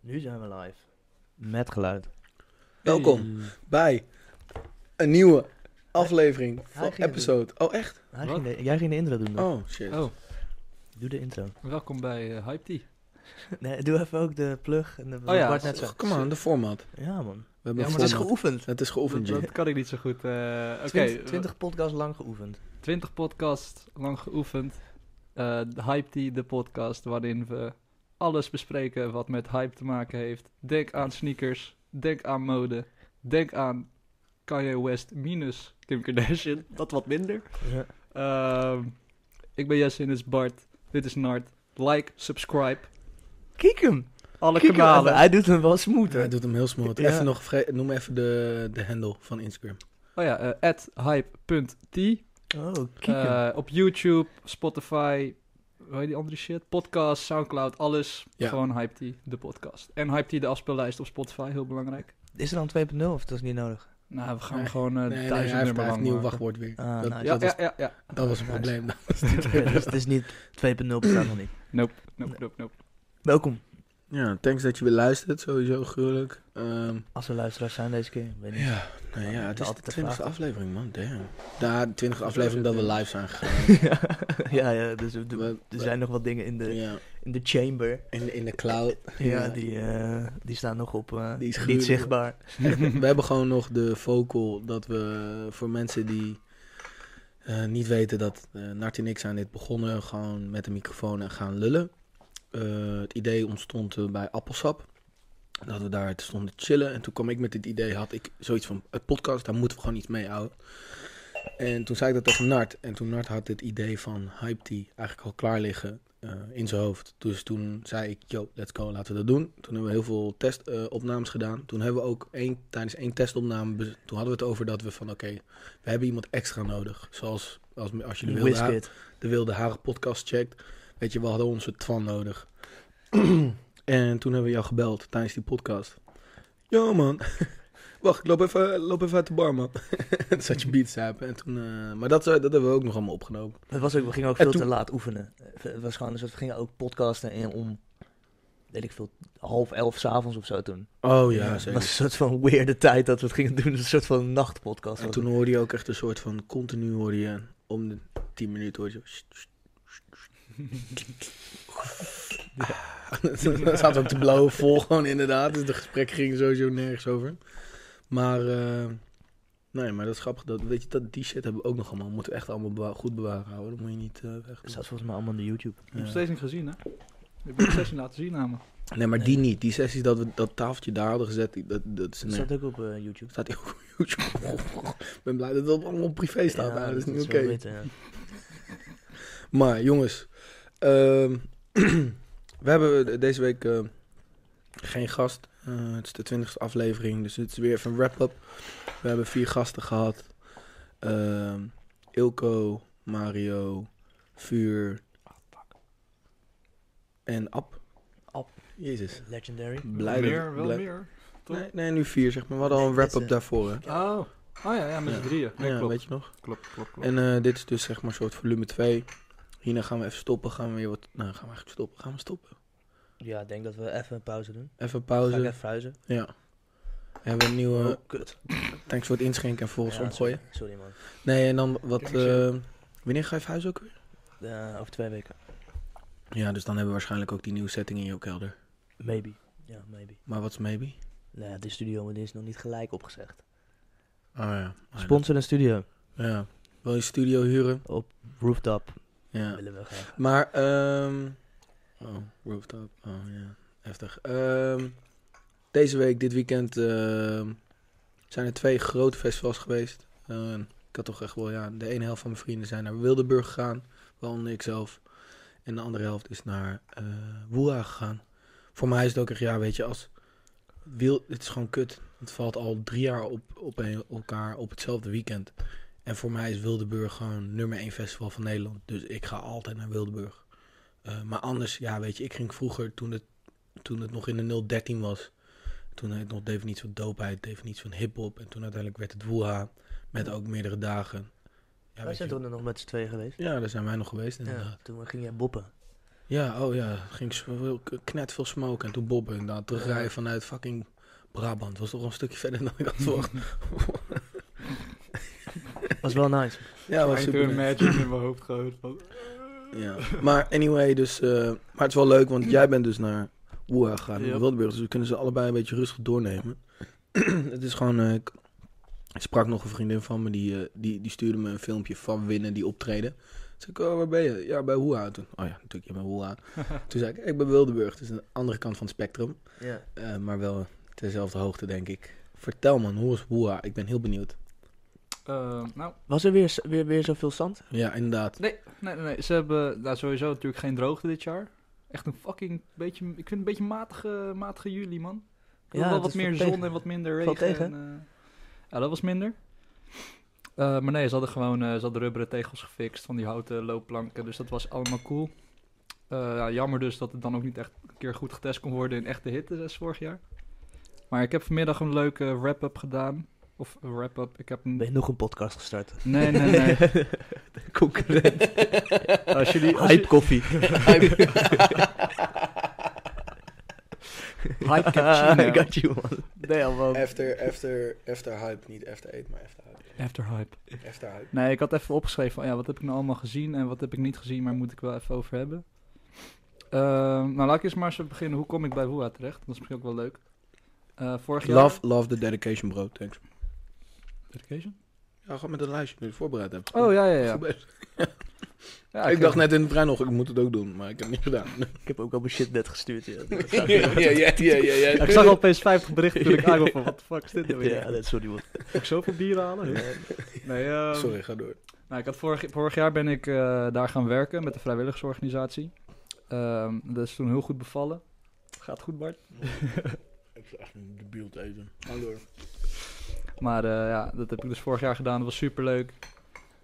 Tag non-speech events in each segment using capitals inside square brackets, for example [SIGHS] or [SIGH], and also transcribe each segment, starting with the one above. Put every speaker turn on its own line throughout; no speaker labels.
Nu zijn we live. Met geluid.
Welkom bij een nieuwe aflevering
Hij
van
ging het
episode. Oh, echt?
Hij
Wat?
ging de- jij ging de intro doen. Noor.
Oh, shit.
Oh,
Doe de intro.
welkom bij eh, Hype Tea.
Nee, doe even ook de plug. En de, wat
ja,
Bart net
Oh,
zei.
Come on, de format. We
Ja, man.
hebben
Ja,
een
maar
het is
format.
geoefend.
Het is geoefend,
dat,
Jim.
dat kan ik niet zo goed. eh Oké,
Twint- 20 podcasts lang geoefend.
20 podcast lang geoefend. Eh Hype Tea, de podcast waarin we alles bespreken wat met hype te maken heeft. Denk aan sneakers, denk aan mode, denk aan Kanye West minus Kim Kardashian. [LAUGHS] Dat wat minder.
Ja.
Ehm, ik ben Jesse en dit is Bart. Dit is Nart. Like, subscribe.
Kijk hem.
Alle
Kijk hem even.
kanalen.
Hij doet hem wel smooth. hè.
Hij doet hem heel smooth.
Ja.
Even nog, vri- noem even de, de handle van Instagram.
Oh ja, eh, at hype.tea.
Oh, kijk hem.
Eh, op YouTube, Spotify, hoe heet die andere shit? Podcast, Soundcloud, alles.
Ja.
Gewoon Hype Tea, de podcast. En Hype Tea, de afspeellijst op Spotify, heel belangrijk.
Is er dan 2.0 of dat is niet nodig?
Nou, we gaan
Nee.
gewoon eh
Nee, nee, hij heeft,
duizend
hij heeft
nummer
een
lang
nieuw
maken.
wachtwoord weer.
Ah,
dat,
nice.
Ja,
dat,
ja,
was,
ja, ja.
dat was een probleem.
dus [LAUGHS] het is niet 2.0 bestaat nog niet.
Nope, nope, nope.
Welkom.
Ja, thanks dat je weer luistert. Sowieso gruwelijk. Ehm,
Als we luisteraars zijn deze keer. Weet niet.
ja, nou ja, het is de
Altijd de
twintigste
vraag.
aflevering, man. Damn. De twintigste aflevering dat we live zijn gegaan.
[LAUGHS] ja, ja, dus er- er-
We-
er zijn nog wat dingen in de,
Ja,
in de chamber.
in, in de cloud.
Ja, die, eh, die staan nog op. eh,
Die
niet
is gruwelijk.
zichtbaar.
Echt, [LAUGHS] we hebben gewoon nog de vocal dat we voor mensen die eh, niet weten dat eh Nart en ik zijn dit begonnen, gewoon met de microfoon en gaan lullen. Eh, het idee ontstond eh, bij Appelsap. Dat we daar stonden te chillen. En toen kwam ik met dit idee, had ik zoiets van, het podcast, daar moeten we gewoon iets mee houden. En toen zei ik dat tegen Nart. En toen Nart had dit idee van Hype Tea eigenlijk al klaar liggen eh, in zijn hoofd. Dus toen zei ik, yo, let's go, laten we dat doen. Toen hebben we heel veel testopnames gedaan. Toen hebben we ook één, tijdens één testopname, be- toen hadden we het over dat we van, oké, we hebben iemand extra nodig. Zoals als, als je de wilde, Ha-
Wizkid.
de wilde Haren podcast checkt. Weet je, we hadden onze Twan nodig. [CLEARS THROAT] en toen hebben we jou gebeld tijdens die podcast. Ja man, [LAUGHS] wacht, ik loop even, loop even uit de bar man. [LAUGHS] toen zat je beats En toen, eh, maar dat, eh, dat hebben we ook nog allemaal opgenomen.
Het was ook, we gingen ook
En
veel te
toen-
laat oefenen. Het was gewoon, dus we gingen ook podcasten in om, weet ik veel, half elf s'avonds of zo toen.
Oh ja,
Het was
zeker.
een soort van weirde tijd dat we het gingen doen. [LAUGHS] Een soort van nachtpodcast.
En
was
toen hoorde je ook echt een soort van continu hoorde je om de 10 minuten hoorde je. zo, sst, sst, sst. Ah, [LAUGHS] Dan zaten we ook te blauwe vol gewoon inderdaad. Dus de gesprek ging sowieso nergens over. Maar eh, nee, maar dat is grappig. Dat, weet je, dat, die shit hebben we ook nog allemaal. Moeten we echt allemaal bewa- goed bewaren houden. Dat moet je niet eh
Het
weg doen.
staat volgens mij allemaal op de YouTube.
Ik heb
Ja.
nog steeds niet gezien, hè? Ik heb nog steeds niet laten zien aan me.
Nee, maar die niet. Die sessies dat we dat tafeltje daar hadden gezet, die- dat, dat is
Het
nee.
staat ook op eh, YouTube.
Staat die ook op
[LAUGHS]
YouTube? Ik ben blij dat het allemaal op privé staat.
Ja,
maar dat is niet
wel
oké.
beter, ja.
Maar jongens, ehm, [CLEARS THROAT] we hebben deze week eh, geen gast. Eh, het is de twintigste aflevering, dus het is weer even een wrap-up. We hebben vier gasten gehad. Ehm, Ilko, Mario, Vuur en Ab.
Ab.
Jezus.
eh, Legendary.
Blij dat-
meer, wel
blij-
meer. toch?
Nee, nee, nu vier zeg maar. We hadden al een
Nee, dit is,
wrap-up daarvoor hè.
Oh, oh ja, ja met
Ja.
z'n drieën. Nee,
Ja,
klopt.
weet je nog?
klopt, klopt, klopt.
En eh, dit is dus zeg maar een soort volume 2. Hierna gaan we even stoppen. Gaan we weer wat... Nou, gaan we eigenlijk stoppen. Gaan we stoppen.
Ja, ik denk dat we even een pauze doen.
Even
Ga ik
pauze.
even verhuizen.
Ja. We hebben een nieuwe...
Oh, kut.
Thanks voor het inschenken en volgens
Ja,
omgooien.
sorry- Sorry man.
Nee, en dan wat...
Ja, chill.
eh, wanneer ga je verhuizen ook weer?
Eh, over twee weken.
Ja, dus dan hebben we waarschijnlijk ook die nieuwe setting in jouw kelder.
Maybe. Ja, maybe.
Maar wat is maybe?
Nou ja, de studio maar die is nog niet gelijk opgezegd.
Oh ja. Ah,
Sponsor een studio.
dat- Ja. Wil je studio huren?
Op rooftop.
Ja.
Willen we graag.
Maar, ehm... Oh, rooftop. Oh ja. Heftig. Ehm, deze week, dit weekend, ehm, zijn er twee grote festivals geweest. Eh, ik had toch echt wel, ja, de ene helft van mijn vrienden zijn naar Wildeburg gegaan, waaronder ik zelf. En de andere helft is naar eh Woeha gegaan. Voor mij is het ook echt, ja, weet je, als wil, het is gewoon kut. Het valt al drie jaar op, op een- elkaar op hetzelfde weekend. En voor mij is Wildeburg gewoon nummer één festival van Nederland. Dus ik ga altijd naar Wildeburg. Eh, maar anders, ja, weet je, ik ging vroeger toen het, toen het nog in de 013 was. Toen heet het nog definitie van doopheid, definitie van hip-hop. En toen uiteindelijk werd het Woeha met ook meerdere dagen. Ja,
Wij
weet
zijn
je,
toen er nog met z'n tweeën geweest.
ja, daar zijn wij nog geweest
Ja,
inderdaad.
toen ging jij boppen.
Ja, oh ja. Ging zoveel- knet veel smoken. En toen Bobben inderdaad. Terugrijden vanuit fucking Brabant. Was toch een stukje verder dan ik had verwacht. [LAUGHS]
Was wel nice.
ja, was
Ik
super.
heb een
nice.
match in mijn hoofd gehoord van...
Ja. Maar anyway, dus... eh, maar het is wel leuk, want jij bent dus naar Woeha gegaan.
Yep.
naar Wildburg, dus we kunnen ze allebei een beetje rustig doornemen. [CLEARS THROAT] het is gewoon... eh, ik ik sprak nog een vriendin van me, die, eh, die, die stuurde me een filmpje van winnen, die optreden. Toen zei ik, oh, waar ben je? Ja, bij Woeha. Toen, oh ja, natuurlijk, je bent Woeha. Toen zei ik, ik ben Wildeburg, dus aan de andere kant van het spectrum.
[LAUGHS] Ja.
Eh, maar wel dezelfde hoogte, denk ik. Vertel man, hoe is Boeha? Ik ben heel benieuwd.
Ehm, nou,
Was er weer, weer, weer zoveel zand?
Ja, inderdaad.
nee, nee, nee, nee. Ze hebben nou, sowieso natuurlijk geen droogte dit jaar. Echt een fucking beetje... Ik vind het een beetje matige, matige juli, man. Ik wil
Ja,
wel
het
wat
is
meer
wel tegen.
zon en wat minder regen.
Valt tegen,
en, eh, ja, dat was minder. Eh, maar nee, ze hadden gewoon eh, ze hadden rubberen tegels gefixt van die houten loopplanken. Dus dat was allemaal cool. Eh, ja, jammer dus dat het dan ook niet echt een keer goed getest kon worden in echte hitte zoals vorig jaar. Maar ik heb vanmiddag een leuke wrap-up gedaan. Of een wrap-up. Ik heb een...
Ben je nog een podcast gestart?
Nee, nee,
[LAUGHS]
[LAUGHS] nee.
Concurrent.
[LAUGHS] Als jullie- als
Hype koffie.
[LAUGHS] Hype
[LAUGHS]
cappuccino.
I got you, man. Damn, man.
After, after, after hype, niet after eat, maar after hype.
After hype.
After hype.
Nee, ik had even opgeschreven van ja, wat heb ik nou allemaal gezien en wat heb ik niet gezien, maar moet ik wel even over hebben. Ehm, nou, laat ik eens maar eens beginnen. Hoe kom ik bij Woeha terecht? Dat is misschien ook wel leuk. Eh, vorig jaar...
Love, love the dedication bro, thanks.
Dedication?
Ja, gewoon met een lijstje nu voorbereid hebt.
Oh, ja, ja, ja.
Goed bezig.
Ja,
ik dacht net in de trein nog, ik moet het ook doen, maar ik heb het niet [LAUGHS] gedaan.
Ik heb ook al mijn shit net gestuurd. [LAUGHS] Ja, [LAUGHS]
Ja, ik zag al opeens 50 berichten [LAUGHS] toen ik aankwam van, wat de fuck is dit nou weer?
Ja, dat- sorry, man.
Moet ik zoveel bieren halen? Nee, ehm,
Sorry, ga door.
Nou, ik had vorig, vorig jaar ben ik eh, daar gaan werken met de vrijwilligersorganisatie. Ehm, dat is toen heel goed bevallen. Gaat goed, Bart.
Ik zou echt een debiel te eten. Ga door.
Maar eh, ja, dat heb ik dus vorig jaar gedaan. Dat was superleuk.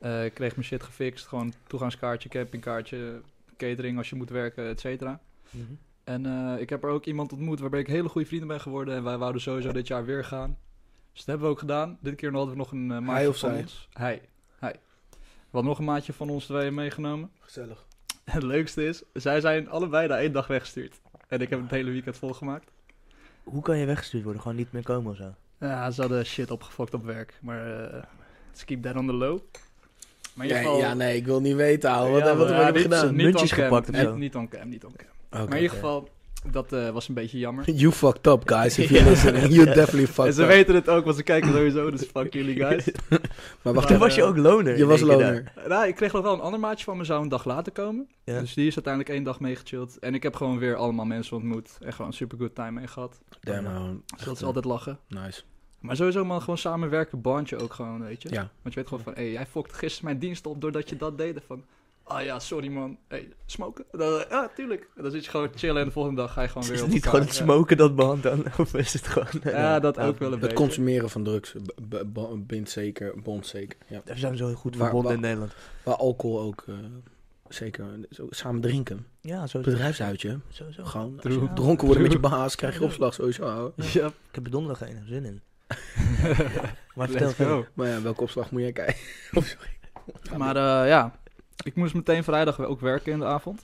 Eh, ik kreeg mijn shit gefixt. Gewoon toegangskaartje, campingkaartje, catering als je moet werken, et cetera.
Mhm.
En eh, ik heb er ook iemand ontmoet waarbij ik hele goede vrienden ben geworden. En wij wouden sowieso dit jaar weer gaan. Dus dat hebben we ook gedaan. Dit keer hadden we nog een eh, maatje
of
van
zij?
ons. Hij. Hij. We hadden nog een maatje van ons tweeën meegenomen. [LAUGHS]
Gezellig.
En het leukste is, zij zijn allebei na één dag weggestuurd. En ik heb het hele weekend volgemaakt.
Hoe kan je weggestuurd worden? Gewoon niet meer komen of zo?
Ja, ze hadden shit opgefokt op werk. Maar eh let's keep that on the low. Maar in
Nee,
ieder geval...
ja, nee, ik wil niet weten, ouwe. Wat,
Ja,
wat heb
maar-
ik
ja, niet-
gedaan?
niet
Muntjes
on cam,
gepakt of
niet-
zo.
Niet on cam, niet on cam.
Oké,
maar in ieder
oké.
geval, dat eh, was een beetje jammer.
You fucked up, guys. [LAUGHS] If you're listening, you definitely
En
fucked
ze
up.
weten het ook, want ze
[LAUGHS]
kijken sowieso, dus fuck jullie guys.
Maar wacht
Toen
Maar,
even,
was je ook loner.
je
in
was
één keer
loner.
daar.
Eh, nou, ik kreeg nog wel een ander maatje van me, zou een dag later komen.
Ja.
Dus die is uiteindelijk één dag meegechilled. En ik heb gewoon weer allemaal mensen ontmoet. En gewoon super good time mee gehad.
Damn,
Ja.
ouwe.
Dus dat is altijd lachen.
Nice.
Maar sowieso man, gewoon samenwerken, bandje ook gewoon, weet je.
Ja.
Want je weet gewoon van, hé, jij fokt gisteren mijn dienst op doordat je dat deed. En Van, ah ja, sorry man. Hé, smoken? Dan, eh, ja, tuurlijk. En dan zit je gewoon chillen en de volgende dag ga je gewoon
Is
weer
het
op
niet
elkaar.
gewoon het smoken dat behandt dan? [LAUGHS] Of is het gewoon...
Ja,
eh,
Ja, dat ook wel een
Het
beetje.
consumeren van drugs b- b- b- bindt zeker, bond zeker. Ja.
Daar zijn we zo goed
Waar-
verbonden
waar-
in Nederland.
Waar alcohol ook eh, zeker. Zo, samen drinken.
Ja, sowieso.
Bedrijfsuitje.
Sowieso.
Gewoon. Als
True.
je dronken wordt met je baas, krijg je opslag sowieso. ouwe.
Ja,
Ik heb er donderdag geen zin
[LAUGHS]
in. Maar vertel
let's
verder.
go.
Maar ja, welke opslag moet jij [LAUGHS] kijken?
Maar eh, ja, ik moest meteen vrijdag ook werken in de avond.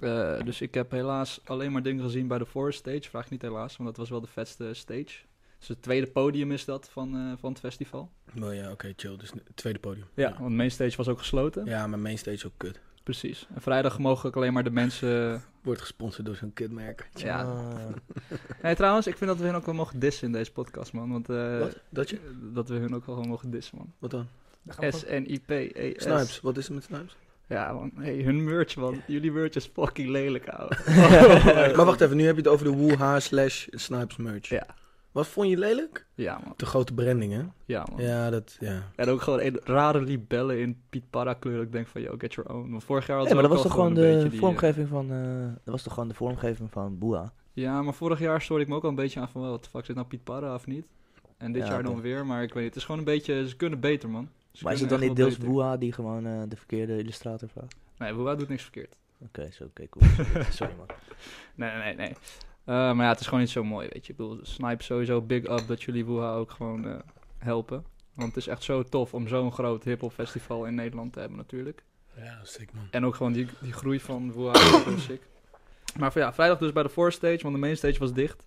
Eh, dus ik heb helaas alleen maar dingen gezien bij de Forest Stage. Vraag niet helaas, want dat was wel de vetste stage. Dus het tweede podium is dat van, eh, van het festival.
Nou ja, oké, chill. Dus het tweede podium.
Ja, want main stage was ook gesloten.
Ja, maar mainstage ook kut.
Precies. En vrijdag mogen ook alleen maar de mensen...
Wordt gesponsord door zo'n kutmerk.
Ja.
Ah,
Nee, trouwens, ik vind dat we hun ook wel mogen dissen in deze podcast, man. Want eh,
Wat? Dat je?
dat we hun ook wel gewoon mogen dissen, man.
Wat dan?
S-N-I-P, E-S.
Snipes. Wat is er met
[LAUGHS]
Snipes?
Ja, man. Hey, hun merch, man. Jullie merch is fucking lelijk, ouwe.
[LAUGHS]
maar wacht even, nu heb je het over de Woeha slash Snipes merch.
Ja.
Wat vond je lelijk?
Ja, man.
De grote branding, hè?
Ja, man.
Ja, dat, ja.
En ook gewoon een rare libellen in Piet Parra kleur. Ik denk van, yo, get your own. Want vorig jaar
Ja,
hadden
maar
we
dat was
ook
toch
al
gewoon
een
de
beetje die, eh,
vormgeving van... eh, dat was toch gewoon de vormgeving van Boa?
Ja, maar vorig jaar stoorde ik me ook al een beetje aan van, wat de fuck, zit nou Piet Parra of niet? En dit
Ja,
jaar dan
oké.
weer, maar ik weet niet. Het is gewoon een beetje, ze kunnen beter, man. Ze
Maar is het
kunnen
dan
echt
niet
wel
deels
beter.
Boa die gewoon eh, de verkeerde illustrator vraagt?
Nee, Boa doet niks verkeerd.
Oké, zo, oké,
[LAUGHS]
cool. Sorry, man.
Nee, nee, nee. nee. Eh, maar ja, het is gewoon niet zo mooi, weet je. Ik bedoel, Snipe sowieso big up dat jullie Woeha ook gewoon eh, helpen. Want het is echt zo tof om zo'n groot hiphop festival in Nederland te hebben natuurlijk.
Ja, sick man.
En ook gewoon die, die groei van Wuhan is heel sick. Maar van ja, vrijdag dus bij de voorstage, want de mainstage was dicht.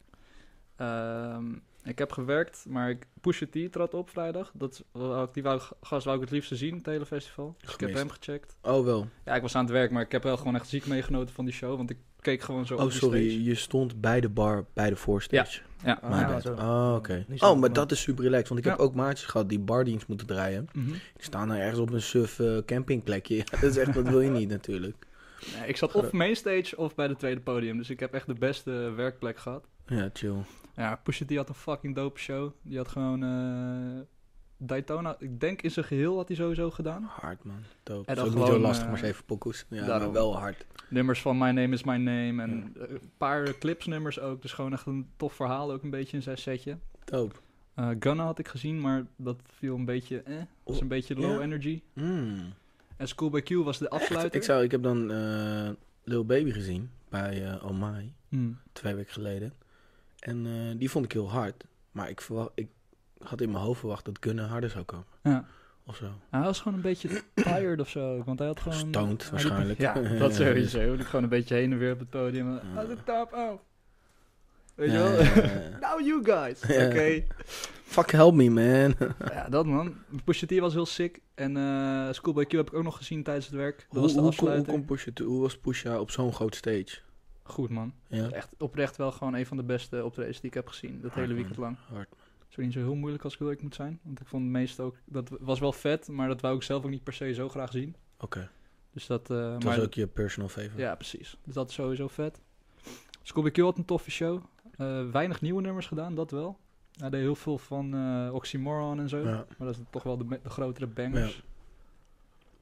Ehm, ik heb gewerkt, maar ik, Pusha T trad op vrijdag. Dat, wou ik- die wou, ik- gast wou ik het liefste zien, het hele festival. Dus ik heb
Gemist.
hem gecheckt.
Oh wel.
Ja, ik was aan het werk, maar ik heb wel gewoon echt ziek meegenoten van die show. Want ik keek gewoon zo
Oh
op die stage.
sorry, je stond bij de bar bij de voorstage.
Ja. Mm.
My
Ah,
bad.
zo.
Oh, oké.
Nu snap ik
Oh,
hem
maar
wel.
dat is super relaxed. Want ik heb
Ja.
ook maatjes gehad die bardienst moeten draaien.
Mhm.
Die staan nou ergens op een suf eh, campingplekje. [LAUGHS] Ja, dat is echt, dat wil je niet natuurlijk.
Nee, ik zat of mainstage of bij de tweede podium. Dus ik heb echt de beste werkplek gehad.
Ja, chill.
Ja, Pusha T had een fucking dope show. Die had gewoon eh, Daytona. Ik denk in zijn geheel had hij sowieso gedaan.
Hard man. Dope. Dat
En dan
is ook niet
gewoon,
heel lastig,
eh,
maar zeven pokkels. Ja, maar
daarom.
wel hard.
nummers van My Name Is My Name en eh, een paar clipsnummers ook. Dus gewoon echt een tof verhaal, ook een beetje in zijn setje.
Dope.
Eh Gunna had ik gezien, maar dat viel een beetje eh, was een beetje low
Ja.
energy.
Mm.
En Schoolboy Q was de afsluiter.
Ik, zou, ik heb dan eh, Lil Baby gezien bij eh Omai,
Hmm.
twee weken geleden. En eh, die vond ik heel hard. Maar ik, verwacht, ik had in mijn hoofd verwacht dat Gunna harder zou komen.
Ja.
Of zo.
Hij was gewoon een beetje tired of zo, ook, want hij had gewoon... hij
Stoned
liep-
waarschijnlijk.
Ja, dat sowieso. Ik gewoon een beetje heen en weer op het podium.
Ja.
Uit de top, oh.
Weet
Weet je wel? [LAUGHS] Now you guys.
[LAUGHS] Ja.
Oké.
Fuck help me man.
Ja, dat man. Pusha T was heel sick. En eh Schoolboy Q heb ik ook nog gezien tijdens het werk. Dat was
[LAUGHS]
de
hoe, hoe, hoe,
afsluiter.
kon Pusha toe? Hoe was Pusha op zo'n groot stage?
Goed man.
Ja,
Echt oprecht wel gewoon een van de beste optredens die ik heb gezien. Dat
Hard,
hele
man.
weekend lang.
hard.
Het is ook niet zo heel moeilijk als ik heel eerlijk moet zijn. Want ik vond het meest ook... Dat was wel vet, maar dat wou ik zelf ook niet per se zo graag zien.
Oké.
Dus dat... eh,
Dat
maar,
was ook je personal favorite.
Ja, precies. Dus dat is sowieso vet. Scooby Kill had een toffe show. Eh, weinig nieuwe nummers gedaan, dat wel. Hij deed heel veel van eh, Oxymoron en zo.
Ja.
Maar dat is toch wel de, me- de grotere bangers.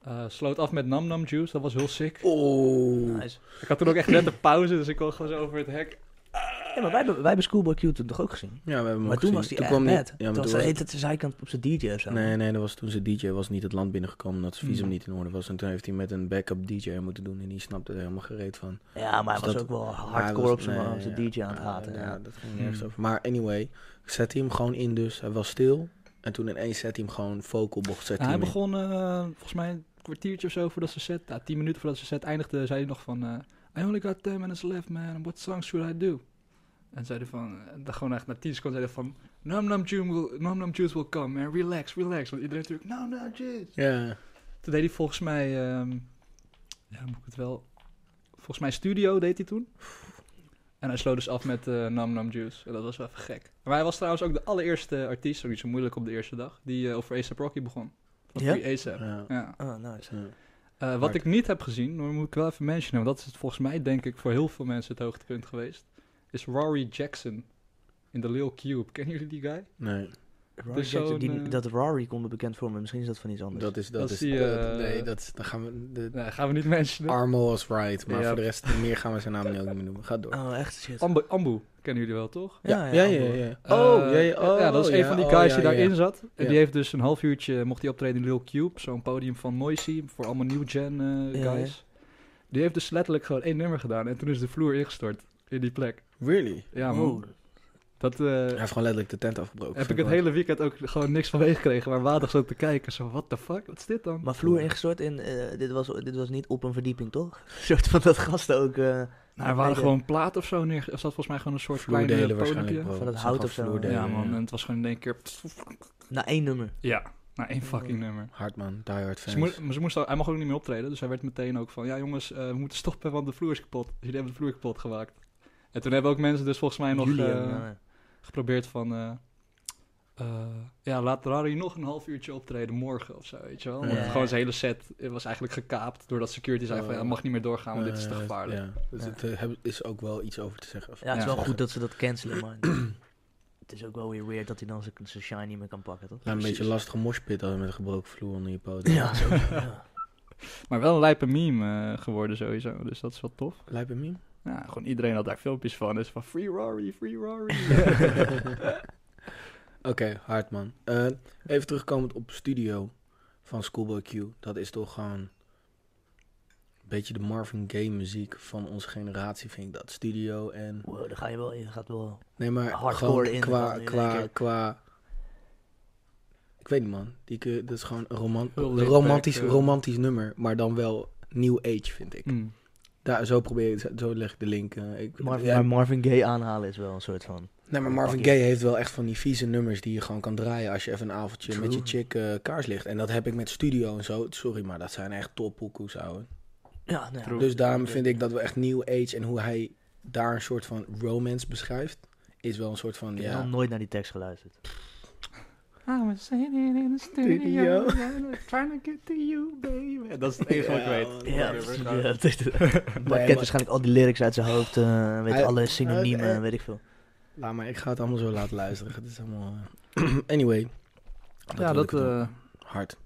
Eh, sloot af met Nam Nam Juice, dat was heel sick.
Oh.
Nice.
Ik had toen ook echt net een pauze, dus ik kwam gewoon zo over het hek.
Ja, maar wij, hebben- wij hebben Schoolboy Q toen toch ook gezien?
Ja, we hebben hem
Maar toen
ook gezien.
was die echt
kwam die-
bad.
Ja, maar
toen was hij
toen was-
heet het de zijkant op zijn DJ of zo.
Nee, nee, dat was toen zijn DJ was niet het land binnengekomen omdat zijn visum
Mm.
niet in orde was. En toen heeft hij met een backup DJ moeten doen en die snapte er helemaal gereed van.
Ja, maar hij
Dus
was
dat-
ook wel
Hij
hardcore
was-
op zijn
nee,
op zijn
ja.
DJ aan het
Ah,
haten.
Ja,
ja.
dat ging nergens
Mm.
over. Maar anyway, zet hij hem gewoon in dus. Hij was stil en toen ineens zet hij hem gewoon vocal bocht. Zet
Ja, hij
hem in.
begon eh, volgens mij een kwartiertje of zo voordat ze set, ja, tien minuten voordat ze set eindigde, zei hij nog van... eh, I only got 10 minutes left, man. What song should I do? En zei hij van, eh, dan gewoon echt na 10 seconden zei hij van... Nam Nam Juice will, Nam Nam Juice will come, man. Relax, relax. Want iedereen natuurlijk, Nam Nam Juice.
Ja.
Toen deed hij volgens mij, ehm, ja, moet ik het wel... Volgens mij Studio deed hij toen. En hij sloot dus af met eh, Nam Nam Juice. En dat was wel even gek. Maar hij was trouwens ook de allereerste artiest, ook niet zo moeilijk op de eerste dag, die eh, over ASAP Rocky begon. Van
Ja?
Free A$AP.
ja.
Ja.
Ah, nice.
ja.
Eh, wat
Hard.
ik niet heb gezien, maar moet ik wel even mentionen, want dat is het volgens mij denk ik voor heel veel mensen het hoogtepunt geweest, is Rory Jackson in de Lil Cube. Kennen jullie die guy?
Nee,
Rory
Dus
Jackson,
zo'n,
die-
eh,
dat Rory komt er bekend voor, maar misschien is dat van iets anders.
dat is... Dat
Dat
is
zie je,
dat- nee,
eh,
dat is... Dan gaan we... De,
Nee, gaan we niet mentionen.
Armo was right, maar
Ja. Ah,
voor de rest meer gaan we zijn naam niet ook niet meer noemen. Ga door.
Oh, echt shit.
Ambu, Ambu, kennen jullie wel toch?
Ja, ja,
ja, ja.
Amber.
ja. Oh,
Eh,
ja, ja, oh,
ja, dat is een
ja,
van die
oh,
guys
ja,
die
ja,
daarin
ja.
zat. En
Ja.
die heeft dus een half uurtje, mocht hij optreden in Lil Cube, zo'n podium van Noisy, voor allemaal new gen eh,
Ja, ja.
guys. Die heeft dus letterlijk gewoon één nummer gedaan en toen is de vloer ingestort in die plek.
Really?
Ja man,
Oh.
dat... eh,
Hij heeft gewoon letterlijk de tent afgebroken.
Heb ik het hele weekend ook gewoon niks van meegekregen, maar water zat te kijken. Zo, what the fuck, wat is dit dan?
Maar vloer ingestort in, eh, dit, was, dit was niet op een verdieping, toch? [LAUGHS] Een soort van dat gasten ook... eh,
nou, er waren gewoon plaat of zo neer. Er zat volgens mij gewoon een soort kleine
vloerdelen waarschijnlijk,
podiumpje.
bro.
Van dat
Ze
hout
gaan
of zo.
vloerdelen,
Ja man, en het was gewoon in één keer...
Na één nummer.
Ja, nou één fucking nummer.
Hard man, die hard fans.
Ze moest, maar ze moest, hij mag ook niet meer optreden, dus hij werd meteen ook van... Ja jongens, eh, we moeten stoppen, want de vloer is kapot. Dus jullie hebben de vloer kapot gemaakt. En toen hebben ook mensen dus volgens mij nog
Jullie
eh,
hebben- ja,
geprobeerd van... eh, eh, ja, laat Rari nog een half uurtje optreden morgen of zo, weet je wel. Want
Ja.
Gewoon zijn hele set eh, was eigenlijk gekaapt doordat security zei van... Ja, dat mag niet meer doorgaan, want Nou, dit is te
Eh,
gevaarlijk.
Oh. Ja, dus
Ja.
het eh, heb- is ook wel iets over te zeggen.
Ja, het is
Ja.
wel goed dat ze dat cancelen, [CLEARS THROAT] maar... het is ook wel weer weird dat hij dan zijn- zijn shine niet meer kan pakken, toch?
Ja, een beetje
precies.
lastige moshpit hadden met een gebroken vloer onder je poten. [LAUGHS]
Ja, zo. [LAUGHS] ja.
Maar wel een lijpe meme eh, geworden sowieso, dus dat is wel tof.
Lijkt het meme?
Ja, gewoon iedereen had daar filmpjes van, dus van free Rory, free Rory.
[LAUGHS] Oké, hard man. Eh, even terugkomend op studio van Schoolboy Q. Dat is toch gewoon een beetje de Marvin Gaye muziek van onze generatie, vind ik dat. Studio en...
Wow, daar ga je wel in. Gaat wel...
Nee, maar
Hardcore
gewoon
in
qua,
van, in één
qua,
keer.
qua, Ik weet niet, man. Die, kun- dat is gewoon een roman-
Heel
een
laid
romantisch,
back, eh.
romantisch nummer, maar dan wel new age, vind ik.
Mm.
Daar, zo probeer ik, zo leg ik de link. eh, ik,
Marvin,
ja,
maar Marvin Gaye aanhalen is wel een soort van...
nee, maar Marvin Gaye heeft wel echt van die vieze nummers die je gewoon kan draaien als je even een avondje
True.
met je chick eh, kaars ligt. En dat heb ik met studio en zo. Sorry, maar dat zijn echt toppoekoes, ouwe.
Ja, nou ja.
True.
Dus daarom vind ik dat we echt new age en hoe hij daar een soort van romance beschrijft, is wel een soort van,
Ik heb
ja...
nog nooit naar die tekst geluisterd.
I was sitting in the
Studio.
studio, [LAUGHS] trying to get to you, baby. Dat is het enige wat ik
Ja,
weet.
man.
Ja,
Whatever,
ja,
nou.
dat is
[LAUGHS]
het. Maar
maar-
kent waarschijnlijk al die lyrics uit zijn hoofd, eh, weet
Hij-
alle synoniemen,
Oké.
weet ik veel.
Laat maar, ik ga het allemaal zo laten luisteren. Het is allemaal... eh, [CLEARS THROAT] anyway.
Ja,
wil
dat,
ik het doen.
eh,
Hard.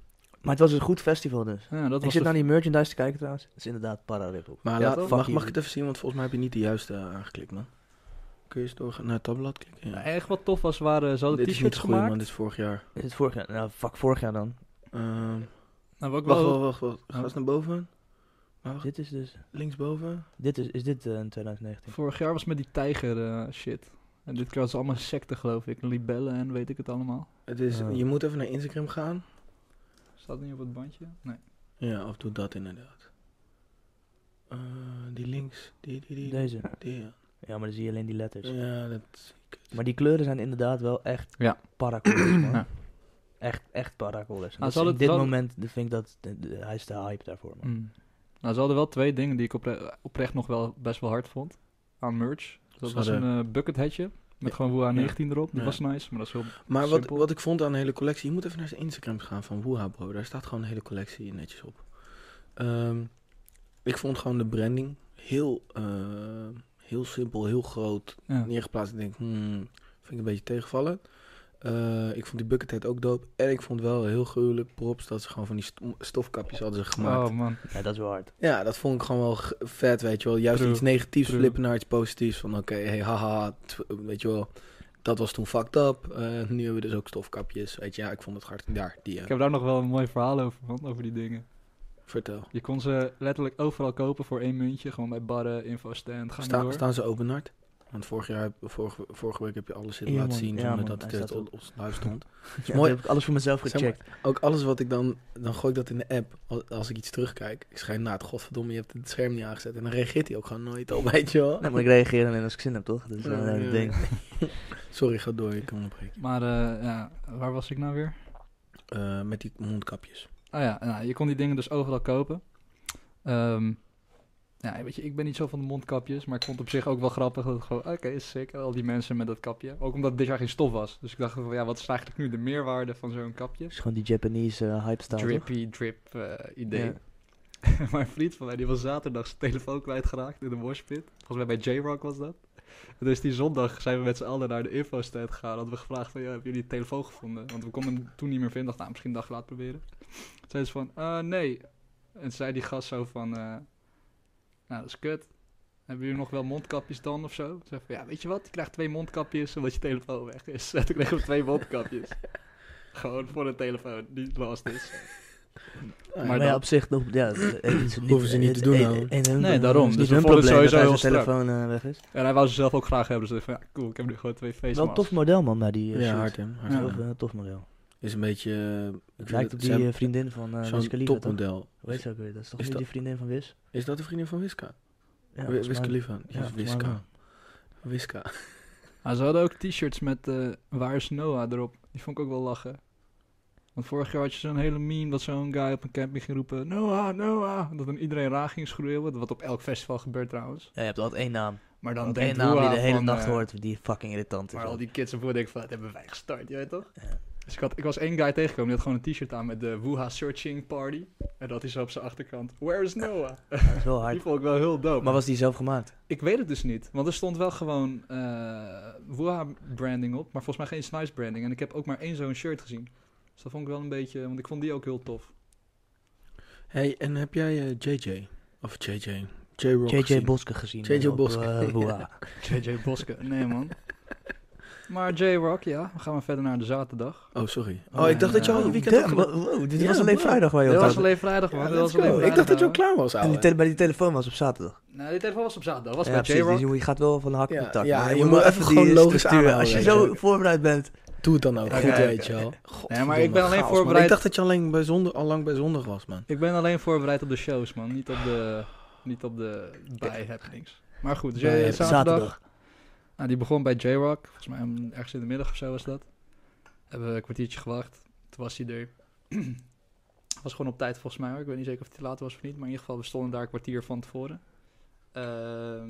Maar het was een goed festival dus.
ja, dat
Ik
was
zit
de-
nou
naar die merchandise te kijken trouwens. Het is inderdaad pararipple.
Maar
Ja,
laat-
toch?
mag,
Fuck
mag
you.
ik het even zien? Want volgens mij heb je niet de juiste eh, aangeklikt, man. Kun je eens doorgaan naar het tabblad klikken? Ja.
Ja, echt wat tof was, waren zo de
dit is niet
t-shirts
het goede,
gemaakt.
man. Dit is vorig jaar.
Is het vorig jaar? Nou, fuck vorig jaar dan.
Ehm,
Nou, wat ik
wacht,
wel-
wacht, wacht, wacht. Ga eens naar boven. Maar wacht,
Dit is dus...
linksboven.
Dit is, is dit eh, in 2019?
Vorig jaar was met die tijger eh, shit. En dit keer was het allemaal secten, geloof ik. Libellen en weet ik het allemaal.
Het is,
Oh.
Je moet even naar Instagram gaan.
Staat het niet op het bandje? Nee.
Ja, of doe dat inderdaad. Eh, die links. Die, die, die.
Deze.
die, ja.
Ja, maar dan zie je alleen die letters.
ja, dat...
Maar die kleuren zijn inderdaad wel echt
Ja.
paracoolers, man.
Ja.
Echt, echt paracoolers.
Ah,
Dat is
zal
in
het-
dit
zal-
moment de- vind ik dat... de- de- hij is te hype daarvoor, man.
Mm. Nou, ze hadden wel twee dingen die ik opre- oprecht nog wel best wel hard vond. Aan merch. Dat
Ze
was een
hadden-
eh, bucket hatje. Met
Ja.
gewoon WUA 19 erop. Dat
Ja.
was nice, maar dat is heel...
Maar wat,
Simpel.
wat ik vond aan de hele collectie, je moet even naar zijn Instagram gaan van Woeha Bro. Daar staat gewoon een hele collectie netjes op. Ehm, ik vond gewoon de branding heel, eh, heel simpel, heel groot
Ja.
neergeplaatst. Ik denk, hmm, vind ik een beetje tegenvallen. Eh, ik vond die buckethead ook dope. En ik vond wel heel gruwelijk props dat ze gewoon van die sto- stofkapjes hadden ze gemaakt.
Oh man.
Ja, dat is wel hard.
Ja, dat vond ik gewoon wel g- vet, weet je wel. Juist
True.
iets negatiefs
True.
flippen naar iets positiefs. Van oké, hey, haha, t- weet je wel. Dat was toen fucked up. Eh, nu hebben we dus ook stofkapjes. Weet je, ja, ik vond het hard. Daar, die eh,
Ik heb daar nog wel een mooi verhaal over, man. Over die dingen.
vertel.
Je kon ze letterlijk overal kopen voor één muntje. Gewoon bij barren, infostand, ga maar
Sta,
door.
staan ze open hard? Want vorig jaar, heb- vorige, vorige week heb je alles zitten
Ja,
laten
man.
zien.
Ja,
zonder
man.
dat
Hij
het
staat
op
op.
ons live
[LAUGHS]
stond.
Ja,
mooi.
dat heb ik alles voor mezelf
Zeg maar,
gecheckt.
Ook alles wat ik dan, dan gooi ik dat in de app. Als, als ik iets terugkijk, ik schijn na het godverdomme, je hebt het scherm niet aangezet. En dan reageert hij ook gewoon nooit op, [LAUGHS] weet je wel.
Nee, maar ik reageer alleen als ik zin heb, toch? Dus, eh, Dat is wel
Ja,
een
ja,
hele
ja.
ding.
Sorry, ga door, ik kan onderbreken.
Maar eh, ja, waar was ik nou weer?
Eh, met die mondkapjes.
Oh ja, nou, je kon die dingen dus overal kopen. Ehm, ja, weet je, ik ben niet zo van de mondkapjes, maar ik vond het op zich ook wel grappig dat het gewoon, oké, is sick, al die mensen met dat kapje. Ook omdat het dit jaar geen stof was. Dus ik dacht van, ja, wat is eigenlijk nu de meerwaarde van zo'n kapje?
Het is gewoon die Japanese eh, hype style, toch?
Drippy drip eh, idee. [LAUGHS] maar een vriend van mij, die was zaterdag zijn telefoon kwijtgeraakt in de washpit. Volgens mij bij J-Rock was dat. En dus die zondag zijn we met z'n allen naar de infostand gegaan. Hadden we gevraagd van, ja, hebben jullie de telefoon gevonden? Want we konden hem toen niet meer vinden. Dacht, nou, misschien een dag later proberen. Toen zei ze van, eh, nee. En zei die gast zo van, eh, nou, dat is kut. Hebben jullie nog wel mondkapjes dan of zo? Ik Zei van, ja, weet je wat? Je krijgt twee mondkapjes omdat je telefoon weg is. [LAUGHS] En toen kregen we twee mondkapjes. Gewoon voor een telefoon die last is.
Maar,
Maar
ja,
dat-
op zich, nog, ja, het is niet,
Hoeven ze niet
het-
te doen,
eh,
ouwe.
eh, hun-
Nee,
het is
daarom. Dus
niet
we
hun
vonden het
probleem dat
sowieso
hij
heel
zijn
strak.
telefoon eh, weg is.
En hij wou ze zelf ook graag hebben. Dus ik dacht van, ja, cool, ik heb nu gewoon twee faces.
Wel een tof model, man, bij die eh,
Ja,
shoot.
hard hem. Hard
Ja.
Heel,
hem.
eh, tof model.
Is een beetje... eh, ik
Het
vind
lijkt
het-
op
ze
die
hebben
eh, vriendin van eh Wiz
Zo'n
Khalifa, toch?
topmodel.
Hoe heet ze ook weer? Dat is toch
Is
niet
dat-
die vriendin van Wiz?
Is dat de vriendin van Wiska?
Ja,
Wi-
volgens
Wiz
mij.
Khalifa. Die
Ja,
is
volgens mij
Wiska. Wiska.
Ah, ze hadden ook t-shirts met eh Waar is Noah erop. Die vond ik ook wel lachen. Want vorig jaar had je zo'n hele meme dat zo'n guy op een camping ging roepen... Noah, Noah! Dat dan iedereen raar ging schreeuwen. Wat op elk festival gebeurt trouwens.
Ja, je hebt altijd één naam.
Maar dan
Dan
denkt
één naam die
Noah
de hele
van,
nacht
eh,
hoort, die fucking irritant is.
Maar al die kids ervoor denken van, dat hebben wij gestart, je weet toch?
Ja.
Dus ik, had, ik was één guy tegengekomen, die had gewoon een t-shirt aan met de Wuha Searching Party. En dat is op zijn achterkant, Where is Noah?
Ja, dat is wel
Die
hard.
vond ik wel heel dope.
Maar was die zelf gemaakt?
Ik weet het dus niet, want er stond wel gewoon eh Wuha branding op, maar volgens mij geen Snice branding. En ik heb ook maar één zo'n shirt gezien. Dus dat vond ik wel een beetje, want ik vond die ook heel tof.
Hey, en heb jij eh, JJ? Of JJ? J-Rock
JJ
gezien?
Boske gezien.
J.J.
eh, op,
Boske.
eh, Woeha.
JJ Boske, nee man. [LAUGHS] maar J-Rock, ja, we gaan maar verder naar de zaterdag.
Oh, sorry.
Oh,
Oh, ik dacht
nee,
dat je al je
eh,
weekend...
Damn,
afgemaakt-
wow, dit
Ja,
was alleen
wow.
vrijdag waar je
Ja,
op
Dat
dat-
was
had.
alleen vrijdag, man.
Ja,
dat was
let's
alleen
go.
vrijdag.
Ik dacht dat je al
ouwe.
klaar was,
En die
ouwe.
tele- bij die telefoon was op zaterdag.
Nou, die telefoon was op zaterdag. Dat was
Ja,
bij
precies,
J-Rock.
dus je gaat wel van de hak op
Ja,
de tak.
ja,
maar
je moet
wel
even gewoon
die
logisch
structuur-
aanhouden,
Als je
weet je
zo [LAUGHS]
wel.
voorbereid bent,
Doe het dan ook
Oké,
goed,
oké,
weet je wel.
Nee, maar ik ben alleen
Chaos, man.
voorbereid.
Ik dacht dat je alleen bij zondag, al lang bij zondag was, man.
Ik ben alleen voorbereid op de shows, man. Niet op de, niet op de bijhappenings. Maar goed, dus jij-
Bij-
zaterdag.
Zaterdag.
Nou, die begon bij J-Rock. Volgens mij om- ergens in de middag of zo was dat. Hebben we een kwartiertje gewacht. Toen was hij er. [CLEARS THROAT] was gewoon op tijd volgens mij hoor. Ik weet niet zeker of het te laat was of niet. Maar in ieder geval, we stonden daar een kwartier van tevoren. Ehm,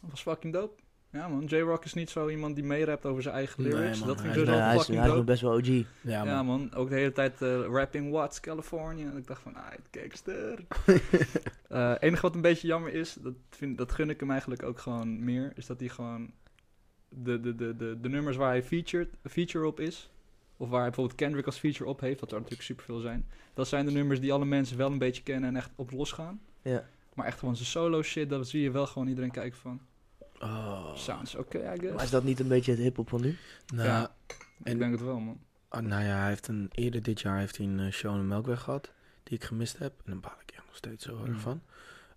was fucking dope. Ja man, J-Rock is niet zo iemand die meerapt over zijn eigen
Nee,
lyrics.
man,
dat vind
hij
ik
is-
sowieso
Ja,
al
hij is,
fucking
hij is nog
dope.
best wel OG.
Ja, man.
Ja man, ook de hele tijd eh, rapping Watts, California. En ik dacht van, ah, het gangster.
[LAUGHS]
Eh, enige wat een beetje jammer is, dat, vind, dat gun ik hem eigenlijk ook gewoon meer, is dat hij gewoon de, de, de, de, de nummers waar hij featured, feature op is, of waar hij bijvoorbeeld Kendrick als feature op heeft, dat er natuurlijk superveel zijn, dat zijn de nummers die alle mensen wel een beetje kennen en echt op losgaan.
Ja.
Maar echt gewoon zijn solo shit, dat zie je wel gewoon iedereen kijken van,
Oh,
sounds oké, I guess.
Maar is dat niet een beetje het hiphop van nu?
nou,
Ja.
en-
Ik denk het wel, man.
ah, nou ja, hij heeft een, eerder dit jaar heeft hij een eh, show in de Melkweg gehad, die ik gemist heb. En daar baal ik echt nog steeds zo erg
Mm.
van.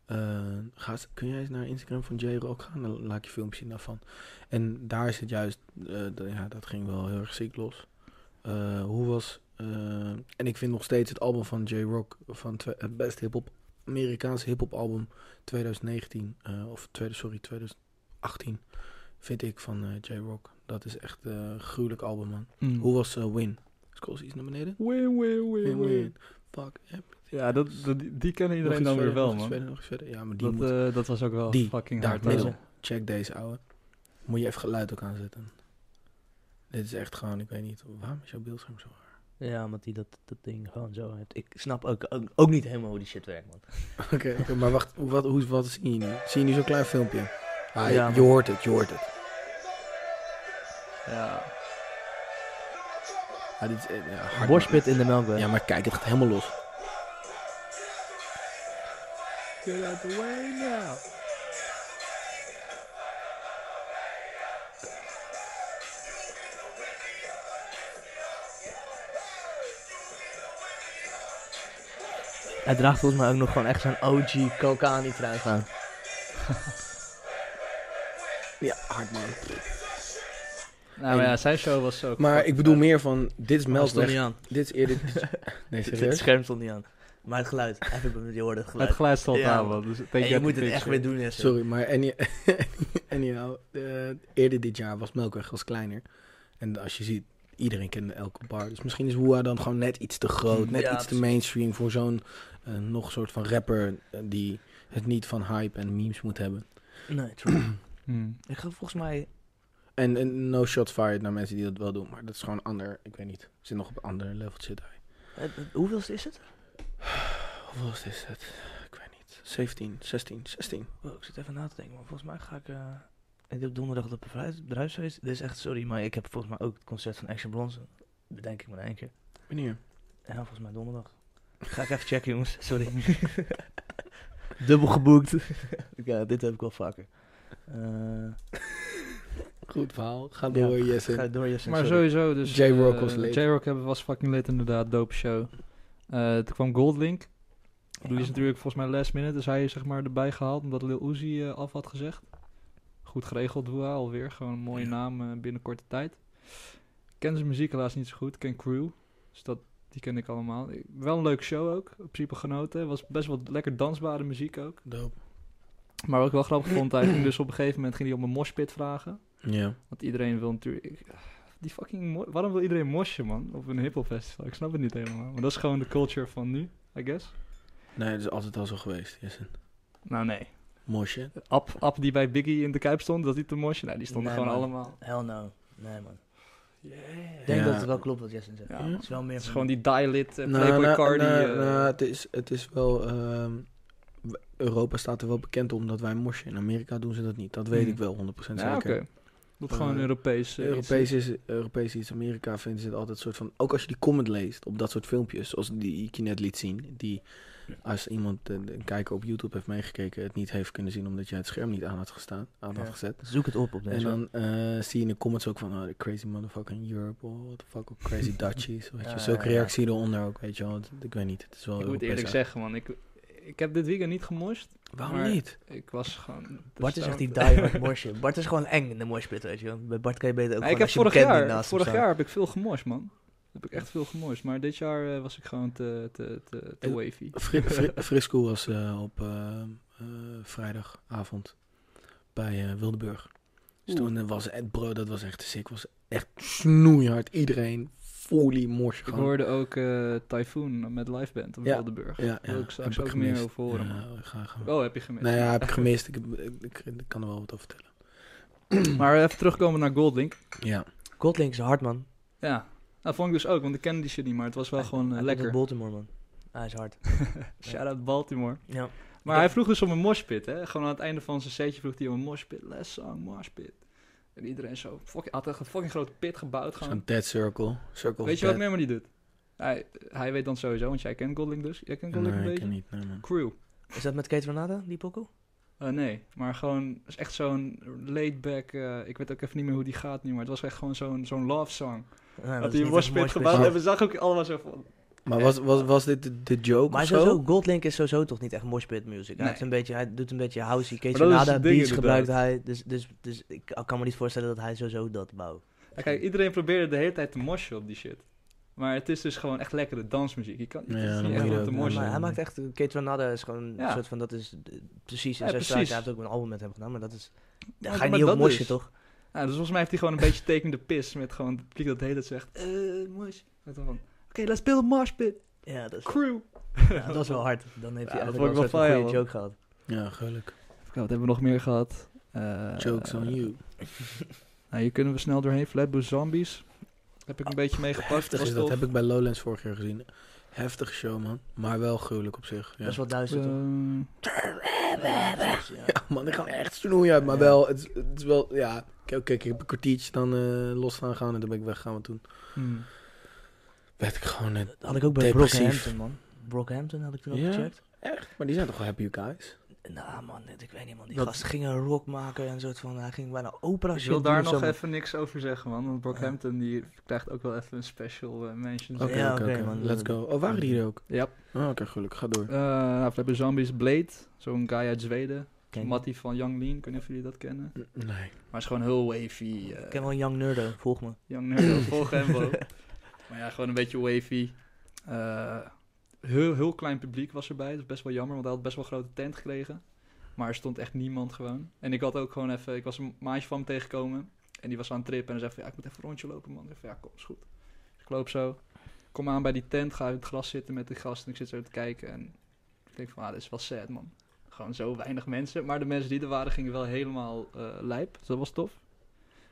Eh, ga eens- kun jij eens naar Instagram van J-Rock gaan? Dan laat ik je filmpje zien daarvan. En daar is het juist, eh, d- ja, dat ging wel heel erg ziek los. Eh, hoe was, eh, en ik vind nog steeds het album van J-Rock van twe- het best hip-hop, Amerikaanse hip-hop album 2019, eh, of tweede, sorry, 2018, vind ik van eh, J-Rock. Dat is echt eh, een gruwelijk album, man.
Hm.
Hoe was eh, Win? Scroll eens iets naar beneden.
Win, win, win, win.
Fuck. Heb
Ja, dat, dat- die- die kennen iedereen dan weer wel, man.
Verder, nog eens verder. Ja, maar die
Dat,
moet...
eh, dat was ook wel
die,
fucking
daar,
hard. eh.
middel.
hoor.
Check deze, ouwe. Moet je even geluid ook aanzetten. Dit is echt gewoon, ik weet niet, waarom is jouw beeldscherm zo hard?
Ja, omdat hij dat, dat ding gewoon zo heeft. Ik snap ook, ook, ook niet helemaal hoe die shit werkt, man.
Oké, oké, maar wacht, hoe- wat, hoe, wat zie je nu? Zie je nu zo'n klein filmpje? Ah, je-
Ja,
je,
man.
hoort het, je hoort het.
Ja.
Ah, dit is, eh, ja, hard,
Borstpit in de melkweg.
Ja, maar kijk, het gaat helemaal los.
Get out the way now.
Hij draagt volgens mij ook nog gewoon echt zo'n OG Kokani trui aan.
Ja, hard man.
Nou maar ja, zijn show was ook...
Maar ik
fucking
bedoel
vet.
meer van, dit is
Meld stond
Melkweg.
niet aan.
Dit is
[LAUGHS]
eerder... dit is- nee,
Het het
serieus?
scherm stond niet aan. Maar het geluid. Even, je hoort het
Het
geluid.
geluid stond
Ja,
aan,
man.
man. Dus ik
En
denk
je
dat
moet
ik
het
niks
echt weer
vind.
doen, hè. Sim.
Sorry, maar any- [LAUGHS] anyhow, eh, eerder dit jaar was Melkweg was kleiner. En als je ziet, iedereen kende elke bar. Dus misschien is Woeha dan gewoon net iets te groot, net
Ja,
iets te
precies.
mainstream voor zo'n eh, nog soort van rapper eh, die het niet van hype en memes moet hebben.
Nee, true.
Hmm.
ik ga volgens mij...
En, en no shots fired naar mensen die dat wel doen, maar dat is gewoon ander, ik weet niet, zit nog op een ander level zit
eh,
hij.
eh, Hoeveelste is het?
Hoeveel is het? Ik weet niet. 17, 16, 16.
Oh, ik zit even na te denken, maar volgens mij ga ik... eh, ik heb donderdag dat bevrijd- bedrijfsfeest. Dit is echt, sorry, maar ik heb volgens mij ook het concert van Action Bronson. Bedenk ik me in één keer.
Wanneer?
Ja, volgens mij donderdag. Ga ik even checken, jongens. [LAUGHS] Sorry. Dubbel geboekt. [LAUGHS] ja, dit heb ik wel vaker. Eh,
Goed verhaal. Ga
Ja,
door,
ga
Jesse.
door, Jesse.
Maar
sorry.
sowieso, dus...
J-Rock
eh,
was late.
J-Rock hebben- was fucking late, inderdaad. Dope show. Eh, toen kwam Goldlink. Die is natuurlijk volgens mij last minute, dus hij is zeg maar erbij gehaald omdat Lil Uzi eh, af had gezegd. Goed geregeld, Doa alweer. Gewoon een mooie
Ja.
naam eh, binnen korte tijd. Ik ken zijn muziek helaas niet zo goed. Ik ken Crew, dus dat, die ken ik allemaal. Ik- Wel een leuke show ook, in principe genoten. Was best wel lekker dansbare muziek ook.
Dope.
Maar wat ik wel grappig vond, hij ging dus op een gegeven moment ging hij om een moshpit vragen.
Ja.
Want iedereen wil natuurlijk... ik- Die fucking... mo- Waarom wil iedereen moshen, man? Op een hiphop festival? Ik snap het niet helemaal. Maar dat is gewoon de culture van nu, I guess.
Nee, dat is altijd al zo geweest, Jesse.
Nou, nee.
Mosje.
App, app die bij Biggie in de Kuip stond, dat die te mosje. Nou, die stonden
Nee,
gewoon
man.
allemaal.
Hell no. Nee, man.
Yeah.
Ik denk
Ja.
dat het wel klopt wat Jesse zegt.
Ja,
Het is wel meer
Het is
van-
gewoon die dialit, uh,
Nou,
Playboy
nou,
Cardi.
nou,
eh,
nou, het, is, het is wel. ehm, w- Europa staat er wel bekend om dat wij mosje. In Amerika doen ze dat niet. Dat weet
Hmm.
ik wel 100% zeker.
ja, oké. Dat gewoon
Eh,
Europees. eh,
Europees
iets-
is, Europees iets. Amerika vinden ze het altijd soort van. Ook als je die comment leest op dat soort filmpjes. Zoals die ik je net liet zien. Die als iemand, eh, een kijker op YouTube heeft meegekeken. het niet heeft kunnen zien omdat jij het scherm niet aan had, gestaan, aan had
Ja.
gezet.
Zoek het op op
En
deze.
dan eh, zie je in de comments ook van, oh, the crazy motherfucker in Europe, oh, what the fuck, oh,
[LAUGHS]
crazy Dutchies, weet je.
Ja,
Zulke
ja, ja.
reactie eronder ook, weet je wel. Het- Ik weet niet, het is wel
ik moet
Europees uit.
eerlijk zeggen, man. Ik, ik heb dit weekend niet gemorst.
Waarom
Maar-
niet?
Ik was gewoon... dus
Bart is echt die
stout.
diehard
[LAUGHS]
morsje. Bart is gewoon eng in de morspit, weet je. wel. Bij Bart kan je beter ook
Nee, ik
gewoon
heb
als je
vorig
hem kent, niet
jaar,
naast hem
vorig
staan.
jaar heb ik veel gemorst, man. Heb ik echt veel gemorst. Maar dit jaar eh, was ik gewoon te, te, te, te
Eh,
[LAUGHS]
wavy.
Fri Fri- [LAUGHS] Frisco was eh, op eh, eh, vrijdagavond bij eh, Wildeburg. Dus
Oeh.
toen eh, was het, bro, dat was echt sick. Was echt snoeihard. Iedereen fully morsen
Ik
gewoon.
hoorde ook eh, Typhoon met liveband op
Ja.
Wildeburg.
Ja, ja.
Wil ik straks
heb
ook
ik
meer
gemist.
over horen,
Ja, ga gaan.
Oh, heb je gemist.
nou ja, heb ik gemist. Ik, heb- ik, ik- ik kan er wel wat over vertellen.
[CLEARS THROAT] Maar even terugkomen naar Goldlink.
Ja.
Kotlink is hard, man.
Ja, dat vond ik dus ook, want ik kende die shit niet, maar het was wel
Hij-
gewoon eh,
hij komt uit
lekker.
Baltimore, man. Hij is hard.
Shout-out Baltimore.
Ja.
Maar
Ja.
hij vroeg dus om een moshpit, hè. Gewoon aan het einde van zijn setje vroeg hij om een moshpit. Let's song, moshpit. En iedereen zo, fucking, had echt een fucking grote pit gebouwd gewoon.
Zo'n dead circle. Circle
Weet je wat Memory doet? Hij, hij weet dan sowieso, want jij kent Goldlink dus. Jij kent Goldlink
Nee,
een
ik ken
beetje?
niet. Nee, man.
Crew.
Is dat met Kate Renata, die pokoe?
Eh, nee, maar gewoon, is echt zo'n laid-back, eh, ik weet ook even niet meer hoe die gaat nu, maar het was echt gewoon zo'n zo'n love song.
Nee, maar
dat
is
hij een
niet echt
moshpit
moshpit.
gebouwd
Maar-
en we zagen ook allemaal zo van...
Maar was, was, was dit de, de joke
Maar
of zo?
sowieso, Goldlink is sowieso toch niet echt moshpit music. Hij,
Nee.
heeft een beetje, hij doet een beetje housey. Kate
Maar dat is
Renata,
het ding
beats
inderdaad.
gebruikt hij. Dus, dus, dus ik kan me niet voorstellen dat hij sowieso dat bouwt.
Ja, kijk, iedereen probeerde de hele tijd te moshen op die shit. Maar het is dus gewoon echt lekkere dansmuziek. Je kan het is
Ja, dan
niet
moet
echt
je
op
dat
te
doen.
Maar
moshen.
hij maakt echt... Kate Renata is gewoon
Ja.
een soort van... Dat is eh, precies in zijn
Ja, precies.
straatje. Hij heeft ook een album met hem gedaan, maar dat is... Daar
Maar-
ga je
maar
niet op
dat
moshen,
dus.
toch?
Ja, dus volgens mij heeft hij gewoon een beetje tekende pis met gewoon het publiek dat de hele tijd zegt... Eh, mosh. En dan van, oké, let's build a mosh pit,
Ja, dat is,
crew.
ja, dat is wel hard. Dan heeft hij
Ja, dat
eigenlijk
vond
wel een
ik wel
soort van
fijn,
goede
man.
joke gehad.
Ja, gelukkig.
Even kijken, wat hebben we nog meer gehad? Eh,
Jokes on you.
Nou, hier kunnen we snel doorheen. Flatbush Zombies. Heb ik een beetje meegepakt.
Heftig
was
is dat.
tof.
Heb ik bij Lowlands vorig jaar gezien. Heftige show, man. Maar wel gruwelijk op zich. Ja,
Dat is wat duister,
Eh,
toch? Ja, precies, ja.
ja man, die gaan echt snoeien uit. Maar
Ja.
wel, het, is- het is wel, ja. Kijk, kijk, ik heb een kwartiertje dan eh, los gaan gaan en toen ben ik weggegaan. Want toen
Ah,
hmm.
werd ik gewoon net...
Dat had ik ook bij
Depressief.
Brockhampton, man. Brockhampton had ik toen ook
Ja?
gecheckt.
Maar die zijn toch wel happy guys?
Nou man, dit- ik weet niet man, die
Dat-
gast ging een rock maken en een soort van, hij ging bijna opera
Ik
shit
wil
doen
daar
of zo,
nog
man.
even niks over zeggen, man. Want Brockhampton die krijgt ook wel even een special eh, mention.
Oké,
Ja,
oké,
oké,
oké.
man.
Let's go. Oh, waren die er ook?
Ja.
Oh, oké, gelukkig. Ga door.
Eh, nou, we hebben Zombies Blade, zo'n guy uit Zweden.
Ken-
Matty van Young Lean, ik weet niet of jullie dat kennen.
Nee.
Maar is gewoon heel wavy. eh,
Ik ken wel een Young Nerdo, volg me.
Young Nerdo, [LAUGHS] volg hem wel. Maar ja, gewoon een beetje wavy. Eh, heel, heel klein publiek was erbij, dat is best wel jammer, want hij had best wel een grote tent gekregen. Maar er stond echt niemand gewoon. En ik had ook gewoon even, ik was een maatje van hem tegengekomen. En die was aan het trip en hij zegt van, ja, ik moet even een rondje lopen, man. Ik zeg, ja, kom, is goed. Dus ik loop zo, kom aan bij die tent, ga in het gras zitten met de gast. En ik zit zo te kijken en ik denk van, ah, dit is wel sad, man. Gewoon zo weinig mensen. Maar de mensen die er waren, gingen wel helemaal eh, lijp. Dus dat was tof.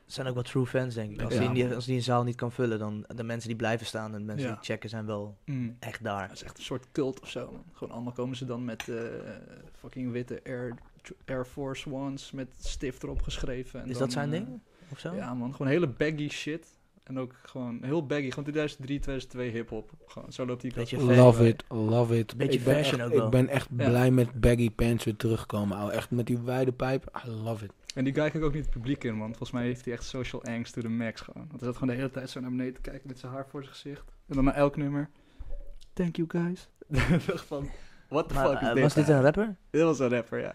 Het zijn ook wat true fans denk ik. Als,
Ja,
die, die-
man.
als die een zaal niet kan vullen, dan de mensen die blijven staan en de mensen
Ja.
die checken zijn wel
Mm.
echt
Dat
daar.
is echt een soort cult of zo, man. Gewoon allemaal komen ze dan met eh, fucking witte Air, Air Force Ones met stift erop geschreven. En
Is
dan,
dat zijn
eh,
ding? Of zo?
Ja, man. Gewoon hele baggy shit. En ook gewoon heel baggy. Gewoon 2003, 2002 hip-hop. Gewoon zo loopt die
Beetje
kant op.
Love it, love it.
Beetje
ik ben
fashion
echt,
ook wel.
Ik ben echt
Ja.
blij met baggy pants weer terugkomen, ouwe. Echt met die wijde pijp. I love it.
En die guy kijkt ook niet het publiek in, man. Volgens mij heeft hij echt social angst to the max gewoon. Want hij zat gewoon de hele tijd zo naar beneden te kijken met zijn haar voor zijn gezicht. En dan naar elk nummer. Thank you guys. [LAUGHS] Ik dacht van, what the
Maar,
fuck is
eh,
dit?
was dit een rapper?
Dit was een rapper, ja. Maar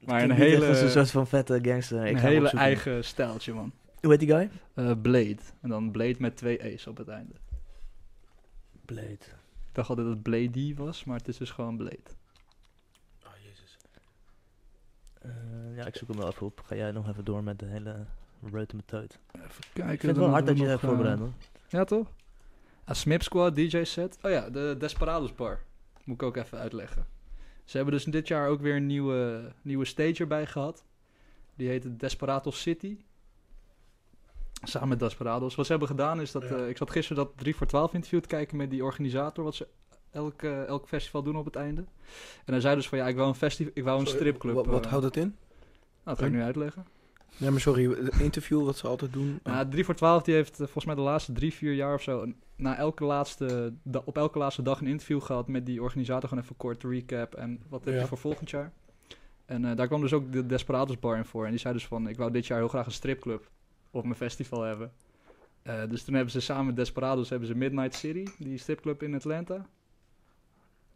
Klinkt
een
niet
hele...
echt als een soort van vette gangster. Ik
een
ga hem
hele
opzoeken.
eigen stijltje, man.
Hoe heet die guy?
Eh, Blade. En dan Blade met twee E's op het einde.
Blade.
Ik dacht altijd dat het Blade was, maar het is dus gewoon Blade.
Eh, ja, ik zoek hem wel even op. Ga jij nog even door met de hele reut en teut.
Even
Ik vind het wel hard dat eh, je dat hebt
eh,
voorbereid, man.
Ja, toch? Ah, Smip Squad, DJ set. Oh ja, de Desperados Bar. Moet ik ook even uitleggen. Ze hebben dus dit jaar ook weer een nieuwe, nieuwe stage erbij gehad. Die heette Desperados City. Samen met Desperados. Wat ze hebben gedaan is dat... eh, ik zat gisteren dat 3 voor 12 interview te kijken met die organisator... wat ze elk, eh, elk festival doen op het einde. En hij zei dus van... Ja, ik wou een, festival, ik wou een
Sorry,
stripclub.
Wat, wat
eh,
houdt dat in?
Nou, dat ga ik nu uitleggen.
Nee, maar sorry. Het interview wat ze altijd doen.
Ah,
Nou, 3 voor 12 die heeft eh, volgens mij de laatste drie, vier jaar of zo... een- Na elke laatste, da- op elke laatste dag een interview gehad met die organisator. Gewoon even kort recap en wat heb je
Ja.
voor volgend jaar. En eh, daar kwam dus ook de Desperados Bar in voor. En die zei dus van, ik wou dit jaar heel graag een stripclub op mijn festival hebben. Eh, dus toen hebben ze samen met Desperados hebben ze Midnight City, die stripclub in Atlanta.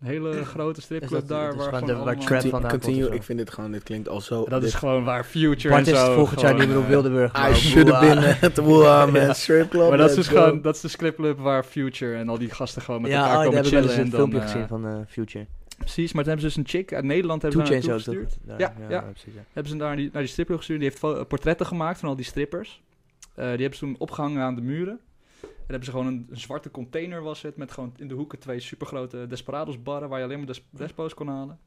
Een hele grote
Is dat-
stripclub
dat
daar
is
waar
gewoon
gewoon
de- waar
allemaal...
Trap vandaan komt of
Continue,
zo.
ik vind dit gewoon, dit klinkt al zo...
Dat
dit-
is gewoon waar Future
Bart
en
is
zo...
het volgend jaar
gewoon,
niet meer op
eh,
Wildeburg.
I should have been
[LAUGHS]
eh, at the Wuhan
Ja.
man, strip club.
Maar dat is dus
let's go.
gewoon, dat is de stripclub waar Future en al die gasten gewoon met
Ja,
elkaar
oh, daar
komen
hebben we
chillen.
dus
en
een
dan,
filmpje
eh,
gezien van eh, Future.
Precies, maar toen hebben ze dus een chick uit Nederland hebben
Two
ze daar naartoe
Chainsaw toch?
gestuurd.
Daar,
Ja, ja.
precies, ja.
Hebben ze daar naar die, naar die stripclub gestuurd. Die heeft fo- eh, portretten gemaakt van al die strippers. Eh, die hebben ze toen opgehangen aan de muren. En hebben ze gewoon een, een zwarte container was het. Met gewoon in de hoeken twee supergrote Desperados barren. Waar je alleen maar des, despo's kon halen.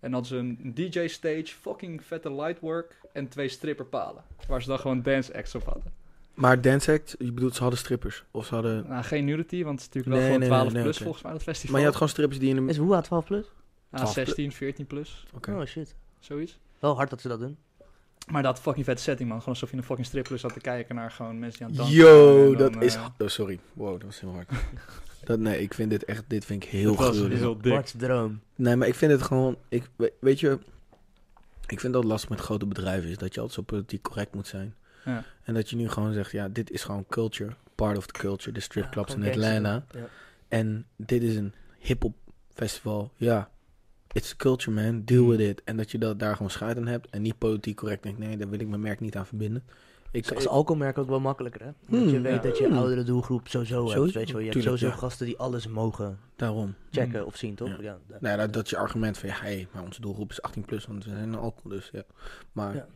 En hadden ze een, een DJ stage, fucking vette lightwork. En twee stripperpalen. Waar ze dan gewoon dance acts op hadden.
Maar Dance Act, je bedoelt ze hadden strippers. Of ze hadden...
Nou, geen nudity, want het is natuurlijk wel
Nee,
gewoon
nee,
12
nee, nee,
plus
oké.
volgens mij dat festival.
Maar je had gewoon strippers die in de...
Is Woeha 12 plus?
Ah,
12 plus.
16, 14 plus,
Oké.
Oh shit.
zoiets.
Wel hard dat ze dat doen.
Maar dat fucking vet setting, man. Gewoon alsof je in een fucking stripclub zat te kijken naar gewoon mensen die aan het dansen waren
Yo,
en dan,
dat is...
eh,
Oh, sorry. Wow, dat was heel
[LAUGHS]
hard. dat, nee, ik vind dit echt... Dit vind ik heel
dat was
gruwelijk.
heel dik.
Bart's droom.
Nee, maar ik vind het gewoon... Ik, we- weet je... Ik vind dat lastig met grote bedrijven is. Dat je altijd zo politiek correct moet zijn.
Ja.
En dat je nu gewoon zegt... Ja, dit is gewoon culture. Part of the culture. De stripclubs in Atlanta.
Ja.
En dit is een hip-hop festival. Ja. It's a culture, man. Deal with it. En dat je dat daar gewoon scheid aan hebt. En niet politiek correct denkt. Nee, daar wil ik mijn merk niet aan verbinden. Ik,
Als alcoholmerk ook wel makkelijker, hè? Omdat
Hmm,
je weet
ja.
dat je oudere doelgroep sowieso hebt.
Sowieso,
Weet je, wel. je hebt
tuurlijk,
sowieso
ja.
gasten die alles mogen
daarom.
checken
Hmm.
of zien, toch?
Ja.
Ja, da-
Nou, ja, dat, dat je argument van... Ja, hey, maar onze doelgroep is 18 plus. Want we zijn een alcohol, dus ja. Maar...
Ja.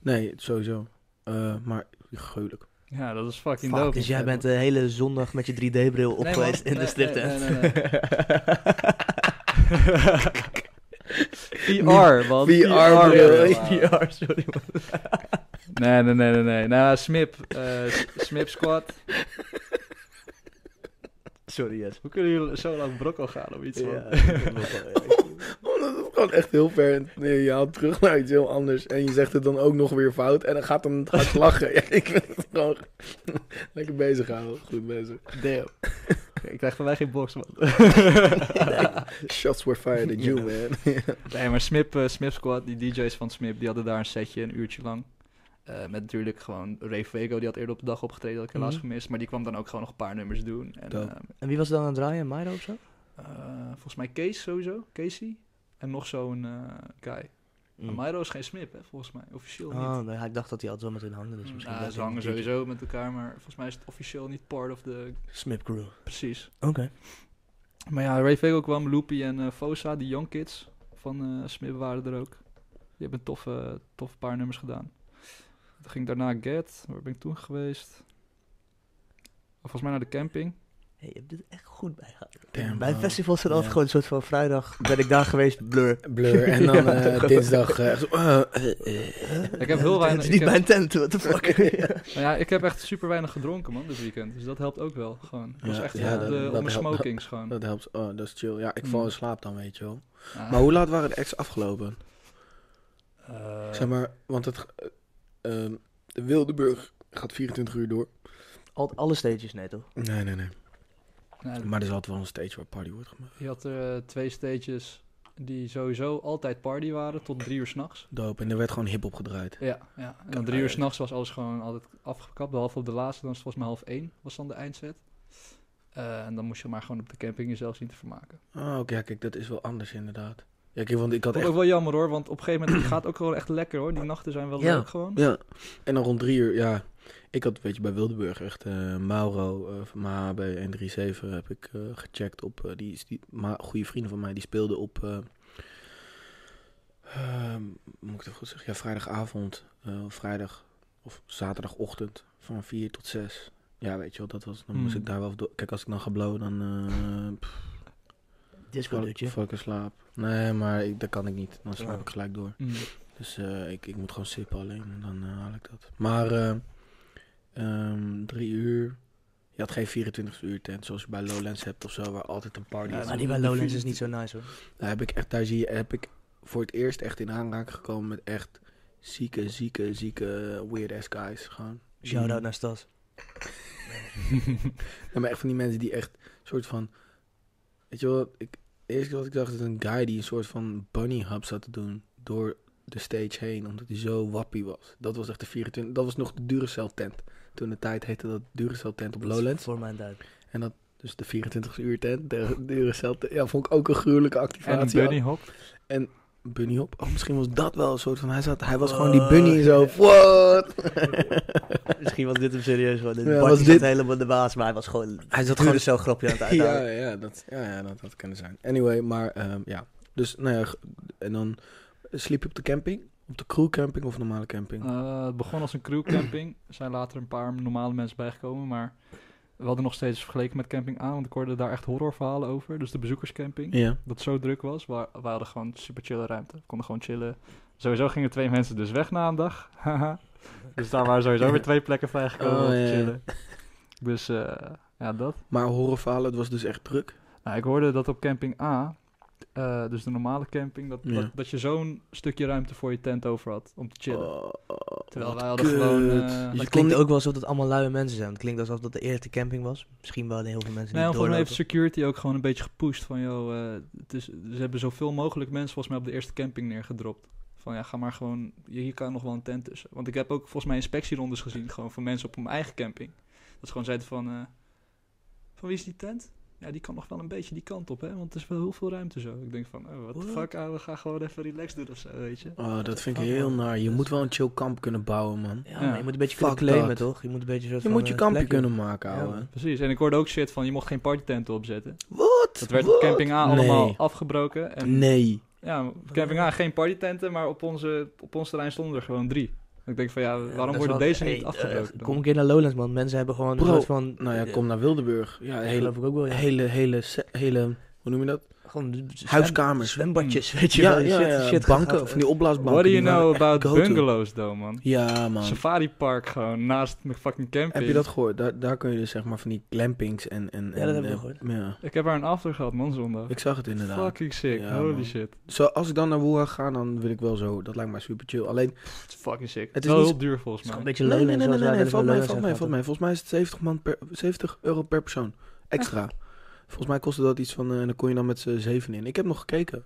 Nee, sowieso. Eh, maar gruwelijk.
Ja, dat is fucking
Fuck,
dope.
dus jij bent de hele zondag met je 3D-bril op
Nee, man.
geweest in
Nee,
de striptent.
nee, nee, nee,
[LAUGHS]
[LAUGHS] VR, man.
VR,
bril.
VR, sorry man.
Nee, nee, nee, nee, nee. Nou, Smip. eh, S- Smip Squad.
Sorry, yes.
Hoe kunnen jullie zo lang brokkel gaan of iets, man?
Ja, ik wil wel,
[LAUGHS]
ja.
Omdat het Oh, gewoon echt heel ver... Nee, je haalt terug naar iets heel anders. En je zegt het dan ook nog weer fout. En dan gaat hem het [LAUGHS] hard lachen. Ja, ik vind het gewoon... [LAUGHS] Lekker bezig houden. Goed bezig.
Damn. Ik krijg van mij geen box, man.
[LAUGHS] Shots were fired at you, man.
Nee, maar Smip, eh, Smip Squad, die DJ's van Smip, die hadden daar een setje een uurtje lang. Eh, met natuurlijk gewoon Ray Vego, die had eerder op de dag opgetreden, dat had ik helaas
Mhm.
gemist. Maar die kwam dan ook gewoon nog een paar nummers doen. En,
Dope.
ehm,
En wie was er dan aan het draaien? Mairo of zo?
eh, volgens mij Kees sowieso, Casey. En nog zo'n eh, guy. Maar Myro is geen Smip, hè, volgens mij. Officieel niet.
Hmm. Mhm.
Mm.
Oh, nee, ja, ik dacht dat hij altijd wel met hun handen. Dus misschien
Ja,
dat
ze
hij
hangen
een beetje-
sowieso met elkaar, maar volgens mij is het officieel niet part of the...
Smip Crew. Oké.
Precies. Maar ja, Ray Vego kwam, Loopy en eh, Fosa, die young kids van eh Smip waren er ook. Die hebben een toffe, toffe paar nummers gedaan. Toen ging ik daarna Get, waar ben ik toen geweest? Volgens mij naar de camping.
Hey, je hebt dit echt goed bijgehouden.
Damn,
Bij
man.
festivals zit altijd
Ja.
gewoon een soort van vrijdag. Ben ik daar geweest, blur.
Blur. [LAUGHS] En dan
Ja.
eh, dinsdag... eh, echt zo, eh, eh, eh.
Ik heb heel
Het
weinig-
is
ik
niet
heb-
mijn tent, what the fuck.
Nou [LAUGHS] ja, ik heb echt super weinig gedronken, man, dit weekend. Dus dat helpt ook wel, gewoon. Ik was
Ja,
echt
ja,
op
dat-
de,
dat
op mijn
helpt.
smokings, gewoon.
Dat helpt. Oh, dat is chill. Ja, ik val
Mm.
in slaap dan, weet je wel.
Ah,
Maar hoe laat waren de acts afgelopen?
eh,
Zeg maar, want het... eh, ehm, de Wildeburg gaat 24 uur door.
Al, alle stages, nee toch?
Nee, nee, nee.
nou,
Maar er is altijd wel een stage waar party wordt gemaakt.
Je had er eh, twee stages die sowieso altijd party waren tot drie uur s'nachts.
Dope. En er werd gewoon hip-hop gedraaid.
Ja, ja. En dan
Kan
drie uur
uit.
s'nachts was alles gewoon altijd afgekapt. Behalve op de laatste, dan was het volgens mij half één was dan de eindset. Eh, en dan moest je maar gewoon op de camping jezelf zien te vermaken.
Oh, oké. ja, kijk, dat is wel anders inderdaad. Ja, kijk, want ik had
Vond ik
echt...
ook wel jammer hoor, want op een gegeven moment [CLEARS THROAT] die gaat ook gewoon echt lekker hoor. Die nachten zijn wel
Ja.
leuk gewoon.
Ja. En dan rond drie uur, ja. Ik had, weet je, bij Wildeburg echt eh, Mauro eh, van MHB 137 heb ik eh, gecheckt op. eh, die die ma- goede vrienden van mij, die speelden op. eh, ehm, moet ik het goed zeggen? Ja, vrijdagavond. eh, of vrijdag of zaterdagochtend van 4 tot 6. Ja, weet je wel, dat was. Dan moest
Hmm.
ik daar wel. door- Kijk, als ik dan ga blowen, dan. eh, pff,
Disco
val ik-
dutje.
val ik in slaap. Nee, maar ik, dat kan ik niet. Dan slaap
Oh.
ik gelijk door.
Mm.
Dus eh, ik, ik moet gewoon sippen alleen en dan eh, haal ik dat. Maar eh, ehm, drie uur. Je had geen 24 uur tent zoals je bij Lowlands hebt of zo, waar altijd een party
Ja,
is.
Maar die bij Lowlands is niet zo nice hoor.
Daar heb ik echt, daar zie je, heb ik voor het eerst echt in aanraking gekomen met echt zieke, zieke, zieke weird ass guys. Gewoon.
Mm.
Shout-out naar Stas.
Ja, maar echt van die mensen die echt soort van. Weet je wel, ik, eerst wat ik dacht is een guy die een soort van bunny hop zat te doen door de stage heen, omdat hij zo wappie was. Dat was echt de 24. Dat was nog de Duracell tent. Toen de tijd heette dat Duracell tent op Lowlands.
Voor mijn duik.
En dat Dus de 24 uur tent, de, de Duracell-tent. Ja, vond ik ook een gruwelijke
En een
activatie.
bunny hop.
bunny hop. Oh, misschien was dat wel een soort van... Hij, zat, hij was gewoon die bunny
Oh,
en zo.
ja.
What?
[LAUGHS]
Misschien was dit hem serieus gewoon.
Ja,
Ja,
was
was
dit-
helemaal de baas, maar hij was gewoon...
Hij zat
Gewoon zo'n grapje aan het
ja, [LAUGHS]
uithalen.
ja, dat, ja, ja, dat had kunnen zijn. Anyway, maar ehm, ja. Dus, nou ja, g- en dan sliep je op de camping? Op de crewcamping of normale camping?
Eh, het begon als een crewcamping. Er zijn later een paar normale mensen bijgekomen, maar we hadden nog steeds vergeleken met camping aan, want ik hoorde daar echt horrorverhalen over. Dus de bezoekerscamping.
Ja.
Dat het zo druk was. We, we hadden gewoon super chille ruimte. We konden gewoon chillen. Sowieso gingen twee mensen dus weg na een dag. [LAUGHS] Haha. dus daar waren sowieso weer twee plekken vrijgekomen
Oh,
om te
ja, ja.
chillen. Dus eh, ja, dat.
Maar horrorverhalen, het was dus echt druk.
Nou, ik hoorde dat op camping A, eh, dus de normale camping, dat,
Ja.
dat, dat je zo'n stukje ruimte voor je tent over had om te chillen.
Oh,
Terwijl
wat
wij hadden gewoon,
kut.
eh,
Dus
Maar
je
het
kon
klinkt
niet-
ook wel alsof dat allemaal luie mensen zijn. Het klinkt alsof dat de eerste camping was. Misschien wel heel veel mensen
Nee,
die
Nou volgens mij heeft
doorlopen.
security ook gewoon een beetje gepusht van, joh, eh, het is, ze hebben zoveel mogelijk mensen volgens mij op de eerste camping neergedropt. Van ja, ga maar gewoon, hier hier kan nog wel een tent tussen. Want ik heb ook volgens mij inspectierondes gezien, gewoon van mensen op hun eigen camping. Dat ze gewoon zeiden van, eh, van wie is die tent? Ja, die kan nog wel een beetje die kant op, hè, want er is wel heel veel ruimte zo. Ik denk van, oh, what the
What?
fuck, ouwe, ga gewoon even relaxed doen of zo, weet je.
Oh, dat vind ik
fuck,
heel
man?
naar. Je moet wel een chill kamp kunnen bouwen, man.
Ja,
Ja.
maar je moet een beetje
Fuck
kunnen claimen,
dat.
toch? Je moet een beetje een soort
Je
van,
moet je
eh,
kampje
plekje-
kunnen maken,
Ja,
ouwe.
man.
Precies, en ik hoorde ook shit van, je mocht geen partytenten opzetten.
Wat?
Dat werd op camping A allemaal
Nee.
afgebroken. En
Nee.
Ja, camping A geen partytenten, maar op, onze, op ons terrein stonden er gewoon drie. Ik denk van ja,
Ja,
waarom
dat is
worden
wel-
deze
hey,
niet
eh,
afgebroken? dan?
kom een keer naar Lowlands, man. Mensen hebben gewoon
Bro,
een soort van...
Nou ja,
eh,
kom naar Wildeburg. Ja,
dat
hele,
geloof ik ook wel, ja.
hele, hele, se- hele, hoe noem je dat?
Gewoon de- de zwem-
Huiskamers.
Zwembadjes, weet je wel. Shit, shit
banken
gaat-
of van die opblaasbanken.
What do you
die waren
know
echt
about
go-to.
bungalows, though, man?
Ja, man.
Safari park gewoon naast mijn fucking camping.
Heb je dat gehoord? Daar, daar kun je dus zeg maar van die glampings en... en
Ja, dat
en,
heb ik
eh,
gehoord.
Ja,
Ik heb haar een after gehad, man, zondag.
ik zag het inderdaad.
Fucking sick,
Ja,
holy
man.
shit.
Zo, als ik dan naar Woerha ga, dan wil ik wel zo. Dat lijkt mij super chill. Alleen,
Het is fucking sick.
Het
Het
is
is wel
niet-
heel duur volgens
Het is
mij.
gewoon een beetje
nee, nee,
Lowlands.
nee, nee, nee,
zoals wij
nee,
naar de Lowlands
valt mij, valt
zijn
mij,
gegaan,
valt mij. Volgens mij is het 70, man per, 70 euro per persoon. Extra. Volgens mij kostte dat iets van, eh, en dan kon je dan met z'n zeven in. Ik heb nog gekeken.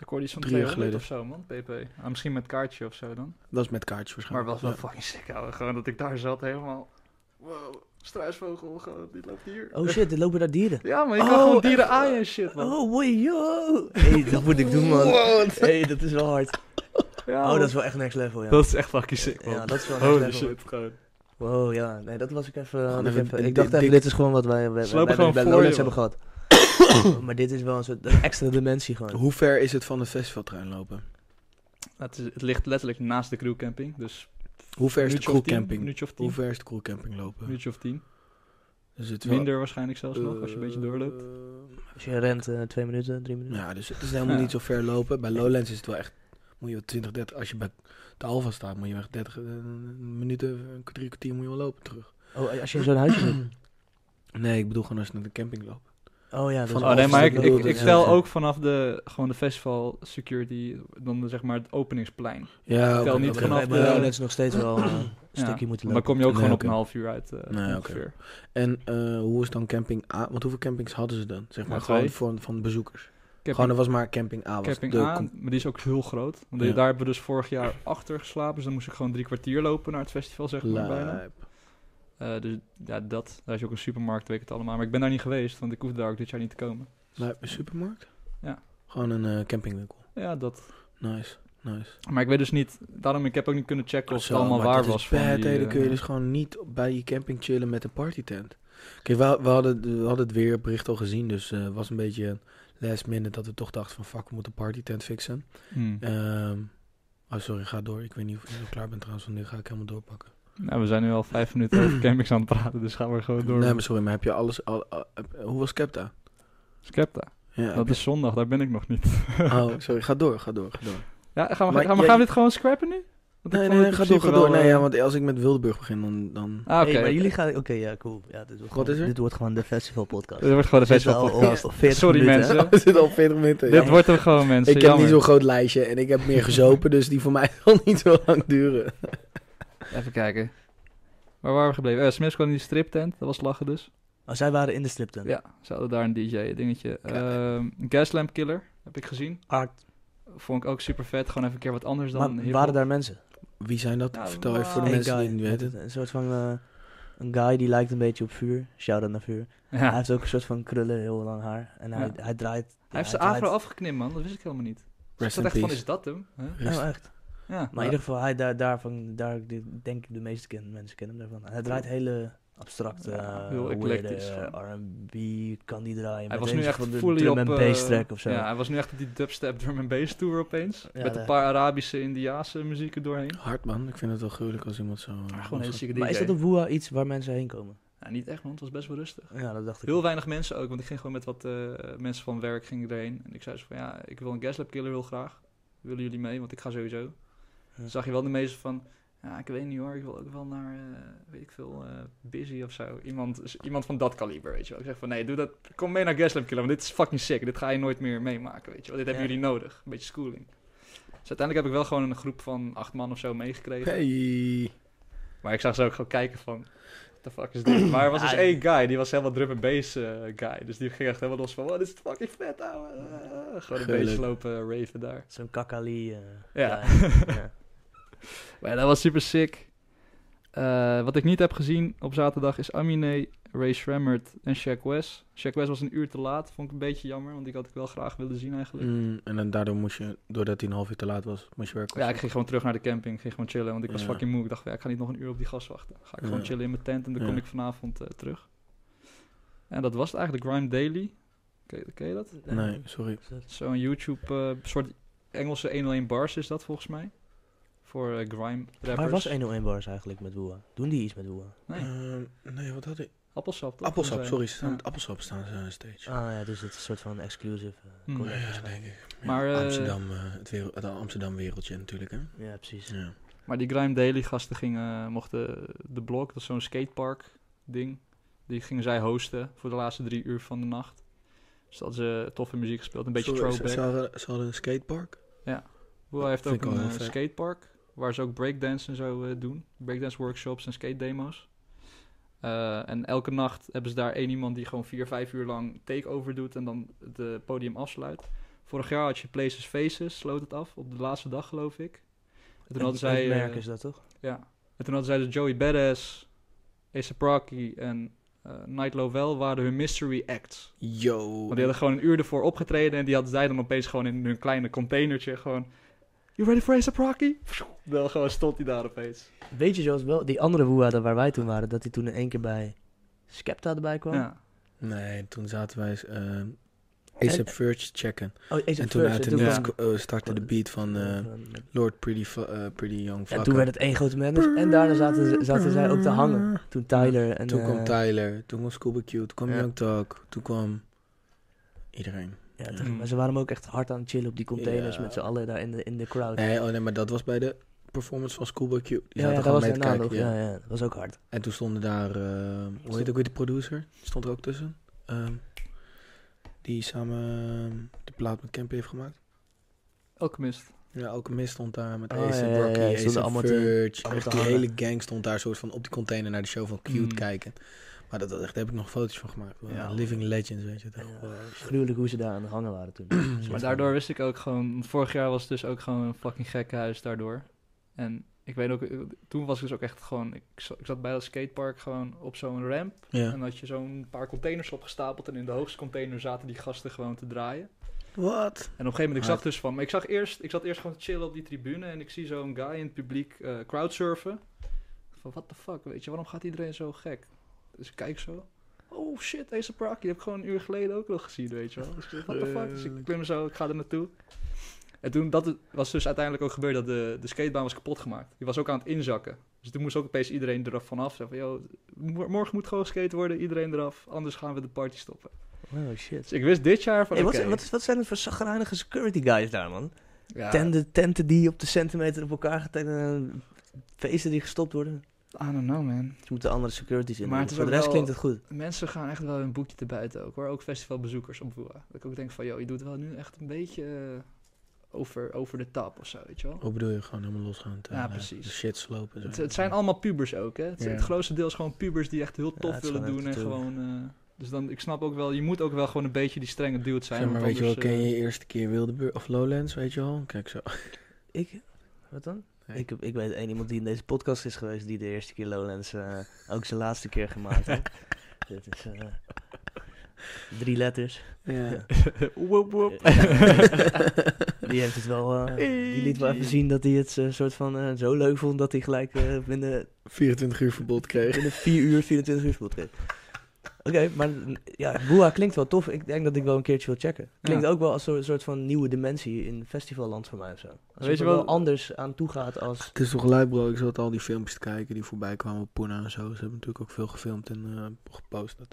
Ik hoorde iets van
Drie jaar
200 of zo, man, pp. Ah, misschien met kaartje of zo dan.
Dat is met kaartjes
Maar
waarschijnlijk.
wel wel
Ja.
fucking sick, ouwe. Gewoon dat ik daar zat helemaal... Wow, struisvogel, gewoon, die loopt hier.
toch? Oh shit, er lopen daar dieren.
Ja, maar ik
Oh,
kan gewoon dieren
echt?
aaien en shit, man.
Oh, woi, yo. Hé, dat moet ik doen, man. Hé, dat is wel hard.
Ja,
Oh,
man.
dat is wel echt next level, ja.
Dat is echt fucking sick, man.
Ja, dat is wel next
Holy
level.
shit, gewoon.
Wow, ja. Nee, dat was ik even... had ik
even-
even-
dit-
ik dacht
dit-
even, dit is gewoon wat wij, wij,
Ze lopen
wij
gewoon
bij
voor
Lowlands
je,
hebben gehad. [COUGHS] Maar dit is wel een soort extra dimensie gewoon.
Hoe ver is het van het festivaltrein lopen?
Het, is- het ligt letterlijk naast de crewcamping, dus...
Hoe ver is de
minuutje of tien,
crewcamping?
Minuutje of tien.
Hoe ver is de crewcamping lopen?
Minuutje of tien.
Dus het is wel-
Minder waarschijnlijk zelfs nog, als je een beetje doorloopt.
Eh,
Als je rent, eh, twee minuten, drie minuten.
Ja, dus het is helemaal
Ja.
niet zo ver lopen. Bij Lowlands is het wel echt... Moet je wel 20, 30... Als je bij de Alfa staat, moet je wel echt 30 eh, minuten, een drie kwartier moet je wel lopen [CLEARS THROAT] terug.
Oh, als je in zo'n huisje zit.
Nee, ik bedoel gewoon als je naar de camping loopt.
Oh ja, dat
Van
is
Oh nee,
wel-
maar ik,
dat
ik,
bedoel
ik
ja,
tel
ja.
ook vanaf de, gewoon de festival security, dan de, zeg maar het openingsplein.
Ja,
tel
oké,
niet
oké.
Oké,
vanaf
bij
de-
Lowlands nog steeds wel eh, een
Ja,
stukje moeten
Maar
lopen.
kom je ook
Nee,
gewoon
oké.
op een half uur uit, eh,
Nee, oké.
ongeveer.
En eh, hoe is dan camping A? Want hoeveel campings hadden ze dan? Zeg maar
Nou,
gewoon
twee.
van, van bezoekers. Gewoon,
Camping,
er was maar camping A. Was
camping
de
A,
com-
maar die is ook heel groot. Want
Ja.
Daar hebben we dus vorig jaar achter geslapen, dus dan moest ik gewoon drie kwartier lopen naar het festival, zeg maar, bijna.
Lijp.
Eh, dus ja, dat. Daar is ook een supermarkt, weet ik het allemaal. Maar ik ben daar niet geweest, want ik hoefde daar ook dit jaar niet te komen.
Lijp, een supermarkt?
Ja.
Gewoon een eh, campingwinkel.
Ja, dat.
Nice, nice.
Maar ik weet dus niet, daarom ik heb ook niet kunnen checken of
Zo,
het allemaal
maar
waar
dat
was.
Is
van
bad,
die,
hè. dan
eh,
kun je dus gewoon niet op- bij je camping chillen met een partytent. Kijk, we, we, hadden, we hadden het weerbericht al gezien, dus eh, het was een beetje last minute dat we toch dachten van fuck, we moeten een partytent fixen.
hmm.
Ehm, oh, sorry, ga door. Ik weet niet of je nog klaar bent trouwens, want nu ga ik helemaal doorpakken.
Nou, we zijn nu al vijf minuten
[CLEARS THROAT]
over campings aan het praten, dus gaan we gewoon door.
Nee, maar sorry, maar heb je alles... Al, al- heb- hoe was Skepta?
Skepta,
Ja, heb
dat is zondag, daar ben ik nog niet.
je- oh, sorry, ga door, ga door, ga door.
Ja, gaan we,
Maar
gaan, we,
jij-
gaan we dit gewoon scrappen nu? Want ik
Nee,
vond
nee,
het
nee,
in
ga door,
principe
ga door.
wel,
Nee,
eh,
ja, want als ik met Wildeburg begin, dan... dan...
Ah, oké.
Hey, maar jullie gaan... Oké, ja, cool. Ja, dit wordt gewoon-
is er?
Dit wordt gewoon de festivalpodcast.
Dit wordt gewoon de
We zitten
festival
al
podcast.
op 40
Sorry
minuten, hè?
[LAUGHS]
mensen,
We zitten al 40 minuten.
dit
ja.
wordt hem gewoon
[LAUGHS]
mensen,
Ik heb
jammer.
niet zo'n groot lijstje en ik heb meer gezopen, dus die voor mij [LAUGHS] zal niet zo lang duren.
Even kijken. Waar waren we gebleven? Eh, Smith kwam in die striptent, dat was lachen dus.
Oh, zij waren in de striptent.
Ja, ze hadden daar een DJ-dingetje. Ehm, Gaslamp Killer heb ik gezien.
Art.
Vond ik ook super vet. Gewoon even een keer wat anders dan.
Maar
hiphop.
waren daar mensen?
Wie zijn dat?
Nou,
Vertel even voor de
maar-
mensen die
Eén
het
guy
niet
met
weten.
Een soort van... eh, Een guy die lijkt een beetje op vuur. Shout-out naar vuur. Hij
Ja.
heeft ook een soort van krullen, heel lang haar. En hij,
Ja.
hij draait...
Hij heeft
ja,
zijn afro
draait-
afgeknipt, man. Dat wist ik helemaal niet. Dus Ik
Rest
dacht
in
echt van,
peace.
is dat hem? Huh?
Oh, echt?
Ja.
Maar in ieder geval, hij daar, daarvan, daar de- denk ik de meeste ken, mensen kennen hem daarvan. En Hij draait hele abstracte,
Ja,
eh,
heel
weirde,
eclectisch
eh, R&B kan die draaien.
Hij
met
was
een
nu
soort
echt
van de
fully
drum
op...
and
eh,
bass track of zo.
Ja, hij was nu echt op die dubstep drum and bass tour opeens.
Ja,
met
de-
een paar Arabische, Indiaanse muziek er doorheen.
Hard man, ik vind het wel gruwelijk als iemand zo...
eh, Maar gewoon een hele zieke DJ.
maar is dat een woeha iets waar mensen heen komen?
Ja, niet echt, man. Het was best wel rustig.
Ja, dat dacht ik.
Heel weinig mensen ook, want ik ging gewoon met wat eh, mensen van werk ging ik erheen. En ik zei ze van, ja, ik wil een Gaslab Killer heel graag. Willen jullie mee? Want ik ga sowieso. Dan zag je wel de meeste van, ja, ik weet niet hoor, ik wil ook wel naar, eh, weet ik veel, eh, Busy of zo. Iemand, iemand van dat kaliber, weet je wel. Ik zeg van, nee, doe dat, kom mee naar Gaslamp Killer, want dit is fucking sick. Dit ga je nooit meer meemaken, weet je wel. Dit hebben
Ja.
jullie nodig, een beetje schooling. Dus uiteindelijk heb ik wel gewoon een groep van acht man of zo meegekregen.
Hey!
Maar ik zag ze ook gewoon kijken van, what the fuck is dit? Maar er was dus
Ja,
één guy, die was helemaal drum and bass eh, guy. Dus die ging echt helemaal los van, wow, dit is fucking vet, ouwe. Eh, gewoon een
Gelukkig.
beetje lopen raven daar.
Zo'n kakali. eh,
Ja. [LAUGHS]
guy. ja.
Maar ja, dat was super sick. Eh, wat ik niet heb gezien op zaterdag is Aminé, Ray Schrammert en Shaq West. Shaq West was een uur te laat, vond ik een beetje jammer, want ik had ik wel graag willen zien eigenlijk.
Mm, en dan daardoor moest je, doordat hij een half uur te laat was, moest je werken.
Ja, ik ging gewoon terug naar de camping, ik ging gewoon chillen, want ik was
Ja.
fucking moe. Ik dacht, van, ja, ik ga niet nog een uur op die gas wachten. Ga ik gewoon
Ja.
chillen in mijn tent en dan
Ja.
kom ik vanavond eh, terug. En dat was het eigenlijk, Grime Daily. Ken, ken je dat?
Nee, sorry.
Zo'n YouTube, eh, soort Engelse 101 bars is dat volgens mij. Voor eh, Grime rappers.
Waar was 101 Bars eigenlijk met woeha? Doen die iets met woeha?
Nee,
Ehm, nee, wat had ik?
appelsap toch?
Appelsap,
Dus, eh,
sorry. Ze staan
ja.
met appelsap staan ze aan de stage.
Ah ja, dus het is een soort van exclusive. eh,
Hmm.
collab
ja,
waarschijnlijk.
denk ik. Ja,
Maar, eh,
Amsterdam, eh, het, wereld, het Amsterdam wereldje natuurlijk, hè?
Ja, precies.
Ja.
Maar die Grime Daily gasten gingen, eh, mochten de blok, dat is zo'n skatepark ding, die gingen zij hosten voor de laatste drie uur van de nacht. Dus dat ze toffe muziek gespeeld, een beetje
Sorry, ze-
throwback.
Ze hadden, ze hadden een skatepark.
Boel heeft
Vind
ook
ik wel
een
heel
eh,
vet.
skatepark waar ze ook breakdance en zo eh, doen. Breakdance workshops en skate demo's. Eh, en elke nacht hebben ze daar één iemand die gewoon vier, vijf uur lang takeover doet en dan het eh, podium afsluit. Vorig jaar had je Places Faces, sloot het af op de laatste dag geloof ik. En toen
En
hadden zij...
het merk
eh,
is dat toch?
Ja. En toen hadden zij dus Joey Badass, Ace Rocky en eh Night Lovell waren hun mystery acts.
Yo.
Want die hadden gewoon een uur ervoor opgetreden en die hadden zij dan opeens gewoon in hun kleine containertje gewoon... You ready for Ace Rocky? [LAUGHS] Dan gewoon stond hij daar opeens.
Weet je zoals wel, die andere woeha daar waar wij toen waren, dat hij toen in één keer bij Skepta erbij kwam?
Ja.
Nee, toen zaten wij eh ASAP Verge checken.
Oh, Ace
En
of
toen
First,
uit
en
de
toen
niets
kwam-
k- eh, startte de beat van eh, Lord Pretty, Fa- eh, Pretty Young
en
Vlakka.
toen werd het één grote madness. En daarna zaten, ze- zaten zij ook te hangen. Toen Tyler en...
Toen
eh,
kwam Tyler, toen kwam Scuba Q, toen kwam
ja.
Young Talk, toen kwam iedereen.
ja,
Mm.
toen- maar ze waren hem ook echt hard aan het chillen op die containers
Ja.
met z'n allen daar in de, in de crowd.
Nee, oh nee, maar dat was bij de performance van Scuba Q. Die
ja,
zaten
ja, dat
gewoon
was
mee te
daarna
kijken.
nog.
ja.
Ja. Ja, dat was ook hard.
En toen stonden daar, eh, hoe heet ook weer die producer? Stond er ook tussen. Ehm, die samen eh, de plaat met Campy heeft gemaakt.
Alchemist.
Ja, ook Mist stond daar met
Oh,
Ace
ja,
en
ja, ja,
Rocky,
stonden
Ace en
allemaal te-
Verge.
allemaal
Echt
te
die
hangen.
hele gang stond daar soort van op die container naar de show van Cute
Mm.
kijken. Maar dat, dat echt, daar heb ik nog foto's van gemaakt. Wow,
Ja.
Living Legends, weet je. Dat,
Ja.
wow, shit.
Gruwelijk hoe ze daar aan het hangen waren toen. Soort
[CLEARS THROAT] Maar
van-
daardoor wist ik ook gewoon... want Vorig jaar was het dus ook gewoon een fucking gekke huis daardoor. En ik weet ook... eh, Toen was ik dus ook echt gewoon... Ik, za- ik zat bij dat skatepark gewoon op zo'n ramp.
Ja.
En had je zo'n paar containers opgestapeld. En in de hoogste container zaten die gasten gewoon te draaien.
Wat?
En op een gegeven moment, ik
Hard.
zag dus van... Maar ik, zag eerst, ik zat eerst gewoon te chillen op die tribune. En ik zie zo'n guy in het publiek eh, crowdsurfen. Van, what the fuck, weet je? Waarom gaat iedereen zo gek? Dus ik kijk zo. Oh shit, deze Rocky. Die heb ik gewoon een uur geleden ook nog gezien, weet je wel. Dus ik dacht, what the fuck. Dus ik klim zo, ik ga er naartoe. En toen, dat was dus uiteindelijk ook gebeurd dat de, de skatebaan was kapot gemaakt. Die was ook aan het inzakken. Dus toen moest ook opeens iedereen eraf vanaf. Zeggen van, yo, mo- morgen moet gewoon skate worden, iedereen eraf. Anders gaan we de party stoppen.
Oh, shit.
Dus ik wist dit jaar van,
Hey,
oké.
wat, wat, wat zijn het voor zagrijnige security guys daar, man?
ja,
Tenten, tenten die op de centimeter op elkaar getekend en feesten die gestopt worden.
I don't know, man.
Ze moeten andere securities in.
Maar het is
Voor de
ook
rest
wel-
klinkt het goed.
Mensen gaan echt wel hun boekje te buiten ook, hoor. Ook festivalbezoekers op Woeha. Dat ik ook denk van, joh, je doet wel nu echt een beetje eh, over, over de tap of zo, weet je wel.
Hoe bedoel je? Gewoon helemaal losgaan. eh,
Ja, precies.
De shit slopen.
Het, het zijn allemaal pubers ook, hè. Het,
Ja.
het grootste deel is gewoon pubers die echt heel tof
het is
willen
gewoon
doen en
echt natuurlijk.
gewoon... eh, dus dan, ik snap ook wel, je moet ook wel gewoon een beetje die strenge dude zijn.
Zeg maar,
want
weet je wel,
anders,
ken
eh,
je je eerste keer Wildeburg of Lowlands, weet je wel? Kijk zo.
Ik? Wat dan?
Nee.
Ik, heb- ik weet één iemand die in deze podcast is geweest die de eerste keer Lowlands eh, ook zijn laatste keer gemaakt heeft. Dit is eh, drie letters.
[LAUGHS] Ja.
[LAUGHS] woep, woep.
[LAUGHS] Die heeft het wel. eh, die liet wel even zien dat hij het eh, soort van eh, zo leuk vond dat hij gelijk eh, binnen,
24 uur verbod kreeg.
binnen 4 uur 24 uur spot kreeg. Oké, maar mm, ja, Boa klinkt wel tof. Ik denk dat ik wel een keertje wil checken. Klinkt
Ja.
ook wel als een soort van nieuwe dimensie in festivalland voor mij of zo. Als
Weet
Weet
je
je wel
wat-
anders aan toe gaat
[LAUGHS]
als.
Het is toch leuk, bro. Ik zat al die filmpjes te kijken die voorbij kwamen op Poena en zo. Ze hebben natuurlijk ook veel gefilmd en eh, gepost dat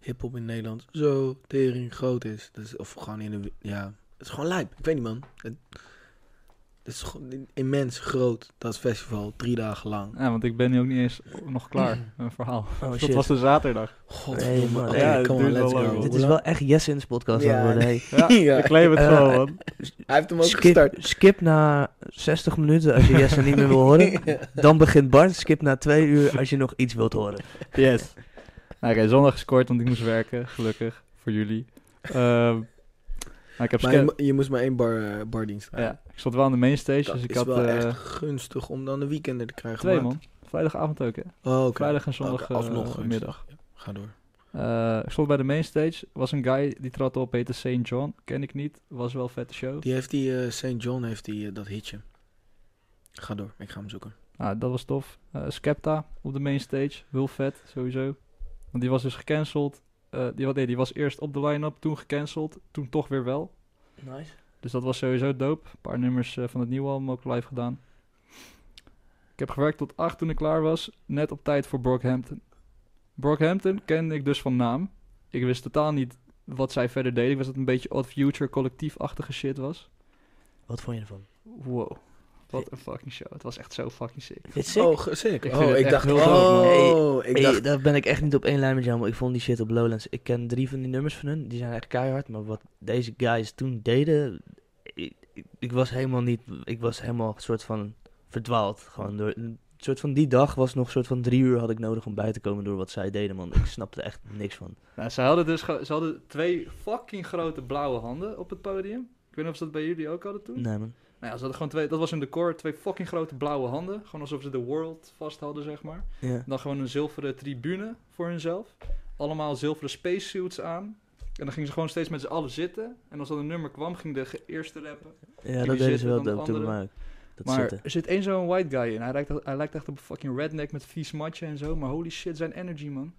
hip-hop in Nederland zo tering groot is. Dus, of gewoon in de. wi- Ja, het is gewoon lijp. Ik weet niet, man. Het, het is gewoon immens groot, dat festival, drie dagen lang.
Ja, want ik ben nu ook niet eens
[CLEARS THROAT]
nog klaar, mijn verhaal.
Oh
[LAUGHS] dat
shit.
was de zaterdag.
Nee,
Godverdomme.
man.
Oké,
Ja, het
come on,
duurt wel
let's
lang,
go.
man.
Dit
Hoe
is
lang-
wel echt Jessin's podcast aan het
Ja.
worden.
[LAUGHS]
hey.
Ja,
Ja.
ik claim het
Eh,
gewoon, man.
Hij heeft hem ook
Skip,
gestart.
skip na 60 minuten als je Jesse niet meer wil
[LAUGHS]
horen. Dan begint Bart. Skip na 2 uur als je nog iets wilt horen.
Yes. Nou, Oké, zondag gescoord, want ik moest werken, gelukkig, voor jullie. Ehm, maar ik heb
Maar je,
scan-
mo- je moest maar één bar, eh, bardienst krijgen.
ja, ik stond wel aan de mainstage,
Dat
dus ik
is
had
wel
eh,
echt gunstig om dan de weekenden te krijgen.
twee
maat.
man. Vrijdagavond ook, hè?
Oh, oké.
Vrijdag en zondag
Oké, alsnog
eh,
gunstig.
middag.
Ga door.
Eh, ik stond bij de mainstage, was een guy die trad op, heette St. John, ken ik niet, was wel een vette show.
Die heeft die, eh, St. John heeft die, eh, dat hitje. Ga door, ik ga hem zoeken.
Nou, dat was tof. Eh Skepta op de mainstage, heel vet sowieso. Want die was dus gecanceld. Eh, die, wa- nee, die was eerst op de line-up, toen gecanceld, toen toch weer wel.
Nice.
Dus dat was sowieso dope. Een paar nummers eh, van het nieuwe album ook live gedaan. Ik heb gewerkt tot 8 toen ik klaar was. Net op tijd voor Brockhampton. Brockhampton kende ik dus van naam. Ik wist totaal niet wat zij verder deden. Ik wist dat het een beetje Odd Future collectiefachtige shit was.
Wat vond je ervan?
Wow. Wat een fucking show. Het was echt zo fucking sick.
Dit sick.
Oh, ge- sick.
Ik vind
oh,
het
ik
echt
dacht,
heel dope, man.
oh, ik
Hey,
dacht,
daar ben ik echt niet op één lijn met jou, maar ik vond die shit op Lowlands. Ik ken drie van die nummers van hun, die zijn echt keihard. Maar wat deze guys toen deden, ik, ik, ik was helemaal niet, ik was helemaal een soort van verdwaald. Gewoon door, een soort van die dag was nog een soort van drie uur had ik nodig om bij te komen door wat zij deden, man. Ik snapte er echt niks van.
Nou, ze hadden dus ge- ze hadden twee fucking grote blauwe handen op het podium. Ik weet niet of ze dat bij jullie ook hadden toen.
Nee, man.
Nou ja, ze hadden gewoon twee, dat was hun decor, twee fucking grote blauwe handen. Gewoon alsof ze de world vast hadden, zeg maar.
Ja.
Dan gewoon een zilveren tribune voor hunzelf. Allemaal zilveren spacesuits aan. En dan gingen ze gewoon steeds met z'n allen zitten. En als dan een nummer kwam, ging de ge- eerste rappen.
Ja,
Die
dat deden
zitten
ze wel
dan de
dope toen bij
andere.
mij ook. Dat
maar
zitten.
er zit één zo'n white guy in. Hij lijkt, hij lijkt echt op een fucking redneck met vies matje en zo. Maar holy shit, zijn energy, man.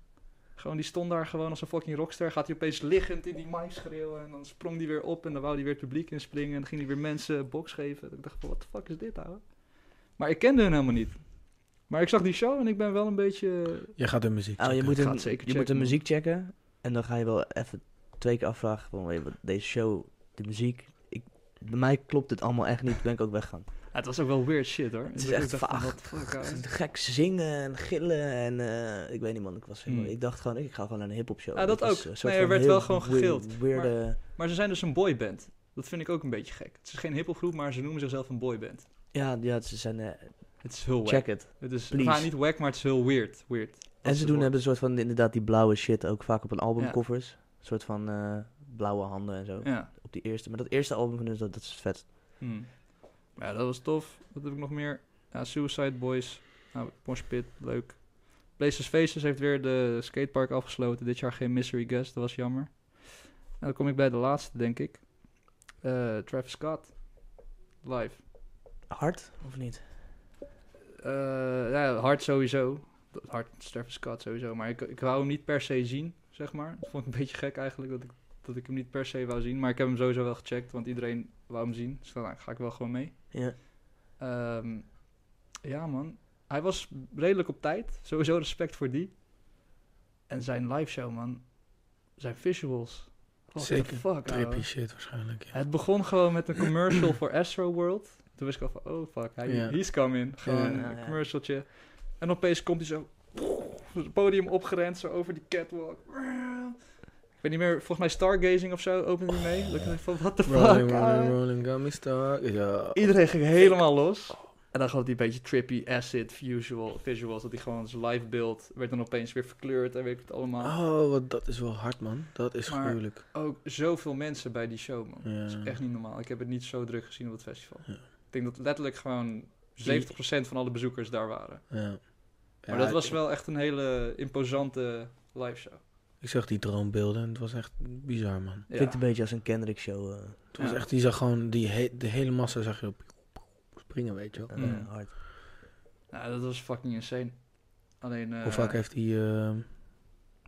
Gewoon, die stond daar gewoon als een fucking rockster. Gaat hij opeens liggend in die mic schreeuwen. En dan sprong die weer op en dan wou hij weer het publiek inspringen. En dan ging hij weer mensen box geven. En ik dacht van, wat de fuck is dit, ouwe? Maar ik kende hun helemaal niet. Maar ik zag die show en ik ben wel een beetje...
je gaat de muziek
Oh, je
checken.
moet,
Gaat
een, je moet
zeker checken,
de
man.
muziek checken. En dan ga je wel even twee keer afvragen van hey, wat- deze show, de muziek. Ik, bij mij klopt het allemaal echt niet. Ben ik ook [LAUGHS] weggegaan.
Ja, het was ook wel weird shit, hoor.
Het is
Ik
echt
dacht van,
vaag.
what the fuck, ouwe?
Gek zingen en gillen en eh, ik weet niet man, ik was helemaal-
Hmm.
Ik dacht gewoon, ik ga gewoon naar een hip-hop show.
Ah, dat
was
ook.
een soort
Nee, er
van
werd wel
heel
gewoon
weird-
gegild.
weirde-
Maar ze zijn dus een boyband. Dat vind ik ook een beetje gek. Het is geen hiphopgroep, maar ze noemen zichzelf een boyband.
ja, ja, ze zijn. eh,
Het is heel wack.
check it.
Het is
please.
nou, niet wack, maar het is heel weird. weird.
En
Dat
ze
is
doen
het
hebben een soort van inderdaad die blauwe shit ook vaak op een albumcovers. Een soort van eh, blauwe handen en zo.
woord. Ja.
Op die eerste. Maar dat eerste album van hun, dat, dat is vet.
Hmm. Maar ja, dat was tof. Wat heb ik nog meer? Ja, Suicide Boys. Nou, Mosh Pit, leuk. Blazers Faces heeft weer de skatepark afgesloten. Dit jaar geen Mystery Guest, dat was jammer. En dan kom ik bij de laatste, denk ik. Eh, Travis Scott. Live.
Hard, of niet?
Eh, ja, hard sowieso. Dat- Hard Travis Scott sowieso. Maar ik, ik wou hem niet per se zien, zeg maar. Dat vond ik een beetje gek eigenlijk, dat ik, dat ik hem niet per se wou zien. Maar ik heb hem sowieso wel gecheckt, want iedereen wou hem zien. Dus ik dacht, nou, ga ik wel gewoon mee.
Ja.
Ehm, ja, man. Hij was redelijk op tijd. Sowieso respect voor die. En zijn live show, man. Zijn visuals. What the
Zeker.
fuck, ouwe.
Trippy shit waarschijnlijk, ja.
Het begon gewoon met een commercial voor Astro World. Toen wist ik al van, oh fuck, hij,
Ja.
he's coming. Gewoon
Ja, ja,
een
ja.
commercialtje. En opeens komt hij zo, het podium opgerend, zo over die catwalk. Ik weet niet meer, volgens mij Stargazing of zo opende hij mee. Dat ik dacht van, what the fuck. ah.
Rolling, rolling,
ouwe?
rolling, got me stuck. Ja.
Iedereen ging helemaal los. En dan had hij een beetje trippy, acid, visual, visuals. Dat hij gewoon zijn live beeld werd dan opeens weer verkleurd en weet ik het allemaal.
Oh, wat, dat is wel hard, man. Dat is
Maar-
gruwelijk.
Ook zoveel mensen bij die show, man.
Ja.
Dat is echt niet normaal. Ik heb het niet zo druk gezien op het festival.
Ja.
Ik denk dat letterlijk gewoon 70% van alle bezoekers daar waren.
Ja. Ja,
Maar dat was
ik-
wel echt een hele imposante liveshow.
Ik zag die droombeelden en het was echt bizar, man.
Ja.
Klinkt een beetje als een Kendrick show. eh,
Het was
Ja.
echt, die zag gewoon, die he- de hele massa zag je op springen, weet je wel.
eh,
Mm.
hard.
Nou, dat was fucking insane. Alleen, eh,
Hoe vaak heeft hij eh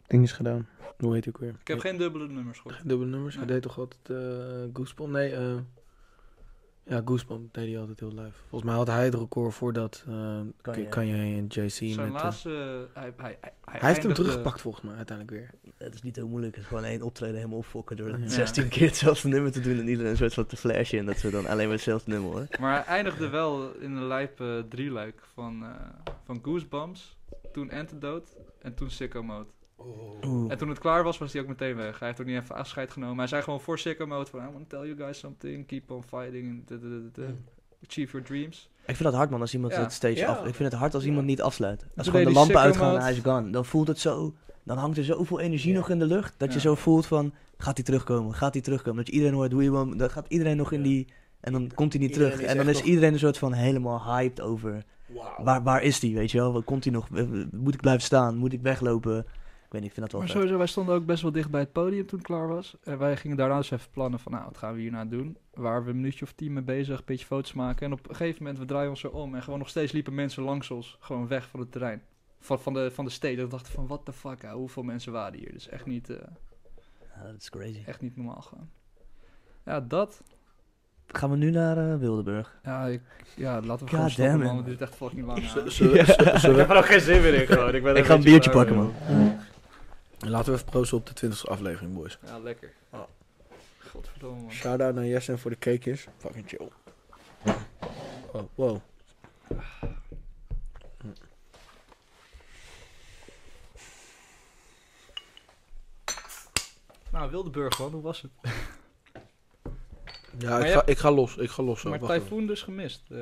dinges gedaan? Hoe heet hij ook weer?
ik heb geen dubbele nummers gehoord.
Geen dubbele nummers.
Nee.
Hij deed toch altijd eh Goosebump? Nee, eh, ja, Goosebump deed hij altijd heel live. Volgens mij had hij het record voordat eh
Kan je-
Kanye. en JC met...
Zijn
eh,
laatste... hij, hij, hij,
hij heeft hem
eindigde-
teruggepakt volgens mij uiteindelijk weer.
Het is niet heel moeilijk. Het is gewoon één optreden helemaal opfokken door [LAUGHS]
Ja.
16 keer hetzelfde nummer te doen en iedereen een soort van te flashen en dat ze dan alleen maar hetzelfde nummer hoor.
Maar hij eindigde wel in een lijp eh, drieluik van, eh, van Goosebumps, toen Antidote en toen Sicko Mode. En toen het klaar was, was hij ook meteen weg. Hij heeft ook niet even afscheid genomen. Hij zei gewoon voor Sicko Mode van... I want to tell you guys something, keep on fighting, and da- da- da- da- da. achieve your dreams.
Ik vind dat hard man als iemand
Ja.
dat stage
Ja.
af. Ik vind het hard als iemand niet afsluit. Als
deed
gewoon de
hij
lampen
sicko
uitgaan en
mode.
hij is gone. Dan voelt het zo. Dan hangt er zoveel energie
Ja.
nog in de lucht. Dat je
Ja.
zo voelt van gaat hij terugkomen? Gaat hij terugkomen? Dat je iedereen hoort, we want dan gaat iedereen nog in
Ja.
die. En dan komt hij niet
Iedereen
terug.
is
en dan
echt
is
nog-
iedereen een soort van helemaal hyped over.
Wauw.
Waar, waar is die? Weet je wel? Waar Komt hij nog? Moet ik blijven staan? Moet ik weglopen? Ik weet niet, ik vind dat wel
Maar
vet.
sowieso, wij stonden ook best wel dicht bij het podium toen het klaar was. En wij gingen daarna dus even plannen van, nou, wat gaan we hierna doen? Waar we een minuutje of tien mee bezig, een beetje foto's maken. En op een gegeven moment, we draaien ons erom. En gewoon nog steeds liepen mensen langs ons, gewoon weg van het terrein. Van, van, de, van de steden. We dachten van, what the fuck, ouwe, hoeveel mensen waren hier? Dus echt niet, eh,
Ja, dat is crazy.
echt niet normaal gewoon. Ja, dat.
Gaan we nu naar eh, [LAUGHS] Wildeburg?
Ja, ik, ja laten we
God
gewoon stoppen,
damn it, man.
man. want Dit is echt fucking lang.
Ze-
ja.
ze- ze-
nou-
ze-
[LAUGHS] Ik
[LAUGHS]
heb er ook geen zin meer in gewoon. Ik, ben er
Ik ga een
beetje eh.
biertje
klaar
pakken
mee.
man.
Laten we even proosten op de 20e aflevering, boys.
Ja, lekker.
Oh.
Godverdomme, man.
Shout-out naar Jesse voor de cakejes. Fucking chill. Oh, wow.
Nou, Wildeburg, man. Hoe was het?
Ja,
je
ik ga,
hebt-
ik ga los. Ik ga los. Zo.
maar
Wacht even.
Typhoon dus gemist. eh.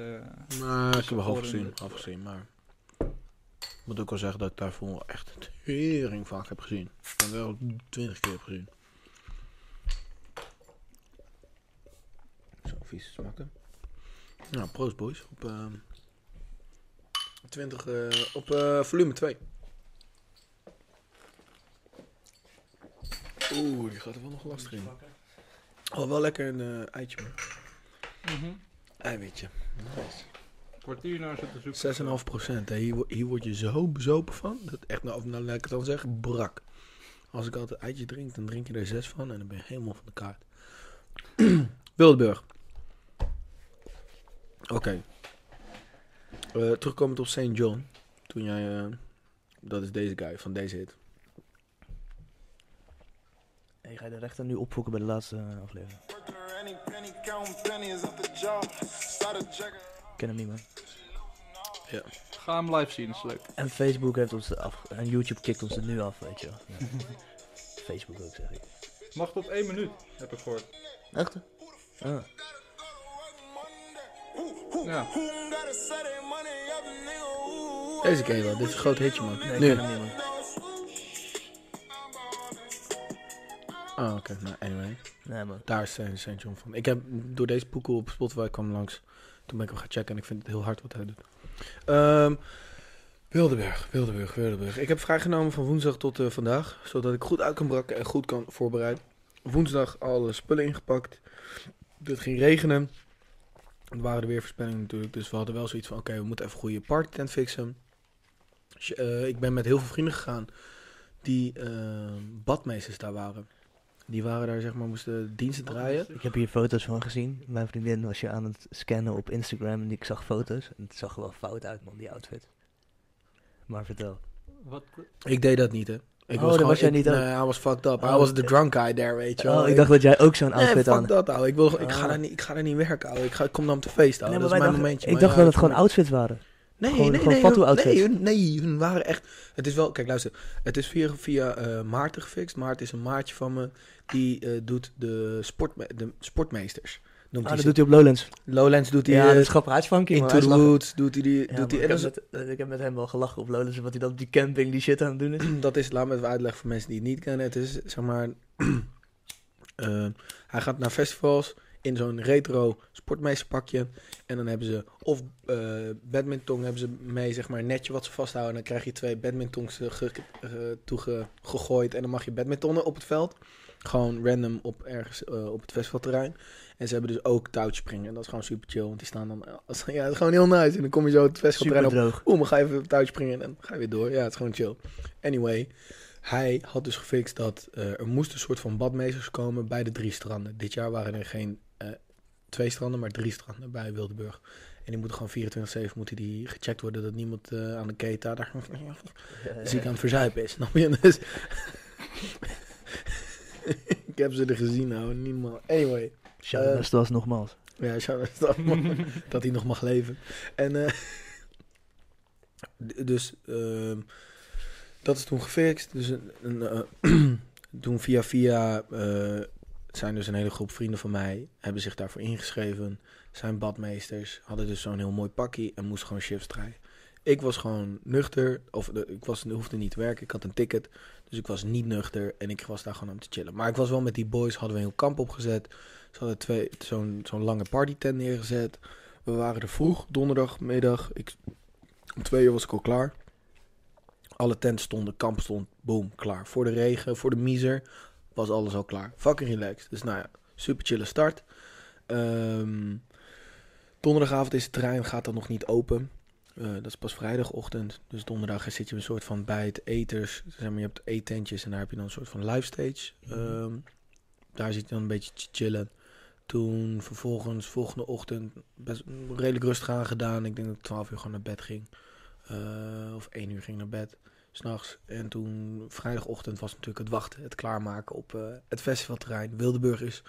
Nou, ik heb
Voor
half
een-
gezien, half gezien, maar... Ik moet ook wel zeggen dat ik daarvoor wel echt een tering vaak heb gezien. Ik ben wel twintig keer heb gezien. Zo vies smaken. Nou, proost boys. Op, ehm 20, eh, op eh, volume 2. Oeh, die gaat er wel nog lastig in. Oh, wel lekker een eh, eitje, man.
Mhm.
Eiwitje. Nice.
kwartier naar ze te zoeken.
6,5 procent. Hier, wo- hier word je zo bezopen van. Dat echt, nou, of nou laat ik het dan zeggen, brak. Als ik altijd eitje drink, dan drink je er 6 van en dan ben je helemaal van de kaart. [CLEARS THROAT] Wildburg. Oké. Eh, terugkomend op St. John. Toen jij. eh, dat is deze guy van deze hit.
Hey, ga je de rechter nu opfokken bij de laatste eh, aflevering?
Working her any penny, counting pennies at the job. Started checking.
Ik ken hem niet man.
Ga hem live zien, is leuk.
En Facebook heeft ons er af. En YouTube kikt ons er nu af, weet je wel. Ja. Facebook ook, zeg ik.
Mag op één minuut, heb ik gehoord.
Echt? Ah.
Ja.
Deze ken je wel. Dit is een groot hitje, man.
Nee, ik
nu.
ken hem niet, man.
Ah, oké. Nou, anyway.
Nee, man.
Daar is St. St. John van. Ik heb door deze poekel op Spotify kwam langs. Toen ben ik hem gaan checken en ik vind het heel hard wat hij doet. Ehm, Wildeburg, Wildeburg, Wildeburg. Ik heb vrijgenomen van woensdag tot eh, vandaag. Zodat ik goed uit kan brakken en goed kan voorbereiden. Woensdag alle spullen ingepakt. Het ging regenen. Er waren de weerverspellingen natuurlijk. Dus we hadden wel zoiets van, oké, we moeten even een goede partytent fixen. Dus, eh, ik ben met heel veel vrienden gegaan die eh, badmeesters daar waren. Die waren daar, zeg maar, moesten diensten draaien.
Ik heb hier foto's van gezien. Mijn vriendin was je aan het scannen op Instagram en ik zag foto's. En het zag er wel fout uit, man, die outfit. Maar vertel.
Wat?
Ik deed dat niet, hè. Ik
Oh, dat was jij
ik-
niet ook?
Nee, hij was fucked up. Hij
Oh.
was de drunk guy there, weet je wel.
Oh, ik dacht dat jij ook zo'n
nee,
outfit
fuck
aan.
dat, ouwe. Ik, wil, ik,
Ah.
ga daar niet, ik ga daar niet werken, ouwe. Ik, ga, ik kom dan op de feest, ouwe.
Nee, maar wij
dat is mijn
dachten-
momentje.
ik
Maar
dacht
ja,
dat het
ik vond
gewoon outfits waren.
Nee,
Gewoon-
nee,
gewoon
nee,
fatsoen
nee,
outfits.
hun- nee, hun waren echt... Het is wel... Kijk, luister. Het is via, via eh, Maarten gefixt. Maarten is een maatje van me. Die eh, doet de, sportme de sportmeesters. Noemt
Ah,
hij
dat
ze.
doet hij op Lowlands.
Lowlands doet hij...
ja,
eh,
dat is grappig. Hij is funky, man.
Into
Hij is
the
lachen.
Woods doet hij... Die,
Ja,
doet
man,
hij
ik,
en dat,
heb
is-
met, eh, ik heb met hem wel gelachen op Lowlands, wat hij dan op die camping die shit aan het doen is.
[CLEARS THROAT] dat is... Laat me even uitleggen [CLEARS THROAT] voor mensen die het niet kennen. Het is, zeg maar... eh, hij gaat naar festivals. in zo'n retro sportmeesterpakje. En dan hebben ze of eh badminton hebben ze mee, zeg maar, een netje wat ze vasthouden. En dan krijg je twee badmintons eh, ge- eh, toegegooid. En dan mag je badmintonnen op het veld. Gewoon random op ergens eh, op het festivalterrein. En ze hebben dus ook touwspringen. En dat is gewoon super chill. Want die staan dan. [LAUGHS] Als, ja, het is gewoon heel nice. En dan kom je zo het festivalterrein
Super
op.
droog.
Oeh, maar ga even thuis springen en ga je weer door. Ja, het is gewoon chill. Anyway, hij had dus gefixt dat eh, er moest een soort van badmeesters komen bij de drie stranden. Dit jaar waren er geen eh, twee stranden, maar drie stranden bij Wildeburg. En die moeten gewoon 24-7 moeten die gecheckt worden dat niemand eh, aan de keta daar [LAUGHS] ziek aan het verzuipen is. Snap je? [LAUGHS] Dus... Ik heb ze er gezien, nou, niet normaal. Anyway.
Shout out
Eh,
naar Stas nogmaals.
Ja, shout out dat, man. dat hij nog mag leven. En eh, d- dus ehm, dat is toen gefixt. Dus een, een, eh, [CLEARS THROAT] toen via via eh, zijn dus een hele groep vrienden van mij hebben zich daarvoor ingeschreven. Zijn badmeesters hadden dus zo'n heel mooi pakkie en moesten gewoon shifts draaien. Ik was gewoon nuchter, of eh, ik was, hoefde niet te werken, ik had een ticket. Dus ik was niet nuchter en ik was daar gewoon om te chillen. Maar ik was wel met die boys, hadden we een heel kamp opgezet. Ze hadden twee- zo'n zo'n lange partytent neergezet. We waren er vroeg, donderdagmiddag. Ik, om twee uur was ik al klaar. Alle tenten stonden, kamp stond, boom, klaar. Voor de regen, voor de miser, was alles al klaar. Fucking relaxed. Dus nou ja, super chille start. Ehm, donderdagavond is het terrein, gaat dan nog niet open. Eh, dat is pas vrijdagochtend. Dus donderdag zit je een soort van bij het eters. Zeg maar, je hebt eetentjes en daar heb je dan een soort van live stage. Ehm, daar zit je dan een beetje te chillen. Toen vervolgens, volgende ochtend, best redelijk rustig aan gedaan. Ik denk dat ik 12 uur gewoon naar bed ging. Eh, of 1 uur ging naar bed, s'nachts. En toen, vrijdagochtend, was natuurlijk het wachten, het klaarmaken op eh, het festivalterrein. Wildeburg is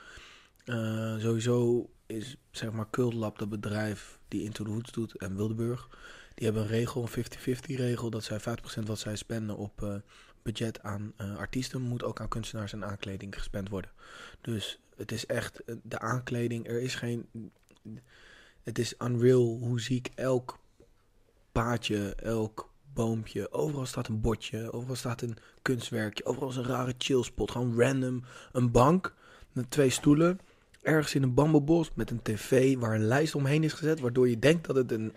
eh, sowieso, is zeg maar Cult Lab, dat bedrijf die Into the Woods doet, en Wildeburg. Die hebben een regel, een 50-50 regel, dat zij 50% wat zij spenden op eh, budget aan eh, artiesten, moet ook aan kunstenaars en aankleding gespend worden. Dus het is echt eh, de aankleding. Er is geen. Het is unreal hoe ziek elk paadje, elk boompje. Overal staat een bordje, overal staat een kunstwerkje, overal is een rare chillspot. Gewoon random. Een bank met twee stoelen. Ergens in een bamboebos met een tv waar een lijst omheen is gezet, waardoor je denkt dat het een,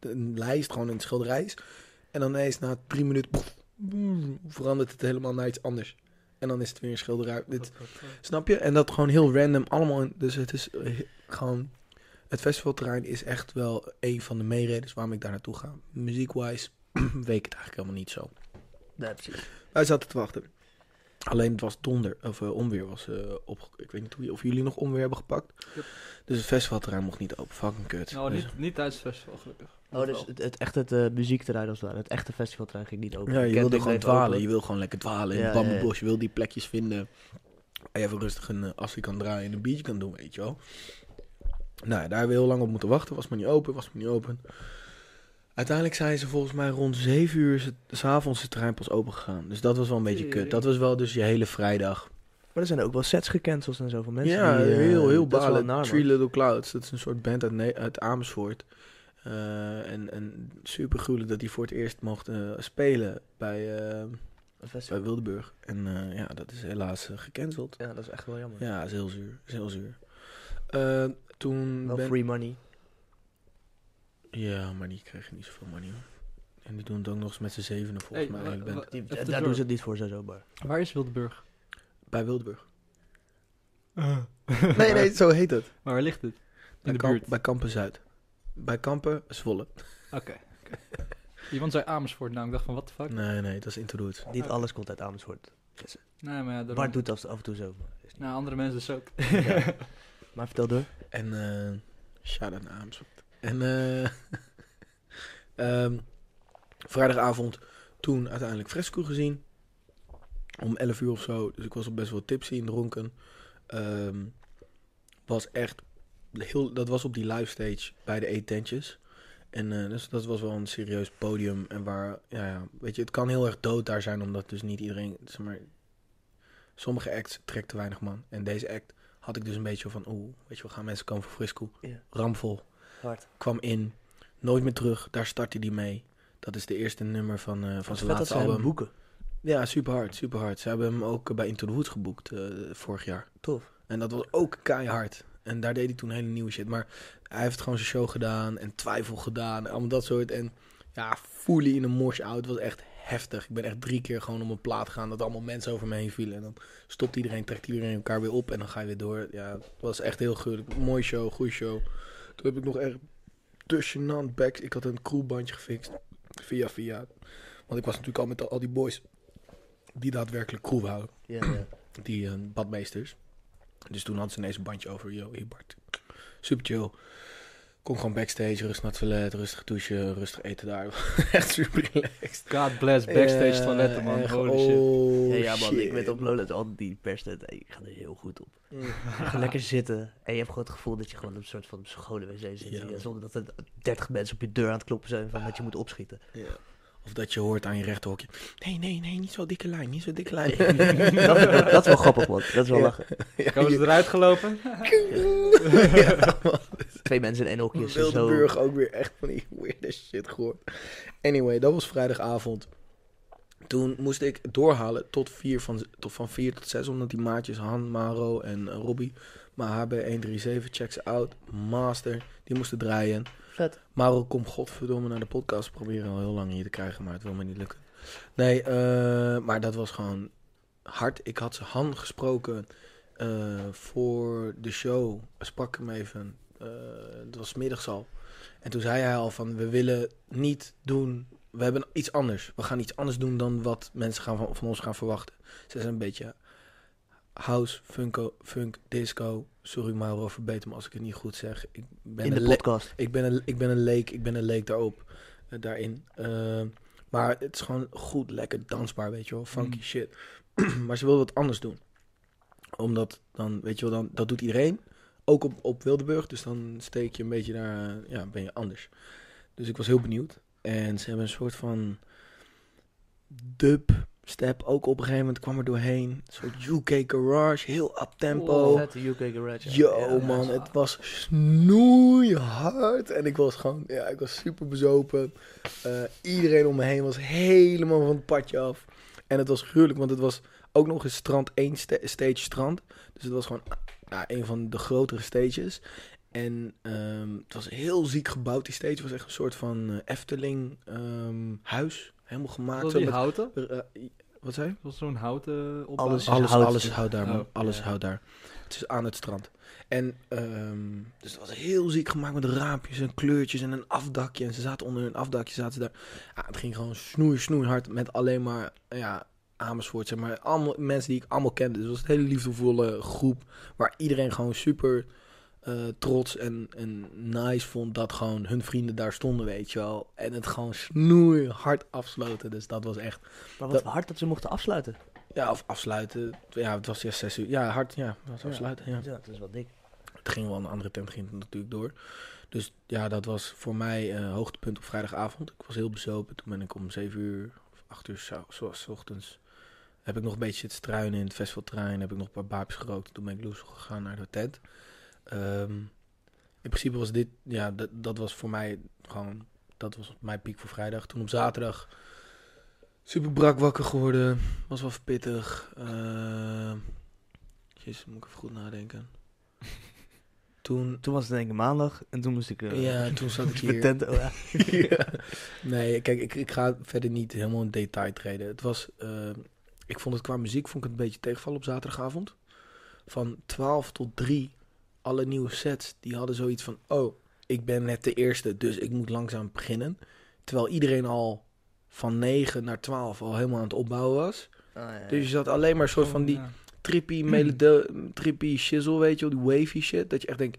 een lijst, gewoon een schilderij is. En dan ineens na drie minuten poef, verandert het helemaal naar iets anders. En dan is het weer een schilderij. Dit, Snap je? En dat gewoon heel random allemaal. in- dus het is eh, he- gewoon... Het festivalterrein is echt wel een van de meeredens waarom ik daar naartoe ga. Muziekwise [CLEARS THROAT] weet ik het eigenlijk helemaal niet zo.
Nee, precies.
Wij zaten te wachten. Alleen het was donder, of eh, onweer was eh op. Ik weet niet hoe, of jullie nog onweer hebben gepakt.
Yep.
Dus het festivalterrein mocht niet open. Fucking kut.
Nou,
Dus-
niet, niet tijdens het festival, gelukkig.
Oh, dus het, het echte het, eh, muziekterrein als het ware. Het echte festivalterrein ging niet open.
Ja,
De
je
camping
wilde gewoon
bleef
dwalen.
open.
Je wil gewoon lekker dwalen in
Ja,
het
ja, ja.
bamboebos. Je wil die plekjes vinden waar je even rustig een eh, assie kan draaien en een biertje kan doen, weet je wel. Nou, ja, daar hebben we heel lang op moeten wachten. Was maar niet open, was maar niet open. Uiteindelijk zijn ze volgens mij rond 7 uur s- s'avonds de trein pas open gegaan. Dus dat was wel een beetje kut. Dat was wel dus je hele vrijdag.
Maar er zijn ook wel sets gecanceld en zo van mensen.
ja,
die, eh,
heel, heel
dat is wel
balen.
naar, man.
Three Little Clouds. Dat is een soort band uit, Ne- uit Amersfoort. Eh, en, en super gruwelijk dat die voor het eerst mocht eh, spelen bij... eh,
Een
bij
festival.
Wildeburg. En eh, ja, dat is helaas eh, gecanceld.
Ja, dat is echt wel jammer.
Ja, is heel zuur. Is heel zuur. Eh, toen
Wel
ben-
free money.
Ja, maar die kregen niet zoveel money hoor. En die doen het ook nog eens met z'n zevenen volgens
Hey,
mij.
wa-
hele band.
wa-
Die,
even
daar
tussendoor.
doen ze het niet voor, zo maar.
Waar is Wildeburg?
Bij Wildeburg.
Ah.
Nee, nee, zo heet het.
Maar waar ligt het?
Bij,
In de
Kamp-
buurt.
bij Kampen Zuid. Bij Kampen Zwolle.
Oké. oké. Iemand zei Amersfoort, nou, ik dacht van, what the fuck?
Nee, nee, dat is Interroute.
Niet alles komt uit Amersfoort.
Nee, maar ja, daarom-
Bart doet dat af en toe zo. maar is niet-
Nou, andere mensen dus ook. [LAUGHS]
Ja. Maar vertel door.
En eh shout out naar Amersfoort. En eh, [LAUGHS] ehm, vrijdagavond toen uiteindelijk Fresco gezien. Om 11 uur of zo. Dus ik was al best wel tipsy en dronken. Ehm, was echt heel, dat was op die live stage bij de eetentjes. En eh, dus dat was wel een serieus podium. En waar, ja, ja, weet je, het kan heel erg dood daar zijn, omdat dus niet iedereen, zeg maar, sommige acts trekt te weinig man. En deze act had ik dus een beetje van, oeh, weet je, we gaan mensen komen voor Frisco.
Ja.
Ramvol.
Hard.
Kwam in, nooit meer terug, daar startte die mee. Dat is de eerste nummer van, eh, van
Wat
zijn
vet dat
laatste
ze hem
album.
boeken.
Ja, super hard, super hard. Ze hebben hem ook eh, bij Into the Woods geboekt eh, vorig jaar.
Tof.
En En dat was ook keihard. En daar deed hij toen hele nieuwe shit. Maar hij heeft gewoon zijn show gedaan en twijfel gedaan en allemaal dat soort. En ja, fully in een mosh-out was echt heftig. Ik ben echt drie keer gewoon om een plaat gegaan dat er allemaal mensen over me heen vielen. En dan stopt iedereen, trekt iedereen elkaar weer op en dan ga je weer door. Ja, het was echt heel gruwelijk. Mooi show, goede show. Toen heb ik nog echt tussenant backs. Ik had een crewbandje gefixt. Via via. Want ik was natuurlijk al met al, al die boys die daadwerkelijk crew houden. [LAUGHS]
Ja, ja.
Die eh, badmeesters. Dus toen hadden ze ineens een bandje over. Yo, hier Bart. Super chill. Kom gewoon backstage, rustig naar het toilet, rustig douchen, rustig eten daar. [LAUGHS] Echt super relaxed.
God bless backstage toiletten, man.
Eh, echt,
Holy shit.
oh,
Ja, ja, man, ik
shit.
weet op Lowlands altijd die perstijd. Ik ga er heel goed
[LAUGHS]
op.
Mm.
Gewoon lekker zitten. En je hebt gewoon het gevoel dat je gewoon op een soort van schone wc zit.
Ja.
Ja, zonder dat er 30 mensen op je deur aan het kloppen zijn van dat je moet
[LAUGHS]
opschieten.
Ja. Of dat je hoort aan je rechterhokje. Nee, nee, nee, niet zo dikke lijn, niet zo dikke lijn.
dat, is wel- [LAUGHS] dat is wel grappig, man. Dat is wel
Ja.
lachen.
[LAUGHS] Ja,
Komen ze
je-
eruit
[LAUGHS]
gelopen?
ja, man.
Twee mensen in één hokje. is zo.
Wildeburg ook weer echt van die weirde shit gehoord. Anyway, dat was vrijdagavond. Toen moest ik doorhalen tot 4 van, tot, van vier tot 6, omdat die maatjes Han, Maro en eh, Robbie, maar HB137, Checks Out, Master, die moesten draaien.
Vet.
Maro, kom godverdomme naar de podcast. We proberen al heel lang hier te krijgen, maar het wil me niet lukken. Nee, eh, maar dat was gewoon hard. Ik had ze Han gesproken eh, voor de show. Sprak hem even. eh, het was 's middags al. En toen zei hij al van, we willen niet doen... We hebben iets anders. We gaan iets anders doen dan wat mensen gaan van, van ons gaan verwachten. Ze zijn een beetje house, funko, funk, disco. Sorry Mauro, verbeter me als ik het niet goed zeg. Ik ben
In
een
de
le-
podcast.
ik ben een, ik ben een leek, ik ben een leek daarop, eh, daarin. Ehm, maar het is gewoon goed, lekker dansbaar, weet je wel. Funky
Mm.
shit. [CLEARS THROAT] maar ze wilden wat anders doen. Omdat dan, weet je wel, dan, dat doet iedereen. Ook op, op Wildeburg. Dus dan steek je een beetje daar, eh, ja, ben je anders. Dus ik was heel benieuwd. En ze hebben een soort van dub step ook op een gegeven moment kwam er doorheen. Een soort UK garage, heel up tempo.
Oh, vette UK Garage.
Yo
Ja.
man, het was snoeihard. En ik was gewoon, ja, ik was super bezopen. Eh, iedereen om me heen was helemaal van het padje af. En het was gruwelijk, want het was ook nog eens strand één sta- stage strand. Dus het was gewoon ja, een van de grotere stages. En ehm, het was heel ziek gebouwd, die stage. Het was echt een soort van eh, Efteling ehm, huis. Helemaal gemaakt.
Was
Zo
die
met,
houten?
eh, wat zei je?
Was zo'n houten opbouw?
Alles.
Alles,
hout.
alles houdt daar, man.
Oh,
alles
ja.
houdt daar. Het is aan het strand. En, ehm, dus het was heel ziek gemaakt met raampjes en kleurtjes en een afdakje. En ze zaten onder een afdakje, zaten ze daar. Ah, het ging gewoon snoei, snoei hard met alleen maar, ja, Amersfoort, zeg maar. Allemaal mensen die ik allemaal kende. Dus het was een hele liefdevolle groep waar iedereen gewoon super eh, trots en, en nice vond dat gewoon hun vrienden daar stonden, weet je wel. En het gewoon snoei hard afsloten. Dus dat was echt...
Maar
Dat-
wat hard dat ze mochten afsluiten.
Ja, of afsluiten. Ja, het was ja, zes uur. Ja, hard. Ja, het was
Ja.
afsluiten. Ja.
Ja, dat is wel dik.
Het ging wel een andere tent ging het natuurlijk door. Dus ja, dat was voor mij eh, hoogtepunt op vrijdagavond. Ik was heel bezopen. Toen ben ik om zeven uur of acht uur zo- zoals 's ochtends... Heb ik nog een beetje zitten struinen in het festivaltrein. Heb ik nog een paar baapjes gerookt. Toen ben ik loes gegaan naar de tent. Ehm, in principe was dit... Ja, dat, dat was voor mij gewoon... Dat was mijn piek voor vrijdag. Toen op zaterdag... Super brak wakker geworden. Was wel pittig. Ehm, jezus, moet ik even goed nadenken. Toen...
Toen was het denk ik maandag. En toen moest ik... eh,
Ja,
[LAUGHS]
toen [LAUGHS] zat ik
Mijn
hier.
tent... oh, ja.
Ja. Nee, kijk, ik, ik ga verder niet helemaal in detail treden. Het was, eh, ik vond het qua muziek vond ik het een beetje tegenvallen op zaterdagavond. Van 12 tot 3, alle nieuwe sets, die hadden zoiets van, oh, ik ben net de eerste, dus ik moet langzaam beginnen. Terwijl iedereen al van 9 naar 12 al helemaal aan het opbouwen was.
Ah, ja.
Dus je zat alleen maar een soort van die
Ja.
trippy, melode, trippy shizzle, weet je wel, die wavy shit. Dat je echt denkt,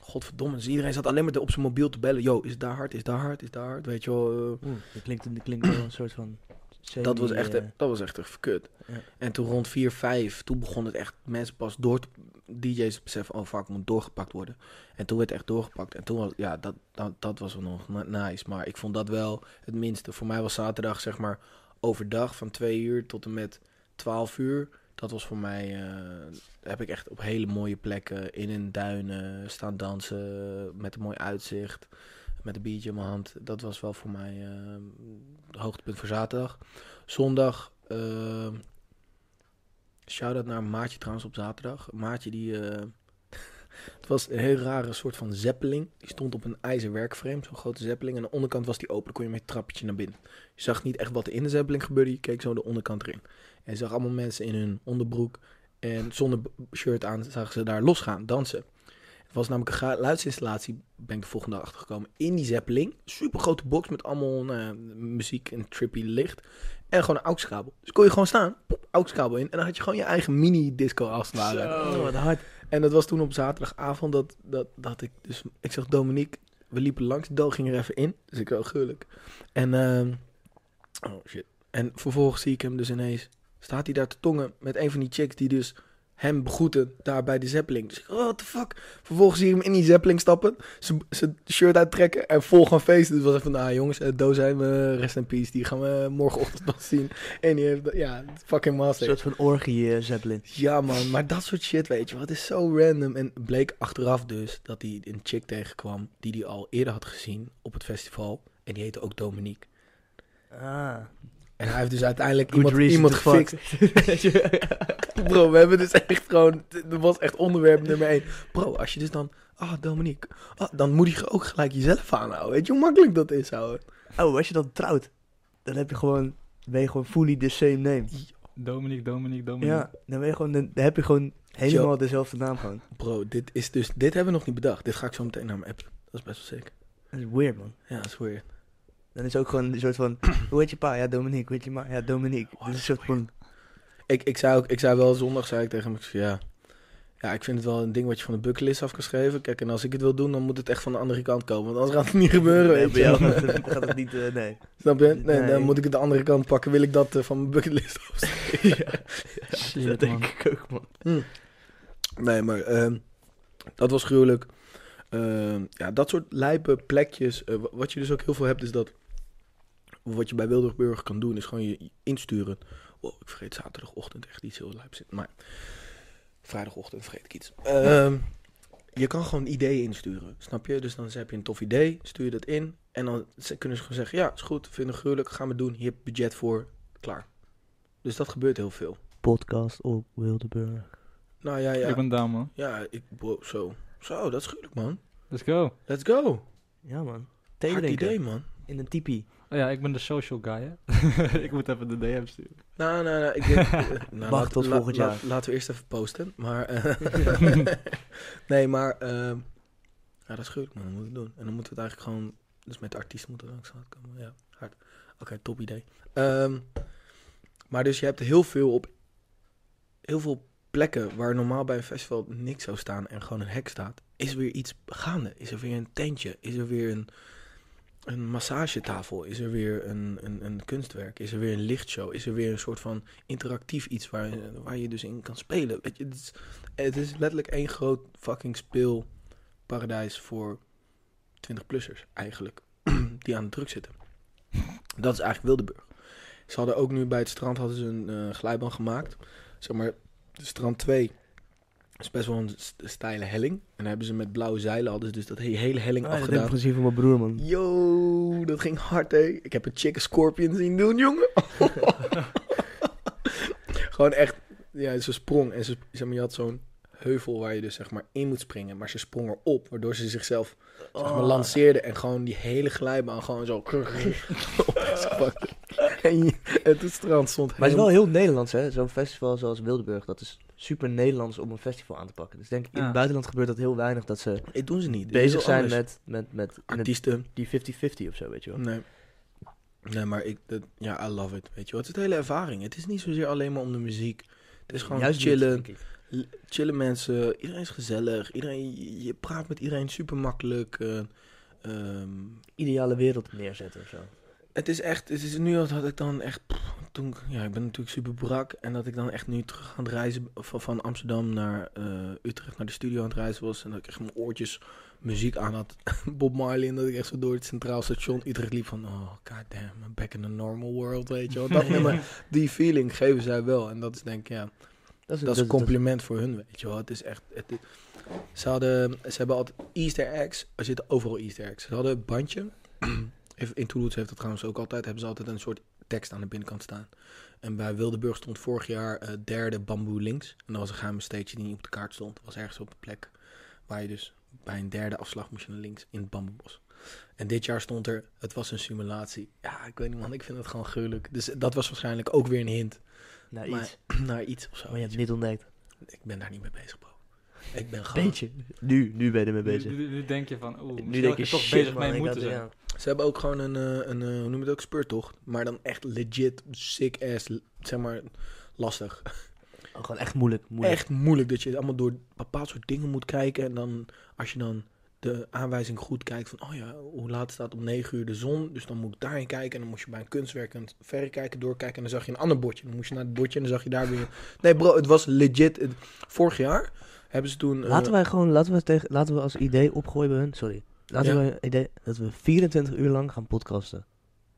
godverdomme, dus iedereen zat alleen maar te- op zijn mobiel te bellen. Yo, is het daar hard, is het daar hard, is het daar hard, weet je wel. eh.
Oeh, dat klinkt, dat klinkt wel een soort van...
dat, was
semi,
echt,
eh,
dat was echt even kut.
Ja.
En toen rond 4, 5, toen begon het echt, mensen pas door te, DJ's te beseffen, oh fuck, moet doorgepakt worden. En toen werd echt doorgepakt. En toen was, ja, dat, dat, dat was wel nog na- nice. Maar ik vond dat wel het minste. Voor mij was zaterdag, zeg maar, overdag van 2 uur tot en met 12 uur. Dat was voor mij, eh, heb ik echt op hele mooie plekken in een duinen staan dansen met een mooi uitzicht. Met een biertje in mijn hand. Dat was wel voor mij eh, het hoogtepunt voor zaterdag. Zondag. eh, ehm, Shout-out naar Maatje trouwens op zaterdag. Maatje die... eh, het was een heel rare soort van zeppeling. Die stond op een ijzeren werkframe, zo'n grote zeppeling. En aan de onderkant was die open, dan kon je met een trappetje naar binnen. Je zag niet echt wat er in de zeppeling gebeurde, je keek zo de onderkant erin. En je zag allemaal mensen in hun onderbroek en zonder b- shirt aan, zagen ze daar losgaan, dansen. Het was namelijk een geluidsinstallatie, ben ik de volgende dag achtergekomen, in die zeppeling. Super grote box met allemaal nou ja, muziek en trippy licht. En gewoon een AUX-kabel. Dus kon je gewoon staan, poep, AUX-kabel in. En dan had je gewoon je eigen mini-disco als het ware.
Oh, wat hard.
En dat was toen op zaterdagavond dat, dat, dat ik... Dus ik zag Dominique, we liepen langs. Do ging er even in. Dus ik wel guurlijk. En, ehm, oh shit. En vervolgens zie ik hem dus ineens... Staat hij daar te tongen met een van die chicks die dus hem begroeten daar bij de Zeppeling. Dus ik, oh, what the fuck? Vervolgens zie ik hem in die Zeppeling stappen, zijn- zijn shirt uittrekken en vol gaan feesten. Dus was even van, ah jongens, eh, Do zijn we, rest in peace. Die gaan we morgenochtend [LAUGHS] nog zien. En die heeft, ja, fucking
Een
master.
soort van orgie, eh, Zeppelin.
Ja, man, maar dat soort shit, weet je wel. Het is zo random. En bleek achteraf dus dat hij een chick tegenkwam die hij al eerder had gezien op het festival. En die heette ook Dominique.
Ah.
En hij heeft dus uiteindelijk
Good
iemand,
reason
iemand
to fuck.
gefixt. [LAUGHS] Bro, we hebben dus echt gewoon... Dat was echt onderwerp nummer één. Bro, als je dus dan... Ah, Dominique. Ah, dan moet je ook gelijk jezelf aanhouden. Weet je hoe makkelijk dat is, ouwe?
Oh, als je dan trouwt, dan heb je gewoon, ben je gewoon fully the same name.
Dominique, Dominique, Dominique.
Ja, dan, ben je gewoon, dan heb je gewoon helemaal dezelfde naam gewoon.
Bro, dit is dus... Dit hebben we nog niet bedacht. Dit ga ik zo meteen naar mijn app. Dat is best wel sick.
Dat is weird, man.
Ja, dat is weird.
Dan is het ook gewoon een soort [CLEARS THROAT] van, hoe heet je pa? Ja, Dominique. Hoe heet je ma? Ja, Dominique.
Oh,
Dat is een soort van,
Ik, ik, zei ook, ik zei wel zondag zei ik tegen hem, ik zei, ja, ja, ik vind het wel een ding wat je van de bucketlist af kan schrijven. Kijk, en als ik het wil doen, dan moet het echt van de andere kant komen. Want anders gaat het niet gebeuren,
Nee,
weet
bij
je.
jou [LAUGHS]
wel.
gaat het, gaat het niet, eh, [LAUGHS] nee.
Snap je? Nee,
Nee.
dan moet ik het de andere kant pakken. Wil ik dat eh, van mijn bucketlist af
dat
Shit, man.
denk ik ook, man.
Mm. Nee, maar ehm, dat was gruwelijk. Ehm, ja, dat soort lijpe plekjes. eh, wa- wat je dus ook heel veel hebt, is dat... Wat je bij Wildersburg kan doen, is gewoon je je insturen. Oh, ik vergeet zaterdagochtend echt iets heel lijps. Maar vrijdagochtend vergeet ik iets. Ehm, je kan gewoon ideeën insturen, snap je? Dus dan heb je een tof idee, stuur je dat in. En dan ze- kunnen ze gewoon zeggen, ja, is goed, vinden we gruwelijk, gaan we doen. Hier heb je budget voor, klaar. Dus dat gebeurt heel veel.
Podcast op Wildeburg.
Nou ja, ja.
Ik ben down, man.
Ja, ik, wow, zo. Zo, dat is gruwelijk, man.
Let's go.
Let's go.
Ja, man. Thee
Hard
drinken.
idee, man.
In een tipi.
Oh ja, ik ben de social guy, hè. [LAUGHS] ik moet even de DM sturen.
Nou, nou, nou. Ik
[LAUGHS]
denk, eh,
Wacht
nou, laat-
tot
la-
volgend
la-
jaar.
laten we eerst even posten. Maar, eh,
[LAUGHS]
[LAUGHS] nee, maar, ehm, ja, dat is gruwelijk, man. Dat moeten we doen. En dan moeten we het eigenlijk gewoon, dus met de artiest moeten we langs gaan komen. Ja, hard. Oké, top idee. Ehm, maar dus je hebt heel veel op, heel veel plekken waar normaal bij een festival niks zou staan en gewoon een hek staat. Is er weer iets gaande? Is er weer een tentje? Is er weer een, een massagetafel? Is er weer een, een, een kunstwerk? Is er weer een lichtshow? Is er weer een soort van interactief iets waar, waar je dus in kan spelen? Weet je, het, is, het is letterlijk één groot fucking speelparadijs voor 20-plussers eigenlijk. [CLEARS THROAT] die aan de druk zitten. Dat is eigenlijk Wildeburg. Ze hadden ook nu bij het strand hadden ze een eh, glijbaan gemaakt. Zeg maar, de strand 2 is best wel een st- steile helling. En daar hebben ze met blauwe zeilen hadden ze dus dat he- hele helling
Ah, dat heb ik
afgedaan.
gezien van mijn broer, man.
Yo, dat ging hard, hè? Ik heb een chicken scorpion zien doen, [LAUGHS] jongen. Gewoon echt, ja, ze sprong en ze, zeg maar, je had zo'n heuvel waar je dus zeg maar in moet springen, maar ze sprong erop, waardoor ze zichzelf zeg
Oh.
maar
[LAUGHS]
lanceerde en gewoon die hele glijbaan gewoon zo op [LAUGHS] is gepakt. en, je- en het strand stond
Maar het is wel
helemaal-
heel Nederlands, hè? Zo'n festival zoals Wildeburg, dat is super Nederlands om een festival aan te pakken. Dus denk ik, in
Ja.
het buitenland gebeurt dat heel weinig, dat ze
Dit doen ze niet. Dit is
bezig
heel
zijn
anders.
met, met, met, met
artiesten.
die 50-50 of zo, weet je wel.
Nee. Nee, maar ik, dat, ja, I love it. Weet je wat? Het is de hele ervaring. Het is niet zozeer alleen maar om de muziek. Het is gewoon
Juist niet,
chillen.
denk ik.
chillen mensen, iedereen is gezellig, iedereen, je- je praat met iedereen super makkelijk. eh, ehm,
Ideale wereld neerzetten of zo.
het is echt, het is nu dat had ik dan echt, pff, toen, ik- ja, ik ben natuurlijk super brak en dat ik dan echt nu terug aan het reizen van, van Amsterdam naar eh, Utrecht naar de studio aan het reizen was en dat ik echt mijn oortjes muziek aan had, [LAUGHS] Bob Marley en dat ik echt zo door het centraal station Utrecht liep van, oh goddamn, I'm back in the normal world, weet je wel. Dat nummer, die feeling geven zij wel en dat is denk ik, ja,
Dat
dat is een compliment voor hun, weet je wel. Het is echt... Het, is- ze, hadden, ze hebben altijd Easter eggs. Er [CLEARS THROAT] zitten overal Easter eggs. Ze hadden een bandje. Even- In Toulouse heeft dat trouwens ook altijd. Hebben ze altijd een soort tekst aan de binnenkant staan. En bij Wildeburg stond vorig jaar eh, derde Bamboe Links. En dat was een geheime stage die niet op de kaart stond. Dat was ergens op een plek waar je dus bij een derde afslag moest je naar links in het bamboebos. En dit jaar stond er, het was een simulatie. Ja, ik weet niet man, ik vind het gewoon gruwelijk. Dus dat was waarschijnlijk ook weer een hint
Nou,
Maar-
iets.
[CLEARS THROAT] naar iets of zo.
Maar je hebt het niet ontdekt.
Ik ben daar niet mee bezig, bro. Ik ben gewoon...
Beetje. Nu, nu ben je ermee
Nu,
bezig.
nu- nu denk je van, oeh,
Nu
misschien
denk
had
je
ik toch
shit,
bezig
man,
mee
ik
moeten
had-
zijn.
ja.
Ze hebben ook gewoon een, eh, een eh, hoe noem je het ook, speurtocht. Maar dan echt legit, sick ass, l- zeg maar, lastig.
Oh, Gewoon echt moeilijk. moeilijk.
Echt moeilijk dat je allemaal door bepaald soort dingen moet kijken. En dan, als je dan de aanwijzing goed kijkt van, oh ja, hoe laat staat om 9 uur de zon. Dus dan moet ik daarin kijken. En dan moest je bij een kunstwerk een verrekijker doorkijken. En dan zag je een ander bordje. Dan moest je naar het bordje en dan zag je daar weer... Nee bro, het was legit. Het- vorig jaar hebben ze toen... eh,
Laten wij gewoon, laten we, tegen, laten we als idee opgooien bij hun, sorry. Laten
Ja.
we een idee dat we 24 uur lang gaan podcasten.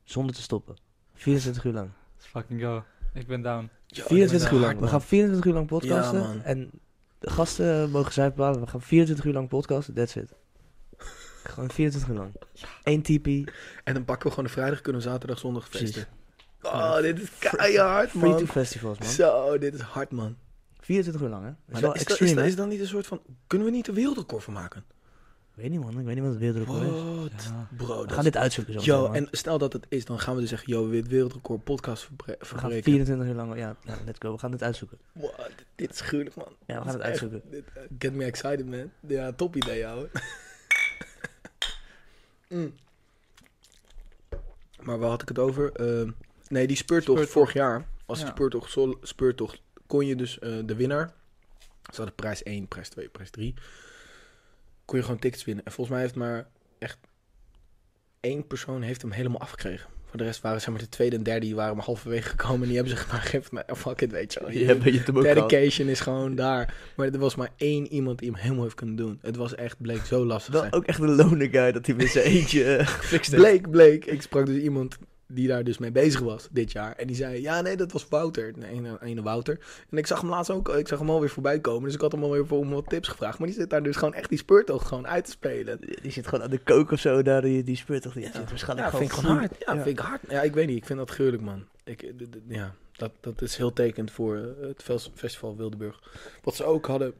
Zonder te stoppen. 24 uur lang.
Let's fucking go. Ik ben down.
yo,
24 uur
dit is
lang.
hard,
We
man.
gaan 24 uur lang podcasten.
Ja, man.
en de gasten mogen zij bepalen. We gaan 24 uur lang podcasten. That's it. Gewoon 24 uur lang. Eén tipi.
En dan pakken we gewoon de vrijdag, kunnen we zaterdag, zondag
Precies.
feesten.
Ja.
Oh, dit is keihard,
Free to
man.
festivals,
[LAUGHS]
man.
Zo, dit is hard, man.
24 uur lang, hè? Dat is
Maar
wel
dat- is, dat, is,
extreem,
dat,
hè?
is dat niet een soort van... Kunnen we niet een wereldrecord van maken?
Ik weet niet, man. Ik weet niet wat het wereldrecord is.
What?
Ja.
Bro,
We
dat
gaan dit uitzoeken zo.
is... Yo,
meteen, man.
en stel dat het is, dan gaan we dus zeggen... Yo, we hebben het wereldrecord podcast verbre-
We gaan
verbreken.
24 uur lang... Ja, ja, let's go. We gaan dit uitzoeken.
What? Dit is gruwelijk, man.
Ja, we gaan het
Echt,
uitzoeken.
dit, eh, get me excited, man. Ja, top idee, ouwe. [LAUGHS] Mm. Maar waar had ik het over? Ehm, nee, die speurtocht,
Speurtocht.
vorig jaar. Was
Ja.
die speurtocht, sol- speurtocht, kon je dus eh, de winnaar... Ze hadden prijs 1, prijs 2, prijs 3. Kon je gewoon tickets winnen. En volgens mij heeft maar echt één persoon heeft hem helemaal afgekregen. Voor de rest waren zeg maar de tweede en derde, die waren maar halverwege gekomen. En die hebben ze [LAUGHS] maar gegeven. Maar fuck it, weet je wel. Oh, Je-
ben je te
Dedication is gewoon daar. Maar er was maar één iemand die hem helemaal heeft kunnen doen. Het was echt, bleek zo lastig.
Wel eh,
Zijn.
ook echt een loner guy dat hij met
[LAUGHS]
zijn eentje eh, gefixt heeft.
Bleek, bleek. Ik sprak dus iemand die daar dus mee bezig was dit jaar. En die zei, ja nee, dat was Wouter. De ene, ene Wouter. En ik zag hem laatst ook, ik zag hem alweer voorbij komen. Dus ik had hem alweer voor om wat tips gevraagd. Maar die zit daar dus gewoon echt die speurtocht gewoon uit te spelen.
Die zit gewoon aan de kook of zo, daar die, die speurt toch. Die
Ja.
zit
Ja,
waarschijnlijk
vind ik gewoon
full-
hard. Ja,
Ja.
vind ik hard. Ja, ik weet niet. Ik vind dat gruwelijk, man. Ik, eh, d- d- ja, dat, dat is heel tekend voor eh, het ves- festival Wildeburg. Wat ze ook hadden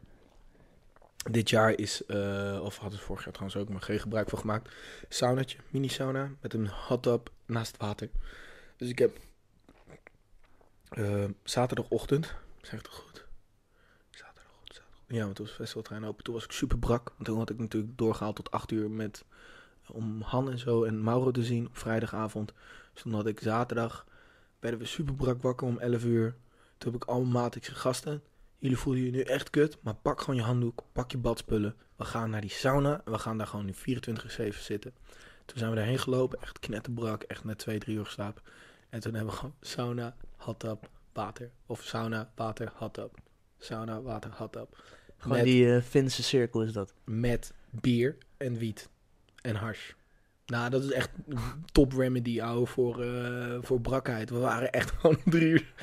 dit jaar is, eh, of hadden ze vorig jaar trouwens ook, maar geen gebruik van gemaakt. Saunatje, mini sauna, met een hot tub naast het water. Dus ik heb eh, zaterdagochtend, zeg ik het goed? Zaterdagochtend, zaterdagochtend. Ja, want toen was het festivaltrein open. Toen was ik super brak, want toen had ik natuurlijk doorgehaald tot 8 uur met om Han en zo en Mauro te zien op vrijdagavond. Dus toen had ik zaterdag, werden we super brak wakker om 11 uur. Toen heb ik allemaal maat, ik zei, gasten, jullie voelen je nu echt kut, maar pak gewoon je handdoek, pak je badspullen. We gaan naar die sauna en we gaan daar gewoon nu 24-7 zitten. Toen zijn we daarheen gelopen, echt knetterbrak, echt net 2, 3 uur geslapen. En toen hebben we gewoon sauna, hot tub, water. Of sauna, water, hot tub. Sauna, water, hot tub.
Gewoon
Met-
die eh, Finse cirkel is dat.
met bier en wiet en hash. Nou, dat is echt top remedy, ouwe, voor, eh, voor brakheid. We waren echt [LAUGHS] gewoon om drie uur.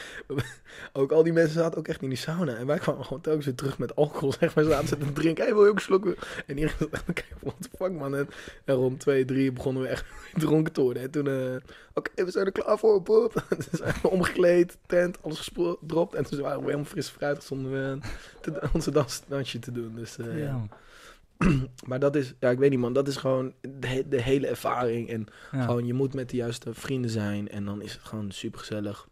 Ook al die mensen zaten ook echt in die sauna. En wij kwamen gewoon telkens weer terug met alcohol, zeg maar. Zaten ze te drinken. Hé, wil je ook een slok? En iedereen zat echt, oké, what the fuck, man. En, en rond twee, drie begonnen we echt [LAUGHS] dronken te worden. En toen, eh, oké, we zijn er klaar voor, [LAUGHS] pop. Toen zijn we omgekleed, tent, alles gespropt. En toen waren we helemaal fris fruit, stonden we te- [LAUGHS] onze dans, dansje te doen. Dus, eh, ja.
Ja.
Maar dat is, ja, ik weet niet man, dat is gewoon de, de hele ervaring. En gewoon, je moet met de juiste vrienden zijn en dan is het gewoon super gezellig.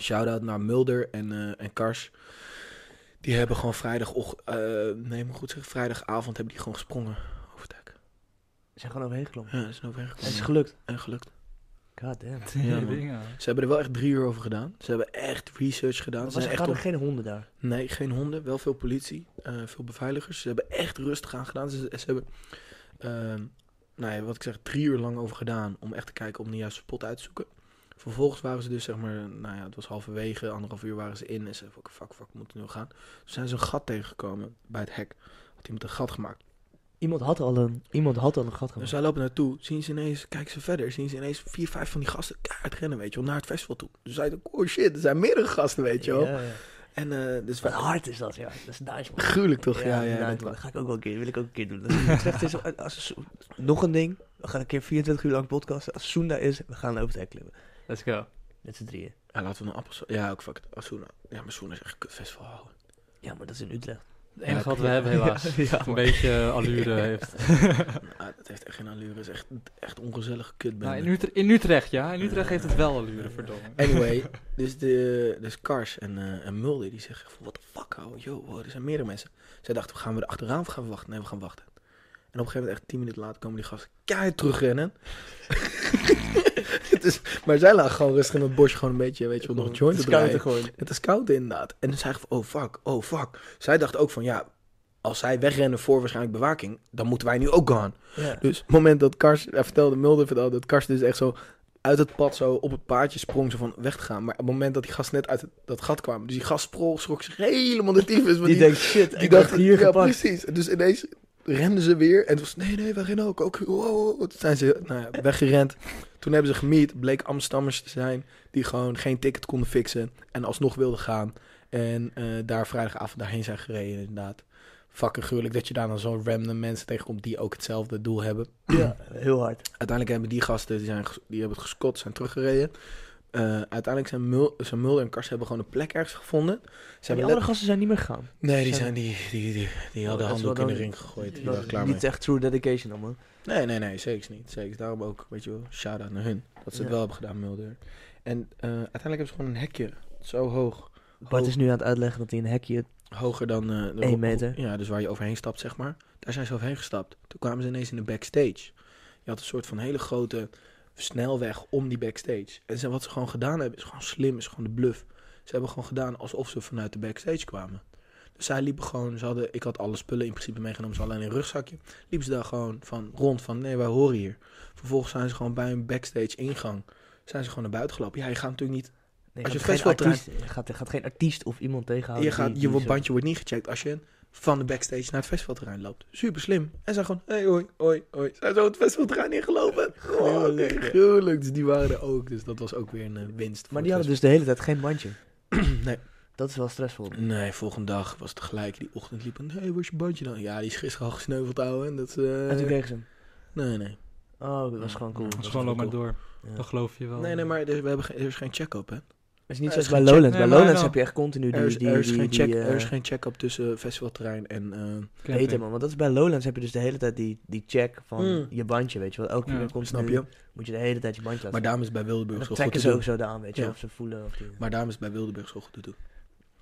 Shout-out naar Mulder en, eh, en Kars. Die hebben gewoon vrijdag, nee, maar goed zeggen, vrijdagavond hebben die gewoon gesprongen over het dek.
Ze zijn gewoon overheen geklommen.
Ja, dat is overgekomen.
Het is gelukt.
en gelukt.
God damn.
Ja,
Ja,
man.
dingen.
Ze hebben er wel echt drie uur over gedaan. Ze hebben echt research gedaan.
Maar
Ze
was
zijn
er
echt
gaan
op...
geen honden daar.
Nee, geen honden. Wel veel politie, eh, veel beveiligers. Ze hebben echt rustig aan gedaan. Ze, ze hebben, ehm, nou ja, wat ik zeg, drie uur lang over gedaan om echt te kijken om de juiste spot uit te zoeken. Vervolgens waren ze dus, zeg maar, nou ja, het was halverwege, anderhalf uur waren ze in. En ze zeiden, fuck, fuck, fuck, we moeten nu gaan. Toen zijn ze een gat tegengekomen bij het hek. Had iemand een gat gemaakt.
Iemand had al een, iemand had al een gat
Dus
gemaakt.
zij lopen naartoe, zien ze ineens, kijken ze verder, zien ze ineens vier, vijf van die gasten kaart rennen, weet je wel, naar het festival toe. Dus zij dachten, oh shit, er zijn meerdere gasten, weet je wel.
Ja, ja.
En eh, dus
Wat
wij-
hard is dat, ja. Dat is nice, man.
gruwelijk toch? Ja, ja,
nice,
dat
man.
was-
Dat ga ik ook wel een keer, wil ik ook een
[LAUGHS]
keer doen. Dat is- Utrecht is, als, als- nog een ding, we gaan een keer 24 uur lang podcasten. Als Soenda is, we gaan over het hek klimmen.
Let's go.
Met z'n drieën.
Ja, laten we een appels... Ja, ook fuck it. Asuna. Ja, maar Asuna is echt een kutfestival houden.
Ja, maar dat is in Utrecht.
Het enige wat we hebben
[LAUGHS]
helaas.
Ja,
Dat een beetje eh, allure heeft.
Nou, dat heeft echt geen allure. Dat is echt, echt ongezellige kutbende.
[LAUGHS] Nou, in, Utre- in Utrecht, ja. In Utrecht heeft het wel allure, verdomme.
[LAUGHS]
[LAUGHS]
Anyway, dus, de, dus Kars en, eh, en Mulder die zeggen van, what the fuck, hou, yo, wow, er zijn meerdere mensen. Zij dachten, gaan we er achteraan of gaan we wachten? Nee, we gaan wachten. En op een gegeven moment, echt tien minuten later, komen die gasten keihard terugrennen. [LAUGHS] Het is- maar zij lagen gewoon rustig in het bosje, gewoon een beetje, weet je wel, nog een joint te draaien.
gewoon.
Het is koud inderdaad. En dan zei ik van, oh fuck, oh fuck. Zij dacht ook van, ja, als zij wegrennen voor waarschijnlijk bewaking, dan moeten wij nu ook gaan.
Ja.
Dus het moment dat Kars, hij vertelde, Mulder vertelde, dat Kars dus echt zo uit het pad zo op het paadje sprong, zo van weg te gaan. Maar op het moment dat die gast net uit het- dat gat kwam, dus die gast sprong, schrok zich helemaal de tyfus. want
Die denkt, shit, ik dacht hier
ja,
gepakt.
precies. En Dus ineens renden ze weer en het was, nee, nee, wij rennen ook. ook wow, wow. Toen zijn ze nou ja, weggerend. Toen hebben ze gemiet, bleek Amsterdammers te zijn die gewoon geen ticket konden fixen en alsnog wilden gaan. En eh, daar vrijdagavond daarheen zijn gereden, inderdaad. Fucking gruwelijk dat je daar dan zo random mensen tegenkomt die ook hetzelfde doel hebben.
Ja, heel hard.
Uiteindelijk hebben die gasten, die, zijn, ges- die hebben het gescot, zijn teruggereden. Eh, uiteindelijk zijn, Mul, zijn Mulder en Kars hebben gewoon een plek ergens gevonden. Ze
En die
hebben
andere
let-
gasten zijn niet meer gegaan.
Nee, die,
zijn-
zijn, die, die, die, die hadden
Oh, dat is wel
handdoek in de
dan-
ring gegooid. Die
Dat
waren
is
klaar mee.
niet echt true dedication dan, man.
Nee, nee, nee, zeker niet. Zeker. Daarom ook, weet je wel, shout-out naar hun. Dat ze het
Ja.
wel hebben gedaan, Mulder. En eh, uiteindelijk hebben ze gewoon een hekje. Zo hoog.
Bart is nu aan het uitleggen dat hij een hekje...
Hoger dan... eh, de-
Eén meter.
Ja, dus waar je overheen stapt, zeg maar. Daar zijn ze overheen gestapt. Toen kwamen ze ineens in de backstage. Je had een soort van hele grote snelweg om die backstage. En ze, wat ze gewoon gedaan hebben, is gewoon slim, is gewoon de bluff. Ze hebben gewoon gedaan alsof ze vanuit de backstage kwamen. Dus zij liepen gewoon, ze hadden, ik had alle spullen in principe meegenomen, ze hadden alleen een rugzakje. Liepen ze daar gewoon van rond van, nee, wij horen hier. Vervolgens zijn ze gewoon bij een backstage ingang. Zijn ze gewoon naar buiten gelopen. Ja, je gaat natuurlijk niet,
Nee,
Als je
gaat geen
festival draait-
artiest, je gaat, je gaat geen artiest of iemand tegenhouden.
je, gaat,
Oh, die-
je
die
wordt-
zo-
bandje wordt niet gecheckt als je van de backstage naar het festivalterrein loopt. Super slim. En zijn gewoon, hey, hoi, hoi, hoi. Zijn zo het festivalterrein
[LAUGHS]
ingelopen.
Gruwelijk,
Gruwelijk.
ja.
Gruwelijk. Dus die waren er ook. Dus dat was ook weer een eh, winst. voor
Maar
het
die hadden dus de hele tijd geen bandje.
[CLEARS THROAT] festival. Nee.
Dat is wel stressvol.
Nee, volgende dag was het gelijk. Die ochtend liep een, hey, waar is je bandje dan? Ja, die is gisteren al gesneuveld, ouwe. En dat, eh,
En toen kregen ze hem.
Nee, nee.
Oh, dat was gewoon cool.
Dat
Dat
is
is
gewoon
wel
loop maar
cool.
door.
Ja.
Dan geloof je
Oh.
wel.
Nee, nee, maar er, we hebben geen, er is geen check-up, hè?
Het is niet
Ja,
zoals
is
bij
geen check-
Lowlands.
Nee,
bij
maar
Lowlands
wel.
heb je echt continu die...
Er is,
die,
er is
die-
geen
die,
check- er is
eh,
geen check-up tussen festivalterrein en... eh,
Camping.
Beter man, want dat is bij Lowlands heb je dus de hele tijd die, die check van
Mm.
je bandje, weet je wel. Elke
Ja,
keer komt
snap
nu,
je?
Moet je de hele tijd je bandje laten
Maar daarom is bij
zien.
Wildeburg
En
zo
dan
goed
trekken
te
ze
doen.
ook zo aan, weet je
Ja.
of ze voelen. Of die...
Maar daarom is bij Wildeburg zo goed te doen.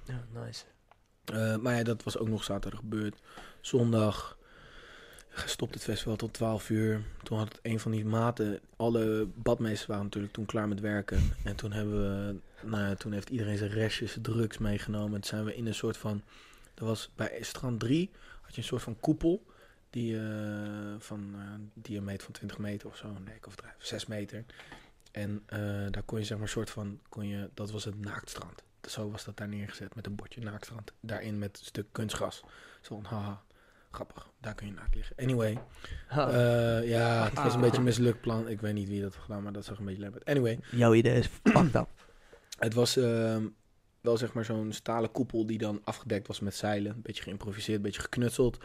Ja, nice.
Eh, maar ja, dat was ook nog zaterdag gebeurd. Zondag stopt het festival tot 12 uur. Toen had het een van die maten. Alle badmeesters waren natuurlijk toen klaar met werken. En toen hebben we. Nou ja, toen heeft iedereen zijn restjes drugs meegenomen. En toen zijn we in een soort van. Er was bij Strand 3 had je een soort van koepel. Die eh, van eh, een diameter van 20 meter of zo. Nee, ik overdrijf. 6 meter. En eh, daar kon je zeg maar een soort van. Kon je, dat was het naaktstrand. Zo was dat daar neergezet met een bordje naaktstrand. Daarin met een stuk kunstgras. Zo van haha. Grappig, daar kun je naakt liggen. Anyway,
Ha,
eh, ja, het was een
Ah.
beetje een mislukt plan. Ik weet niet wie dat heeft gedaan, maar dat zag een beetje lep uit. Anyway,
Jouw idee is fucked up.
het was ehm, wel zeg maar zo'n stalen koepel die dan afgedekt was met zeilen. Een beetje geïmproviseerd, een beetje geknutseld.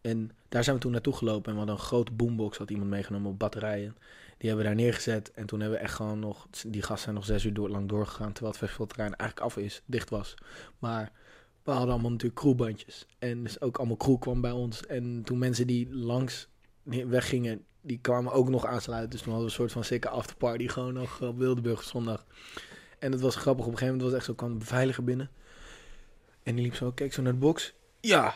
En daar zijn we toen naartoe gelopen. En we hadden een grote boombox, had iemand meegenomen op batterijen. Die hebben we daar neergezet. En toen hebben we echt gewoon nog... Die gasten zijn nog zes uur door, lang doorgegaan. Terwijl het festivalterrein eigenlijk af is, dicht was. Maar we hadden allemaal natuurlijk crewbandjes. En dus ook allemaal crew kwam bij ons. En toen mensen die langs weggingen, die kwamen ook nog aansluiten. Dus toen hadden we een soort van sikke afterparty gewoon nog op Wildeburg op zondag. En dat was grappig. Op een gegeven moment was het echt zo, kwam een beveiliger binnen. En die liep zo, kijk zo naar de box. Ja.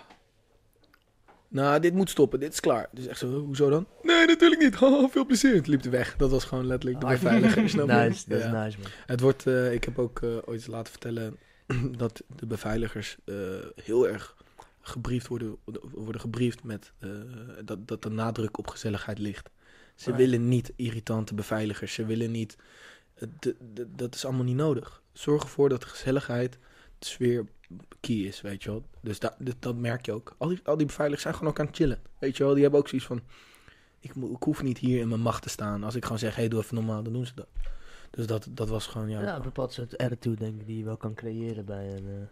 Nou, dit moet stoppen. Dit is klaar. Dus echt zo, hoezo dan? Nee, natuurlijk niet. [LAUGHS] Haha, veel plezier. Het liep er weg. Dat was gewoon letterlijk de
Ah.
beveiliger. snap je?
[LAUGHS] Nice, dat is
Ja.
nice man.
Het wordt, eh, ik heb ook eh, ooit eens laten vertellen [CLEARS THROAT] dat de beveiligers eh, heel erg gebriefd worden, worden gebriefd met eh, dat, dat de nadruk op gezelligheid ligt. Ze
Ah, ja.
willen niet irritante beveiligers. Ze willen niet. eh, de- de- dat is allemaal niet nodig. Zorg ervoor dat de gezelligheid de sfeer key is, weet je wel. Dus da- dat- dat merk je ook. Al die, al die beveiligers zijn gewoon ook aan het chillen. Weet je wel, die hebben ook zoiets van. Ik, mo- ik hoef niet hier in mijn macht te staan. Als ik gewoon zeg, hey, doe even normaal, dan doen ze dat. Dus dat, dat was gewoon, ja.
Ja,
Ja,
een bepaald soort attitude denk ik die je wel kan creëren bij een...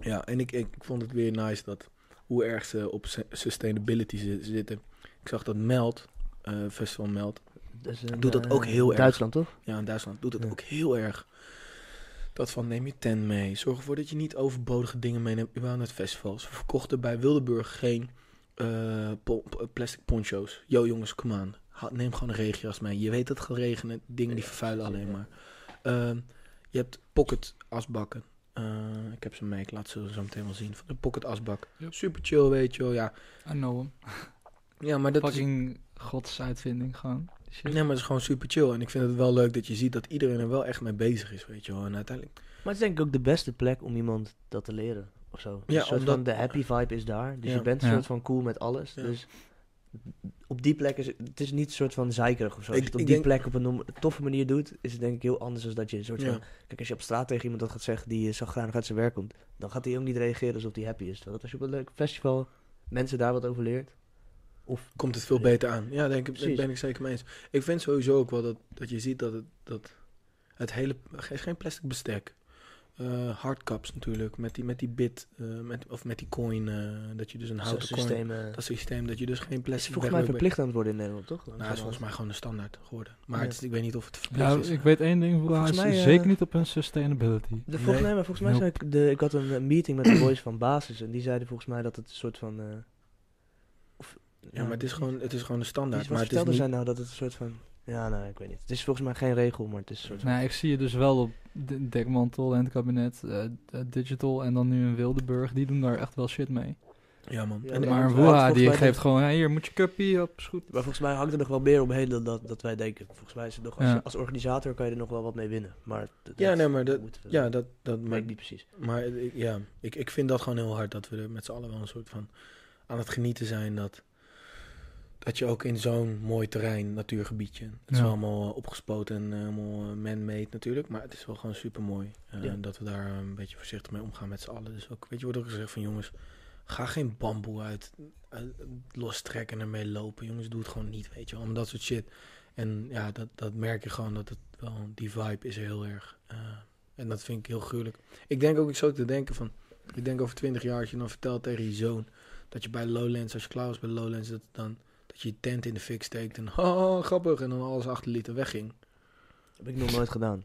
eh,
en ik, ik vond het weer nice dat hoe erg ze op su- sustainability zi- zitten. Ik zag dat Meld, eh, Festival Meld,
is een,
Doet dat
eh,
ook heel erg.
Duitsland, toch?
Ja, in Duitsland doet dat
Ja.
ook heel erg. Dat van neem je tent mee. Zorg ervoor dat je niet overbodige dingen meeneemt. Überhaupt naar het festival. Ze verkochten bij Wildeburg geen eh, po- p- plastic poncho's. Yo jongens, kom aan. Ha- Neem gewoon een regenjas mee. Je weet dat het gaat regenen. Dingen die vervuilen alleen maar. Ehm, je hebt pocket asbakken. Eh, ik heb ze mee. Ik laat ze zo meteen wel zien. Van de pocket asbak.
Yep.
Super chill, weet je wel. Ja,
I know hem.
ja maar dat is-
Fucking godsuitvinding gewoon. Shit.
Nee, maar het is gewoon super chill. En ik vind het wel leuk dat je ziet dat iedereen er wel echt mee bezig is, weet je wel. En uiteindelijk...
Maar het is denk ik ook de beste plek om iemand dat te leren. Of zo.
Ja,
Ja, soort
omdat-
van de happy vibe is daar. Dus
Ja.
je bent een
Ja.
soort van cool met alles.
Ja.
Dus op die plek is het- het is niet een soort van zeikerig of zo. Als
Ik-
je het
ik
op die
denk-
plek op een nom- toffe manier doet, is het denk ik heel anders dan dat je een soort
Ja.
van... Kijk, als je op straat tegen iemand dat gaat zeggen die eh, zagrijnig uit zijn werk komt, dan gaat hij ook niet reageren alsof hij happy is. Terwijl als je op een leuk festival mensen daar wat over leert,
komt het veel beter aan. Ja, denk ik, daar
Precies.
ben ik zeker mee eens. Ik vind sowieso ook wel dat, dat je ziet dat het, dat het hele... Er is geen plastic bestek. Eh hardcaps natuurlijk, met die, met die bit, eh, met, of met die coin, eh, dat je dus een
zo'n
houten coin...
systeem... eh,
Dat systeem, dat je dus geen
is
plastic...
volgens
weg
mij
wil-
verplicht aan het worden in Nederland, toch?
Nou, het is volgens mij gewoon een standaard geworden. Maar
Ja.
het is- ik weet niet of het
Nou,
verplicht
Ja,
is.
ik weet één ding, hij is
Volgens mij, eh,
zeker niet op hun sustainability.
De, volgens,
Nee.
mij, maar volgens mij
Nope.
zei ik, de, ik had een, een meeting met de boys van Basis en die zeiden volgens mij dat het een soort van... eh, of,
Ja, maar het is gewoon, het is gewoon een
Die
standaard.
wat
Maar het is
vertelde
niet...
zij nou dat het een soort van... Ja, nou, ik weet niet. Het is volgens mij geen regel, maar het is een soort van...
Nou, ik zie je dus wel op de- Dekmantel en het kabinet, eh, eh, Digital en dan nu in Wildeburg, die doen daar echt wel shit mee.
Ja, man.
Ja,
En-
maar-
maar
want
Woeha,
volgens
die
mij
geeft
dat-
gewoon, hey, hier moet je cuppie, op, is goed.
Maar volgens mij hangt er nog wel meer omheen dan dat, dat wij denken. Volgens mij is het nog... Als,
Ja.
je- als organisator kan je er nog wel wat mee winnen. Maar... d-
Ja,
dat
nee, maar dat-
moeten we-
ja, dat, dat,
weet
maar
ik niet precies.
Maar ik- ja, ik, ik vind dat gewoon heel hard dat we er met z'n allen wel een soort van aan het genieten zijn. Dat, dat je ook in zo'n mooi terrein, natuurgebiedje. Het is
Ja.
wel allemaal eh, opgespoten en eh, helemaal eh, man-made natuurlijk. Maar het is wel gewoon super mooi.
Ja.
Dat we daar eh, een beetje voorzichtig mee omgaan met z'n allen. Dus ook, weet je, wordt ook gezegd van jongens, ga geen bamboe uit eh, lostrekken en ermee lopen. Jongens, doe het gewoon niet, weet je wel. Om dat soort shit. En ja, dat, dat merk je gewoon dat het wel, die vibe is er heel erg. eh, en dat vind ik heel gruwelijk. Ik denk ook, ik zou ook te denken van, ik denk over twintig jaar als je dan vertelt tegen je zoon dat je bij Lowlands, als je klaar was bij Lowlands, dat, dan, dat je je tent in de fik steekt en haha, grappig, en dan alles achterliet en wegging.
heb ik nog nooit gedaan.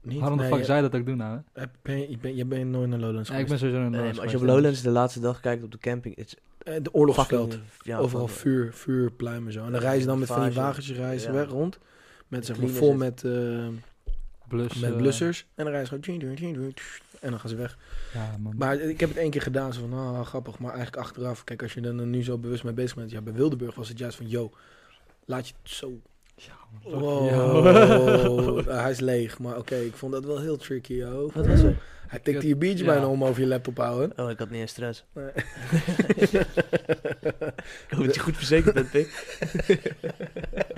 Niet?
Waarom de
Nee, eh,
fuck
je-
zij dat ook doen nou? hè?
heb- ben, je, ben, je bent nooit naar Lowlands
Ja, ik ben
geweest.
sowieso een eh,
Nee, maar Ehm, als je op
geweest,
Lowlands de laatste dag kijkt op de camping... Het is
Eh, de
fucking...
oorlogsveld.
ja,
Overal
van-
vuur, vuurpluimen zo. En dan reizen dan met van die
Vage.
wagentjes reizen
Ja.
weg rond. Met, zeg maar,
Cleaners
vol
is-
met, eh,
Blus,
met
eh,
blussers. En dan reizen ze gewoon... tjing, tjing, tjing, tjing, En dan gaan ze weg.
Ja, man.
Maar ik heb het één keer gedaan, zo van, ah, grappig. Maar eigenlijk achteraf, kijk, als je er dan nu zo bewust mee bezig bent. Ja, bij Wildeburg was het juist van, yo, laat je het zo...
Ja, man.
Wow,
Ja.
[LAUGHS] Eh, hij is leeg. Maar oké, ik vond dat wel heel tricky, yo.
Wat was er?
Hij tikte je biertje
Ja.
bijna om over je laptop houden.
Oh, ik had niet eens stress.
Nee. [LAUGHS]
ik hoop dat je goed verzekerd bent, Pik.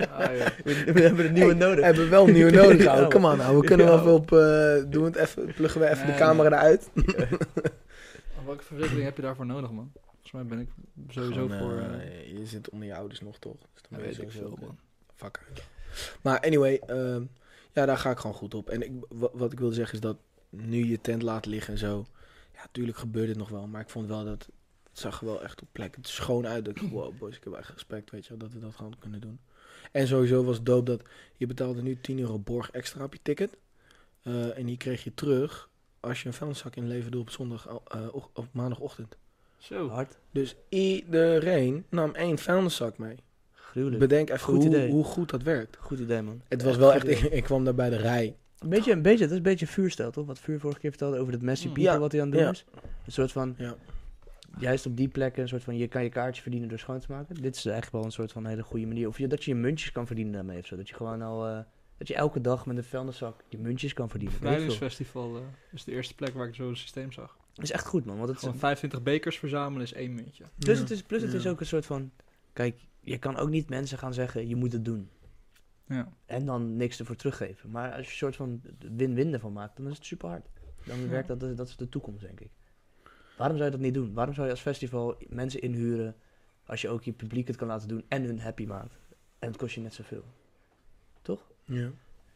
Ah, ja.
We, we hebben een nieuwe
We
nodig.
hebben wel een nieuwe
[LAUGHS]
nodig,
Ja,
ouwe.
man.
Kom aan, ouwe. We kunnen wel
Ja.
even op... eh, doen we het even, pluggen we even
Nee,
de camera eruit.
Welke verzekering heb je daarvoor nodig, man? Volgens mij ben ik sowieso
Gewoon,
voor...
eh,
eh,
je zit onder je ouders nog, toch? Dus dan
ja,
ben je
weet ik
sowieso-
veel, man.
Fuck. Maar anyway, ehm, ja, daar ga ik gewoon goed op. En ik, wa- wat ik wil zeggen is dat nu je tent laat liggen en zo. Ja, tuurlijk gebeurt het nog wel. Maar ik vond wel dat het zag er wel echt op plek het schoon uit. Dat ik, wow, boys, ik heb echt respect, weet je wel, dat we dat gewoon kunnen doen. En sowieso was het dope dat je betaalde nu 10 euro borg extra op je ticket. Eh, en die kreeg je terug als je een vuilniszak inleverde op zondag, eh, och- op maandagochtend.
Zo.
Hard.
Dus iedereen nam één vuilniszak mee.
Gruwelijk.
Bedenk even
Goed
hoe,
idee.
hoe goed dat werkt.
Goed idee, man.
Het was wel
goed
echt,
idee.
ik, [LAUGHS] ik kwam daar bij de rij.
Een beetje, een beetje, dat is een beetje vuurstijl, toch? Wat Vuur vorige keer vertelde over dat Messi
Mm.
People,
Ja,
wat hij aan het doen
ja.
is. Een soort van,
Ja.
juist op die plekken, een soort van, je kan je kaartje verdienen door schoon te maken. Dit is echt wel een soort van hele goede manier. Of je, dat je je muntjes kan verdienen daarmee of zo. Dat je gewoon al, eh, dat je elke dag met een vuilniszak je muntjes kan verdienen. Weet ik veel.
Bevrijdingsfestival eh, is de eerste plek waar ik zo'n systeem zag.
Dat is echt goed, man. Want het,
Gewoon 25 bekers verzamelen is één muntje.
plus Dus het, is, plus het
Ja.
is ook een soort van, kijk, je kan ook niet mensen gaan zeggen, je moet het doen.
Ja.
En dan niks ervoor teruggeven. Maar als je een soort van win-win ervan maakt, dan is het super hard. Dan werkt dat, dat is de toekomst, denk ik. Waarom zou je dat niet doen? Waarom zou je als festival mensen inhuren als je ook je publiek het kan laten doen en hun happy maakt? En het kost je net zoveel.
Ja.
Het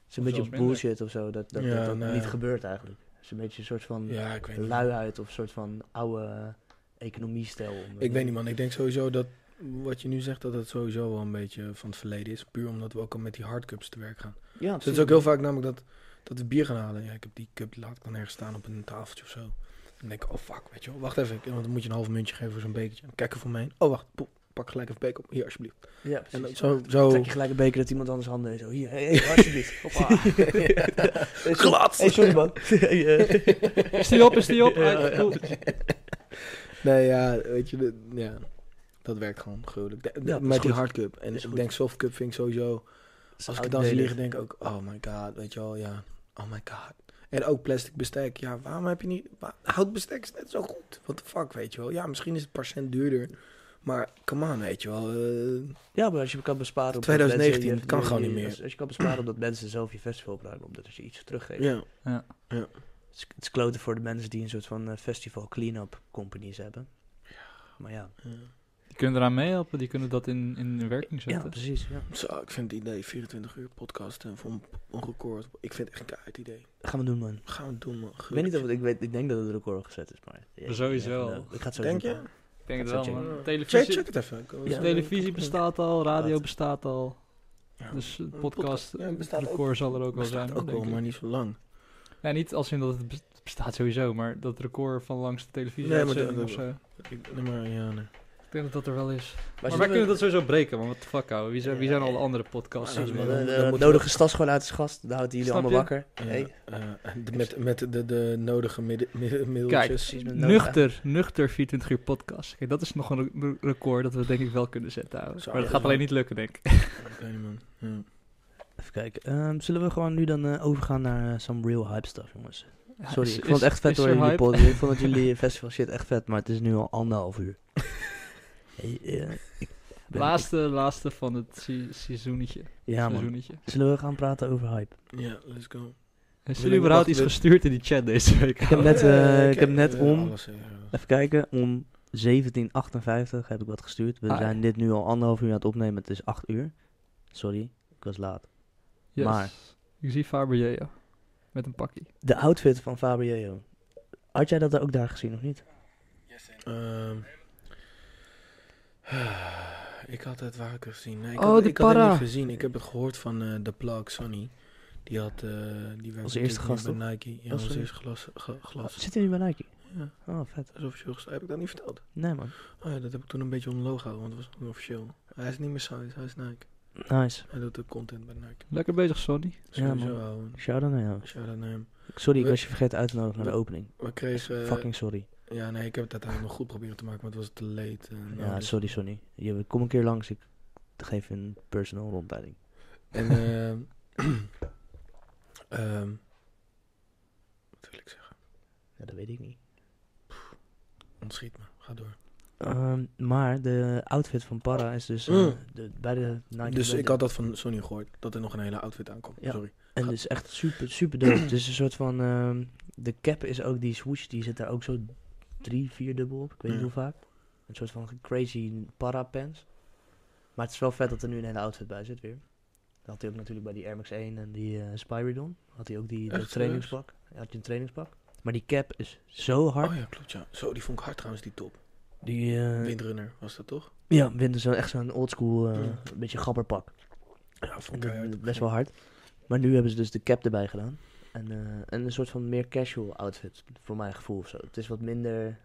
is een
Of zelfs
beetje
minder.
bullshit of zo, dat dat,
Ja,
dat, dat
nou
niet
ja.
gebeurt eigenlijk. Het is een beetje een soort van
ja, ik weet niet.
luiheid of een soort van oude eh, economiestijl. om-
Ik weet niet, man. Ik denk sowieso dat wat je nu zegt, dat het sowieso wel een beetje van het verleden is. Puur omdat we ook al met die hardcups te werk gaan.
Ja,
Dus het is ook heel vaak namelijk dat, dat we bier gaan halen. Ja, ik heb die cup, laat ik dan ergens staan op een tafeltje of zo. Dan denk ik, oh fuck, weet je wel, wacht even. ik- Want dan moet je een half muntje geven voor zo'n bekertje. Dan kijk er voor mij heen. Oh wacht, poep, pak gelijk even beker op. Hier, alsjeblieft.
Ja,
En
precies.
dan zo,
Dan
zo...
trek je gelijk een beker dat iemand anders handen en zo. Hier, hey,
[LAUGHS]
hey, alsjeblieft. Hoppa. Hey, sorry-
Gelaatst.
Hey, sorry
[LAUGHS]
man.
Is die op, is die [LAUGHS] op? Ah,
Ja, ja.
Cool.
Nee, ja, weet je, de- ja, dat werkt gewoon gruwelijk. De- de-
dat is
met die
goed.
hardcup. En
Is
ik
goed.
denk softcup vind ik sowieso... Als ik het dan zie
Outdated.
liggen, denk ik ook, oh my god, weet je wel, ja, oh my god. En ook plastic bestek, ja, waarom heb je niet, wa- hout bestek is net zo goed. What the fuck, weet je wel. Ja, misschien is het per cent duurder, maar come on, weet je wel. eh,
Ja, maar als je kan besparen op dat
2019,
mensen-
het kan gewoon niet meer.
Als, als je kan besparen op dat mensen zelf je festival bruiken, omdat als je iets teruggeeft.
ja,
Het is- het is kloten voor de mensen die een soort van eh, festival clean-up companies hebben. Maar ja,
Die kunnen eraan meehelpen, die kunnen dat in, in werking
ja
zetten.
precies. Ja.
Zo, ik vind het idee, 24 uur podcast en voor een, een record, ik vind het echt een keihard idee.
Gaan we doen, man.
Gaan we het doen, man.
Ik weet niet of het, ik, weet, ik denk dat het record al gezet is, maar... ja,
Sowieso.
ik weet niet, eh, Ik ga het zo
Denk
doen.
je?
Ik denk het
Dat
wel,
zou
man.
Check,
Televisie,
check het even. Ik wil-
Ja.
televisie bestaat al, radio
Laat.
bestaat al.
Ja.
Dus eh,
Een
podcast,
podcast. Ja, het bestaat
record zal er ook wel zijn.
Bestaat ook
denk
wel,
ik.
maar niet zo lang.
Ja, niet als in dat het bes- het bestaat sowieso, maar dat record van langs de televisie
Nee, maar
uitzending
dat-
of zo.
Ik, nee, maar ja, nee.
Ik denk dat dat er wel is. Maar,
Maar,
wij kunnen dat sowieso breken, man. Wat de fuck, houden? Wie zijn, wie zijn alle andere podcasts? eh,
Ja,
die we
maar
doen?
dat-
De nodige stas gewoon uit de gast. Dan houdt jullie
Snap
allemaal
je?
wakker.
Ja,
Hey.
[LAUGHS] eh, de- met met de, de nodige midden, midden,
Kijk,
middeltjes.
Precies, met nodige-
Nuchter, nuchter 24 uur podcast. Kijk, dat is nog een re- record dat we denk ik wel kunnen zetten. ouwe.
Zo,
Maar dat
ja,
gaat
ja.
alleen niet lukken, denk ik.
Ik weet niet, man. Ja.
Even kijken. Ehm, zullen we gewoon nu dan eh, overgaan naar eh, some real hype stuff, jongens? [LAUGHS] Sorry,
Is-
ik vond
is-
het echt vet
is
hoor,
er
jullie
hype?
pod. Ik vond
[LAUGHS]
dat jullie festival shit echt vet, maar het is nu al anderhalf uur. Hey, eh, ik ben-
Laatste, laatste van het se- seizoenetje.
ik- ja, man.
seizoenetje.
Zullen we gaan praten over hype?
Ja, let's go.
Is
Wil
er
ik
überhaupt
wachten
iets
met-
gestuurd in die chat deze week?
Ik heb net, eh,
Eh,
ik heb
oké,
net
eh,
om...
alles, eh,
Even kijken, om 17.58 heb ik wat gestuurd. We
Ah,
zijn
ja.
dit nu al anderhalf uur aan het opnemen, het is 8 uur. Sorry, ik was laat.
Yes.
maar-
Ik zie Faber Met een pakje.
De outfit van Fabio. Had jij dat ook daar gezien of niet?
ehm, [SIGHS] ik had het waar ik het gezien. Nee, ik
Oh,
had,
de
ik had het
para.
niet gezien. Ik heb het gehoord van eh The Plug, Sonny. Die had... eh die werkt
Als eerste gast,
natuurlijk nu bij Nike. Ja,
Oh,
als
sorry.
eerste glas. ge- glas.
Zit hij nu bij Nike?
Ja,
Oh, vet.
dat is officieel gestart. Heb ik dat niet verteld?
Nee, man.
Oh ja, dat heb ik toen een beetje onder logo gehouden, want dat was onofficieel. Hij is niet meer size, hij is Nike.
Nice.
Hij doet de content bij Nike.
Lekker bezig, Sonny.
Ja,
Sowieso
man.
houden.
Shout-out naar jou.
Shout-out naar hem.
Sorry, ik
We-
was je vergeten uit te nodigen naar de
we-
opening.
We kregen... eh,
Fucking sorry.
Ja, nee, ik heb het uiteindelijk nog goed proberen te maken, maar het was te late. eh, nou,
Ja,
dus-
sorry, Sonny. Je, kom een keer langs, ik geef je een personal rondleiding.
En, ehm [CLEARS THROAT] ehm, wat wil ik zeggen?
Ja, dat weet ik niet.
Ontschiet me, ga door.
Ehm, maar de outfit van Para is dus eh,
Oh. Mm.
de, bij de Nike.
dus
bij
ik
de-
had dat van Sony gehoord, dat er nog een hele outfit aankomt.
Ja.
Sorry.
En het is echt super, super dope. Het is een soort van... ehm, de cap is ook die swoosh, die zit daar ook zo drie, vier dubbel op. Ik weet
Ja.
niet hoe vaak. Een soort van crazy para pants. Maar het is wel vet dat er nu een hele outfit bij zit weer. Dat had hij ook natuurlijk bij die Air Max 1 en die eh Spyridon. Had hij ook die dat
Echt,
trainingspak. Hij had je een trainingspak. Maar die cap is zo hard.
Oh ja, klopt ja. Zo, die vond ik hard trouwens, die top.
Die, eh,
Windrunner was dat toch?
ja, winter zo echt zo'n oldschool, eh
Mm.
een beetje gabberpak.
Ja,
En
vond ik eh,
dat-
keihard.
best wel hard. Maar nu hebben ze dus de cap erbij gedaan. En, eh, en een soort van meer casual outfit, voor mijn gevoel of zo. Het is wat minder,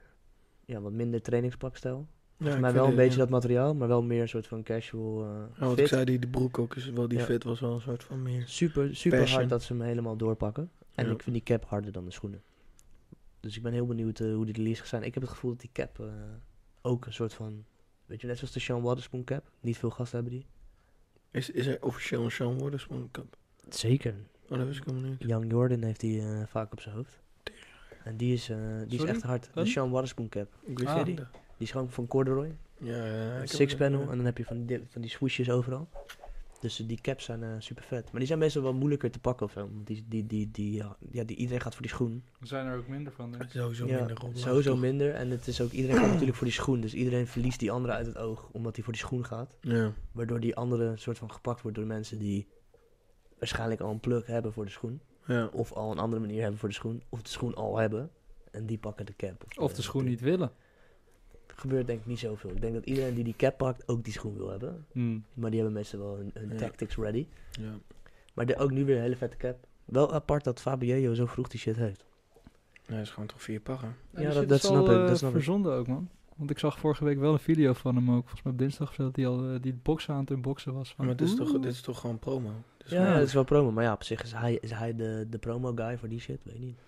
ja, wat minder trainingspakstijl.
Ja,
Volgens mij
ik
wel een
vind
beetje
het,
dat materiaal, maar wel meer een soort van casual eh
ja. Ja, wat
fit.
ik zei, die, die broek ook, is wel, die
Ja.
fit was wel een soort van meer...
Super, super
Passion.
hard dat ze hem helemaal doorpakken. En
Ja.
ik vind die cap harder dan de schoenen. Dus ik ben heel benieuwd eh, hoe die release gaat zijn. Ik heb het gevoel dat die cap eh, ook een soort van... Weet je, net zoals de Sean Waterspoon cap. Niet veel gasten hebben die.
Is, is er officieel een Sean Waterspoon Cup?
Zeker.
Oh, dat wist ik helemaal niet.
Young Jordan heeft die eh, vaak op zijn hoofd. En die is, eh, die is
Sorry?
echt hard. De
Een?
Sean Waterspoon cap.
Ik wist
Ah.
niet.
Die is gewoon van corduroy.
Ja, ja, ik heb eh,
six
het,
panel.
ja.
En dan heb je van die, van die swooshes overal. Dus eh, die caps zijn super vet. Maar die zijn meestal wel moeilijker te pakken of zo. Want die, die, die, die, ja, ja, die, iedereen gaat voor die schoen.
Er zijn er ook minder van. denk ik.
Sowieso
ja,
minder op.
Sowieso minder. En het is ook, iedereen gaat natuurlijk voor die schoen. Dus iedereen verliest die andere uit het oog. Omdat hij voor die schoen gaat.
Ja.
Waardoor die andere soort van gepakt wordt door de mensen die waarschijnlijk al een pluk hebben voor de schoen.
Ja.
of al een andere manier hebben voor de schoen, of de schoen al hebben en die pakken de cap. Eh,
Of de schoen niet willen.
gebeurt denk ik niet zoveel. Ik denk dat iedereen die die cap pakt ook die schoen wil hebben.
Hmm.
Maar die hebben meestal wel hun, hun
Ja.
tactics ready.
Ja.
Maar de, ook nu weer een hele vette cap. Wel apart dat Fabio zo vroeg die shit heeft.
Nee, dat is gewoon toch vier paggen.
Ja, dat- dat
dus
snap
eh,
ik, dat snap ik.
verzonden ook, man. Want ik zag vorige week wel een video van hem ook. Volgens mij op dinsdag of zo, dat hij al eh, die boksen aan het unboxen was. Van,
Maar dit is,
Oh, oeh.
toch, dit is toch gewoon promo? Dit is
Ja,
gewoon-
dat is wel promo. Maar ja, op zich is hij, is hij de, de promo guy voor die shit. Weet niet.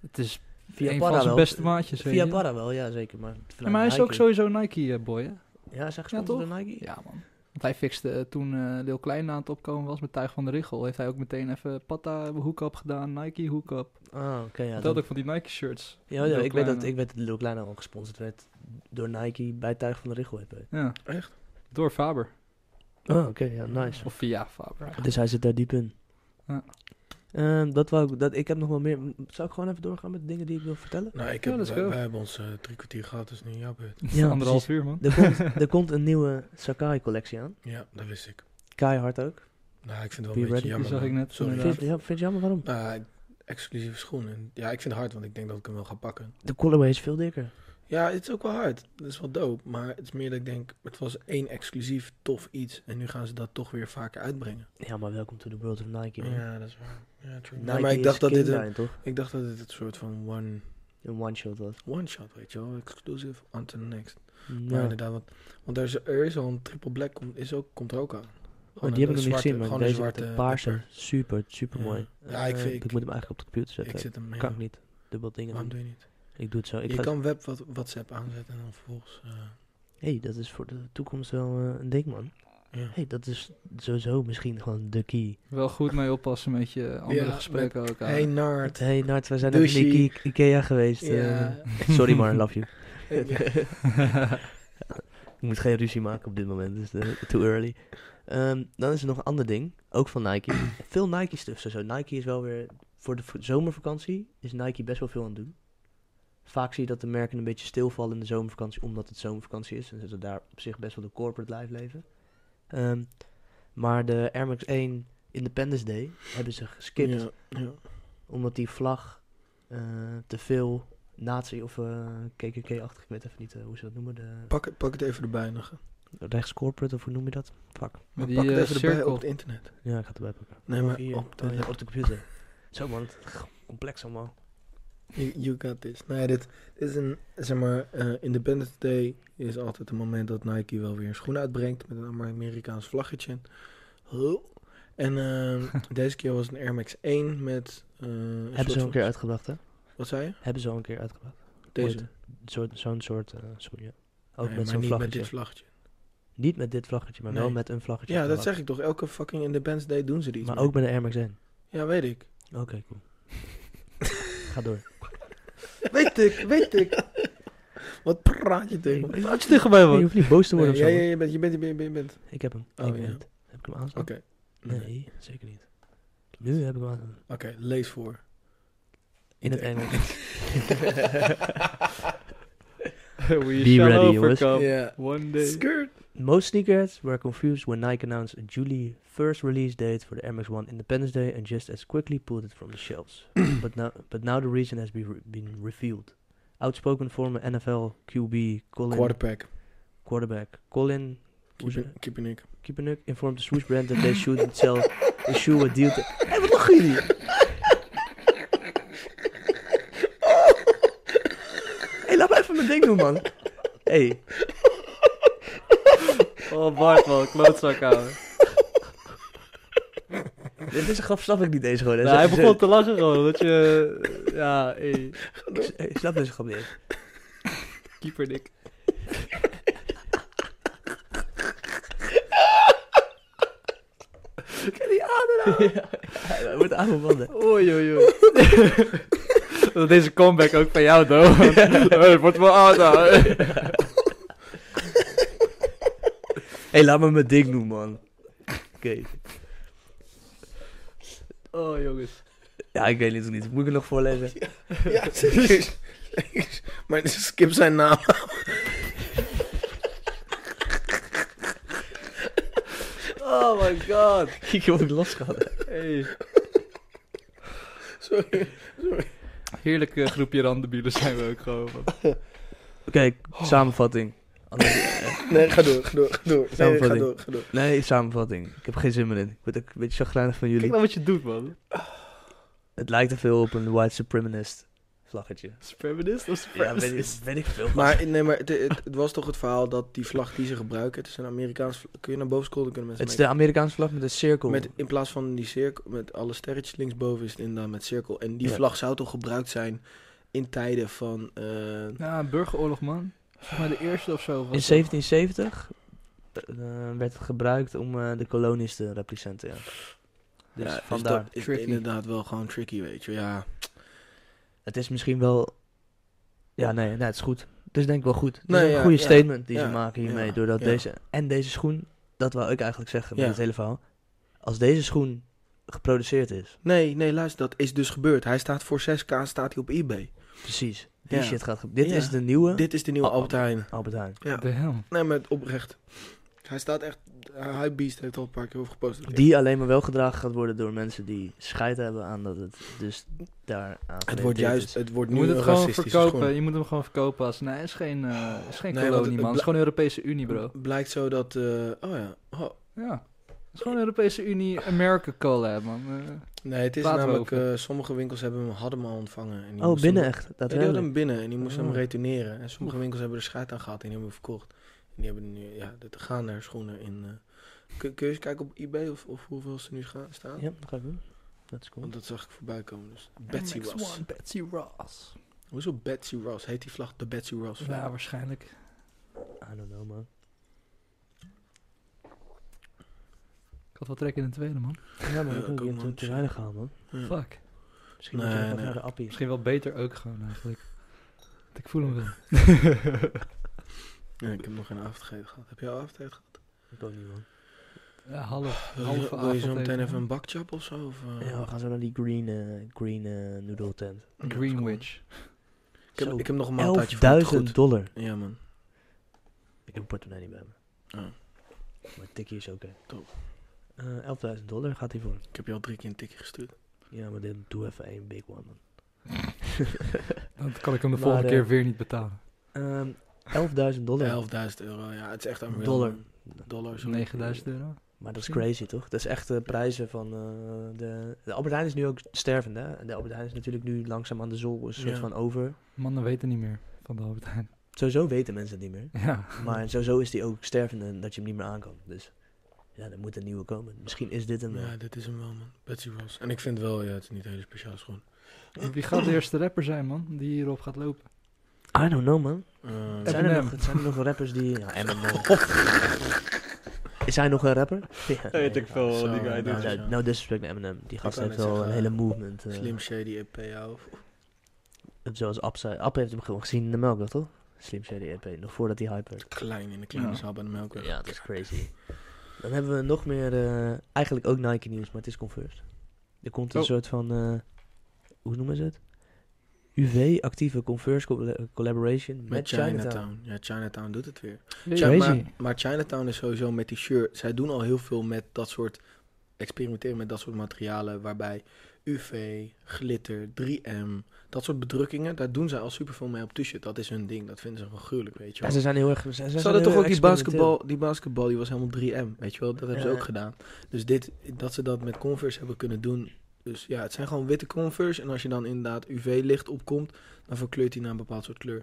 Het is
Via
een
Parra
van zijn
wel.
beste maatjes, weet
Via
je.
Parra wel, ja zeker. Maar,
Ja, maar hij is
Nike-
ook sowieso Nike-boy, hè?
Ja, zeg
Ja,
gesponsord
toch?
door Nike.
Ja, man. Want hij fixte eh, toen eh Lil Klein aan het opkomen was met Tuig van de Richel. Heeft hij ook meteen even Patta hook-up gedaan, Nike hook-up.
Ah, oké. ja,
dat
dan-
had ik van die Nike-shirts.
ja,
Lil
ja, ik, weet dat,
Kleine.
ik weet dat Lil Kleine al gesponsord werd door Nike bij Tuig van de Richel. heb ik.
Ja.
Echt?
Door Faber.
Ah, oké. ja, nice.
Of via Faber. eigenlijk.
Dus hij zit daar diep in.
Ja.
Ehm, dat wou ik, dat, ik heb nog wel meer. Zou ik gewoon even doorgaan met de dingen die ik wil vertellen?
Nou, ik
Ja,
heb,
let's
wij,
go.
wij hebben ons eh, drie kwartier gehad, dus nu jouw
[LAUGHS]
beurt.
Ja,
Anderhalf uur, man.
Er
[LAUGHS]
komt, er komt een nieuwe Sakai-collectie aan.
Ja, dat wist ik.
Keihard ook.
Nou, ik vind het wel
Be
een
ready,
beetje jammer.
die zag
man.
ik net,
Sorry.
Vind,
inderdaad.
ja, vind je jammer waarom?
Nou, exclusieve schoenen. Ja, ik vind het hard, want ik denk dat ik hem wel ga pakken.
De colorway is veel dikker.
Ja, het is ook wel hard. Dat is wel dope. Maar het is meer dat ik denk, het was één exclusief tof iets. En nu gaan ze dat toch weer vaker uitbrengen.
Ja, maar welkom to the world of Nike. man.
Ja, dat is waar. Ja,
Nike
true. Ja, Nou, maar ik dacht, dat dit een,
een... toch?
ik dacht dat dit een soort van one,
Een one-shot was.
one shot, weet je wel. Exclusive, on to the next. Maar
Ja.
inderdaad, want, want er is, er is al een triple black, komt, is ook, komt er ook aan.
Oh,
Gewoon
die
een-
hebben ik nog niet
een zwarte-
gezien, maar
gewoon een
deze
zwarte
met de paarse.
upper.
Super, super mooi. Ehm,
Ja. Ja, ik vind-
ik
ik-
moet hem eigenlijk op de computer zetten.
Ik zit hem, ja.
eh, Kan ik niet. Dubbel dingen
Waarom
doen.
doe je niet?
Ik doe het zo. Ik
je
ga-
kan web, wat, WhatsApp aanzetten en dan vervolgens... eh,
hey, dat is voor de toekomst wel eh, een ding, man.
ja.
hey, dat is sowieso misschien gewoon de key.
Wel goed mee oppassen met je andere
Ja,
gesprekken ook.
Hey,
ouwe.
Nard.
hey, Nart, we zijn net in
Douchey.
Ike- Ikea geweest. [LAUGHS]
Ja.
eh. sorry, maar love you.
Ja.
[LAUGHS] Ik moet geen ruzie maken op dit moment, dus eh, too early. Ehm, dan is er nog een ander ding, ook van Nike. veel Nike-stuff zo. Nike is wel weer, voor de v- zomervakantie is Nike best wel veel aan het doen. Vaak zie je dat de merken een beetje stilvallen in de zomervakantie, omdat het zomervakantie is. En dat ze daar op zich best wel de corporate life leven. Ehm, maar de Air Max 1 Independence Day hebben ze geskipt,
Ja, ja.
omdat die vlag eh, te veel nazi- of eh, KKK-achtig, ik weet even niet eh, hoe ze dat noemen, de
Pak, pak het even erbij nog.
rechtscorporate of hoe noem je dat? Fuck.
Met
Maar
die
pak het
eh,
even erbij op
cirkel.
het internet.
Ja, ik ga het erbij pakken.
Nee,
Of
maar
hier.
op
Oh, ja,
de,
op de computer. Zo man, het is complex allemaal.
you, you got this. Nee, dit, dit is een, zeg maar, eh, Independence Day is altijd een moment dat Nike wel weer een schoen uitbrengt met een Amerikaans vlaggetje. Huh.
[LAUGHS]
En ehm, deze keer was het een Air Max 1 met... eh, een
Hebben
soort
ze al een
van-
keer uitgebracht, hè?
Wat zei je?
Hebben ze al een keer uitgebracht.
Deze.
Ooit. Soort- Zo'n soort, eh sorry, ja. Ook
Nee,
met
maar
zo'n
niet
vlaggetje.
met dit vlaggetje.
Niet met dit vlaggetje, maar wel
Nee.
met een vlaggetje.
Ja, dat
uitgebracht.
zeg ik toch. Elke fucking Independence Day doen ze er iets
Maar
mee.
ook bij de Air Max 1.
Ja, weet ik.
Oké,
[LAUGHS]
cool. Ga door.
Weet ik, weet ik.
[LAUGHS]
Wat praat je tegen me?
Had je dichterbij,
je
man.
hoeft niet boos te
Nee,
worden
ja,
of zo.
ja, je bent, je bent, je bent, je bent.
Ik heb hem.
Oh,
ik
ja.
weet het. Heb ik hem aanstaan?
Oké.
Nee, zeker niet. Nu heb ik hem aanstaan.
Oké, lees voor.
In het [LAUGHS] Engels.
[LAUGHS] We
Be
shall
ready, jongens.
overcome.
Ja.
One day.
Skirt.
Most sneakers were confused when Nike announced a July first release date for the Air Max 1 Independence Day and just as quickly pulled it from the shelves. [CLEARS THROAT] but now, but now the reason has been, been revealed. Outspoken former NFL QB Colin
Quarterback.
quarterback Colin hoe zeg-
Keep- Keep in ik.
Kaepernick informed the Swoosh brand that they shouldn't sell the shoe a deal. to- Hé, wat lachen jullie? Hé, laat me even mijn ding doen, man. Hé,
Oh, Bart, man. Klootzak, ouwe.
dit is een grap, snap ik niet eens gewoon. hè.
Nou, hij
Zo- zo-
begon te lachen gewoon, dat je... Ja, hey,
Ik- Ik snap deze grap niet eens.
keeper Nick.
Hij wordt aanbemanden.
Oei, oei,
[LAUGHS]
oei. Dat Deze comeback ook van jou, Do. Hey, het wordt wel oud, ouwe.
Hé, hey, laat me mijn ding doen, man. Oké.
Oh, jongens.
Ja, ik weet het ook niet. Moet ik het nog voorlezen?
Ja, serieus. [LAUGHS] maar skip zijn naam.
Oh my god.
[LAUGHS] ik heb ook last gehad.
Hey.
Sorry.
Heerlijk eh, groepje randebielen zijn we ook gewoon. man.
Oké, samenvatting. Anders- eh,
Nee, ga door, ga door, ga door. Nee, ga
Samenvatting.
door, ga door.
nee, samenvatting. Ik heb er geen zin meer in. Ik word ook een beetje chagrijnig van jullie.
Kijk nou wat je doet, man.
Het lijkt te veel op een white supremacist vlaggetje.
Supremacist of
Ja, weet
supremacist?
ik, weet ik veel.
Maar, nee, maar het, het, het was toch het verhaal dat die vlag die ze gebruiken, het is een Amerikaans vlag. Kun je naar boven scrollen, dan kunnen
het is
mensen
de Amerikaanse vlag met een cirkel.
met, in plaats van die cirkel, met alle sterretjes linksboven is het inderdaad met cirkel. En die
Ja.
vlag zou toch gebruikt zijn in tijden van... eh,
Ja, een burgeroorlog, man. Volgens mij de eerste of zo. was
In
dat.
1770 eh, werd het gebruikt om eh, de kolonies te representen. Ja. Dus
ja, dus
vandaar.
dat is
Tricky.
inderdaad wel gewoon tricky, weet je. Ja,
Het is misschien wel. Ja, nee, nee, het is goed. Het is denk ik wel goed. Het
Nee,
is een
ja,
goede
ja,
statement die
ja,
ze maken hiermee.
ja,
doordat
ja.
deze. En deze schoen, dat wou ik eigenlijk zeggen met
Ja.
het hele verhaal. Als deze schoen geproduceerd is,
Nee, nee, luister, dat is dus gebeurd. Hij staat voor 6k, staat hij op eBay.
precies. Die
Ja.
shit gaat. ge- Dit
Ja.
is de nieuwe
Dit is de nieuwe
Oh,
Albert Heijn.
Albert Heijn.
Ja.
De hel.
Nee, maar het oprecht. Hij staat echt... Hij Hypebeast heeft al een paar keer over gepost.
Die alleen maar wel gedragen gaat worden door mensen die scheid hebben aan dat het dus daar aan
Het wordt
gerelateerd
juist...
is.
Het wordt
Je
nu
moet
een
het gewoon
racistische
verkopen.
schoen.
Je moet hem gewoon verkopen als... Nee, het is geen, eh, het is geen
Nee, want
kolonie,
het-
man. Het
het
is gewoon Europese Unie, bro.
Blijkt zo dat... eh, oh ja. Oh,
Ja. Het is gewoon Europese Unie, America collab, man. Eh,
nee, het is
Praten we
namelijk...
over.
eh, sommige winkels hebben hem, hadden hem al ontvangen. En die
Oh,
moesten
binnen
hem-
echt.
Ja, die hadden
Daadwerkelijk.
hem binnen en die moesten
Oh.
hem retourneren. En sommige winkels hebben er schijt aan gehad en die hebben hem verkocht. En die hebben nu... Ja, de gaan er schoenen in... eh. kun, kun je eens kijken op eBay of, of hoeveel ze nu scha- staan?
Ja, dat ga ik doen. Dat is cool.
Want dat zag ik voorbij komen. Dus Betsy
MX1,
Ross.
Betsy Ross.
Hoezo Betsy Ross? Heet die vlag de Betsy Ross? vlag?
Nou,
Ja, waarschijnlijk.
I don't know, man.
Ik had wel trek in een tweede, man.
Ja, maar
Ja,
ik
ik
heb
ook,
hem
man.
te te weinig gehaald, man.
Ja.
Fuck.
Misschien
Nee,
moet je nog
nee.
even naar de appie.
Misschien wel beter ook gewoon, eigenlijk. Want ik voel hem wel.
Nee, ik heb nog geen avondeten gehad. Heb jij al avondeten gehad?
Ik ook niet, man.
Ja, half.
Wil je,
halve
wil je zo
avond
meteen
even,
even
hè?
een bakchap of zo? Of, eh?
Ja, we gaan zo naar die green, eh green eh, noodle tent.
Greenwich.
Ik heb,
Zo,
ik heb nog een maaltijdje voor het
11.000
goed.
dollar.
Ja man.
Ik heb een portemonnee niet bij me.
Ja.
Maar tikkie is oké.
Top.
Eh, 11.000 dollar gaat hij voor.
Ik heb je al drie keer een tikje gestuurd.
Ja, maar dit, doe even één big one, man.
Dan kan ik hem de
Maar,
volgende
eh,
keer weer niet betalen.
[LAUGHS]
Ehm, 11.000 dollar.
11.000 euro. Ja, het is echt een
Dollar.
Dollar. sorry.
9000 euro.
Maar
Hm.
dat is
Misschien.
crazy, toch? Dat is echt de prijzen van... eh, de, de Albert Heijn is nu ook stervende, hè? En de Albert Heijn is natuurlijk nu langzaam aan de zol, een soort
Ja.
van over.
Mannen weten niet meer van de Albert
[LAUGHS]
Heijn.
Sowieso weten mensen het niet meer.
Ja.
Maar sowieso is die ook stervende en dat je hem niet meer aan kan. Dus ja, er moet een nieuwe komen. Misschien is dit hem. wel.
Ja, dit is hem wel man. Betsy Ross. En ik vind wel, ja, het is niet een hele speciale schoen.
Wie gaat de eerste rapper zijn, man, die hierop gaat lopen?
I don't know, man.
Eh,
Zijn er,
Eminem.
nog, zijn er nog rappers die...
[LAUGHS]
Ja, Eminem. eh. Is hij nog een rapper? [LAUGHS] Ja,
Weet
nee,
ik veel
nou,
wat die
zo,
guy
nou,
doet.
nou,
nou, no disrespect naar Eminem. Die gast
wou
heeft
net
wel een
zeggen,
hele movement. eh,
Slim Shady EP ja, of
Zoals App zei. App heeft hem gewoon gezien in de melkweg, toch? Slim Shady EP. Nog voordat hij hype werd.
klein in de kleine
Ja.
zaal bij de melkweg.
Ja, dat is crazy. Dan hebben we nog meer... eh, eigenlijk ook Nike nieuws, maar het is Converse. Er komt een
Oh.
soort van... eh, hoe noemen ze het? UV-actieve Converse colla- eh, collaboration met,
Met
Chinatown.
Chinatown. Ja, Chinatown doet het weer.
Ja,
Chi-
Crazy.
maar, maar Chinatown is sowieso met die shirt. Zij doen al heel veel met dat soort. Experimenteren met dat soort materialen. Waarbij UV, glitter, 3M. Dat soort bedrukkingen. Daar doen zij al superveel mee op t-shirt. Dat is hun ding. Dat vinden ze gewoon gruwelijk, weet je
Ja,
wel.
ze zijn heel erg... Ze, ze
ze
zijn heel
hadden toch
erg
ook die
experimenteel.
basketbal. Die basketbal die was helemaal 3M. Weet je wel, dat hebben ze
Ja.
ook gedaan. Dus dit, dat ze dat met Converse hebben kunnen doen. Dus ja, het zijn gewoon witte Converse. En als je dan inderdaad UV-licht opkomt, dan verkleurt hij naar een bepaald soort kleur.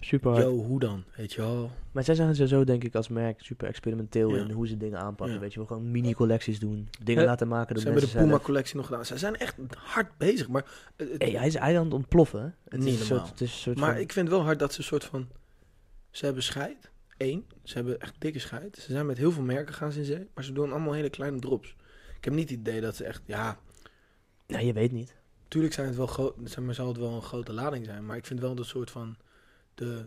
Super hard.
Yo, hoe dan? Weet je wel.
Maar zij zijn sowieso, denk ik, als merk super experimenteel
Ja.
in hoe ze dingen aanpakken.
Ja.
Weet je wel, gewoon mini-collecties doen. Dingen
Ja.
laten maken door
Ze hebben
mensen
de Puma
zelf.
collectie nog gedaan. Ze zijn echt hard bezig. Maar, eh, het-
Hey, hij, is, hij is aan het ontploffen. hè? Het
Niet
is een soort,
normaal.
het is een soort
maar
van-
ik vind wel hard dat ze een soort van. Ze hebben scheid. Eén. Ze hebben echt dikke scheid. Ze zijn met heel veel merken gaan ze in zee. Maar ze doen allemaal hele kleine drops. Ik heb niet het idee dat ze echt. Ja,
Nou, je weet niet.
tuurlijk zijn het wel groot. Zeg maar, zal het wel een grote lading zijn. Maar ik vind wel dat soort van. De,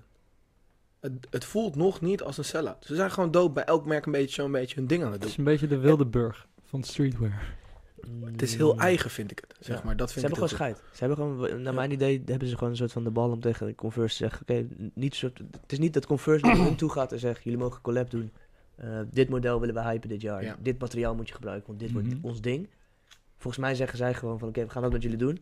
het, het voelt nog niet als een sell-out. Ze zijn gewoon dood bij elk merk een beetje zo'n beetje hun ding aan het
het
doen.
is een beetje de Wildeburg van streetwear.
Het is heel eigen, vind ik het. Zeg
Mm. Ja.
maar, dat
Ze
vind ik
hebben gewoon
het.
scheid. Ze hebben gewoon, naar mijn idee, hebben ze gewoon een soort van de bal om tegen de Converse te zeggen: Oké, niet soort, het is niet dat Converse naar hun toe gaat en zegt: Jullie mogen collab doen. Eh, dit model willen we hypen dit jaar.
Ja.
Dit materiaal moet je gebruiken, want dit wordt
Mhm.
ons ding. Volgens mij zeggen zij gewoon: van Oké, we gaan dat met jullie doen.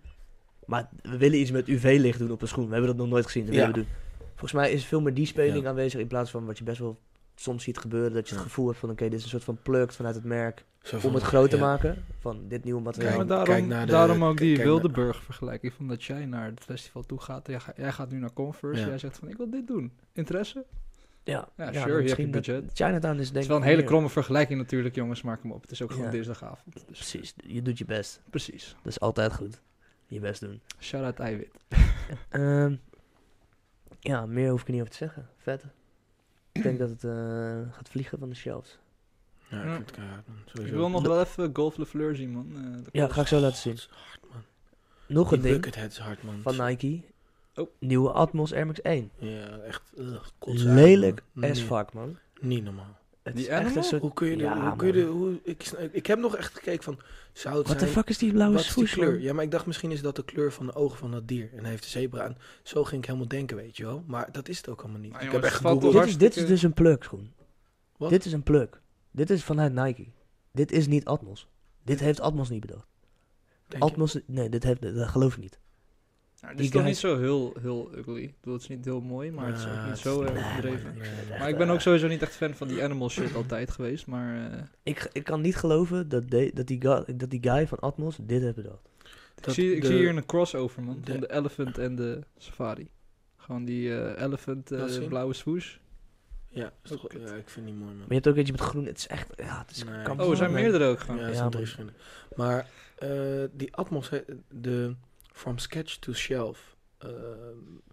Maar we willen iets met UV-licht doen op een schoen. We hebben dat nog nooit gezien. Dat
Ja.
willen we doen. Volgens mij is veel meer die speling
Ja.
aanwezig in plaats van wat je best wel soms ziet gebeuren. Dat je het
Ja.
gevoel hebt van oké, dit is een soort van plukt vanuit het merk
Zo
om
van,
het groot te
ja.
maken. Van dit nieuwe materiaal.
Ja, maar
Kijk-
daarom,
kijk naar de-
daarom ook die
kijk naar-
Wildeburg-vergelijking. Van dat jij naar het festival toe gaat. Jij, ga- jij gaat nu naar Converse.
Ja.
Jij zegt van, ik wil dit doen. Interesse?
Ja, dan
Ja, sure, je hebt
misschien
je
dat-
budget.
Chinatown is denk
Het is
ik
wel een hele
meer-
kromme vergelijking natuurlijk, jongens. Maar kom op, het is ook gewoon
Ja.
dinsdagavond. Dus,
Precies, je doet je best.
precies.
Dat is altijd goed. Je best doen.
Shout-out Eiwit.
Ehm, ja, meer hoef ik er niet over te zeggen. Vet. Ik denk dat het eh, gaat vliegen van de shelves.
Ja, ik
Mm.
Ja.
vind het keihard, man.
Ik
Sowieso.
wil nog wel even Golf Le Fleur zien, man. Eh, dat
Ja,
kost-
ga ik zo laten zien.
Hard, man.
Nog een
Die
ding
buckethead is hard, man.
van Nike.
Oh.
Nieuwe Atmos Air Max 1.
Ja, echt. ugh, kotseigen,
Lelijk
man.
as
Nee,
fuck, man.
Niet normaal.
Het
Die
is echt
animal?
een soort...
Hoe kun je
Ja,
dit... Hoe
man.
kun je dit- hoe, ik, sn- ik heb nog echt gekeken van... Zou het
What the
zijn...
fuck Oh, is die blauwe
Wat is die
swoosh,
kleur?
man?
Ja, maar ik dacht misschien is dat de kleur van de ogen van dat dier. En hij heeft de zebra aan. Zo ging ik helemaal denken, weet je wel. Maar dat is het ook allemaal niet.
Maar
ik heb
jongens,
echt
het valt
gegoogeld.
Dit is,
Hartstikke-
dit is dus een pluk, schoen.
Wat?
Dit is een pluk. Dit is vanuit Nike. Dit is niet Atmos. Dit heeft Atmos niet bedacht.
Denk je?
Atmos, nee, dit heeft, dat geloof ik niet.
Nou, het
Die
is toch
guy-
niet zo heel, heel ugly. Ik bedoel, het is niet heel mooi, maar het is ook
Ah,
niet zo
nee,
eh, overdreven.
man, nee, nee.
Maar ik ben ook sowieso niet echt fan van die animal shit altijd geweest, maar... eh,
Ik, ik kan niet geloven dat, de- dat, die guy, dat die guy van Atmos dit heeft bedacht.
ik
Dat
zie, ik
de-
zie hier een crossover, man.
de-
van de elephant en de safari. Gewoon die eh, elephant eh,
Laat zien.
blauwe swoosh.
Ja, is
Oh,
toch-
kut.
ja, ik vind die mooi, man.
Maar je hebt ook eentje met groen. Het is echt, ja, het is...
Nee.
kan
Oh, er zijn
niet.
meerdere ook
Ja,
gewoon.
dat
Ja,
zijn
man.
drie verschillende. Maar eh, die Atmos, he- de From Sketch to Shelf. eh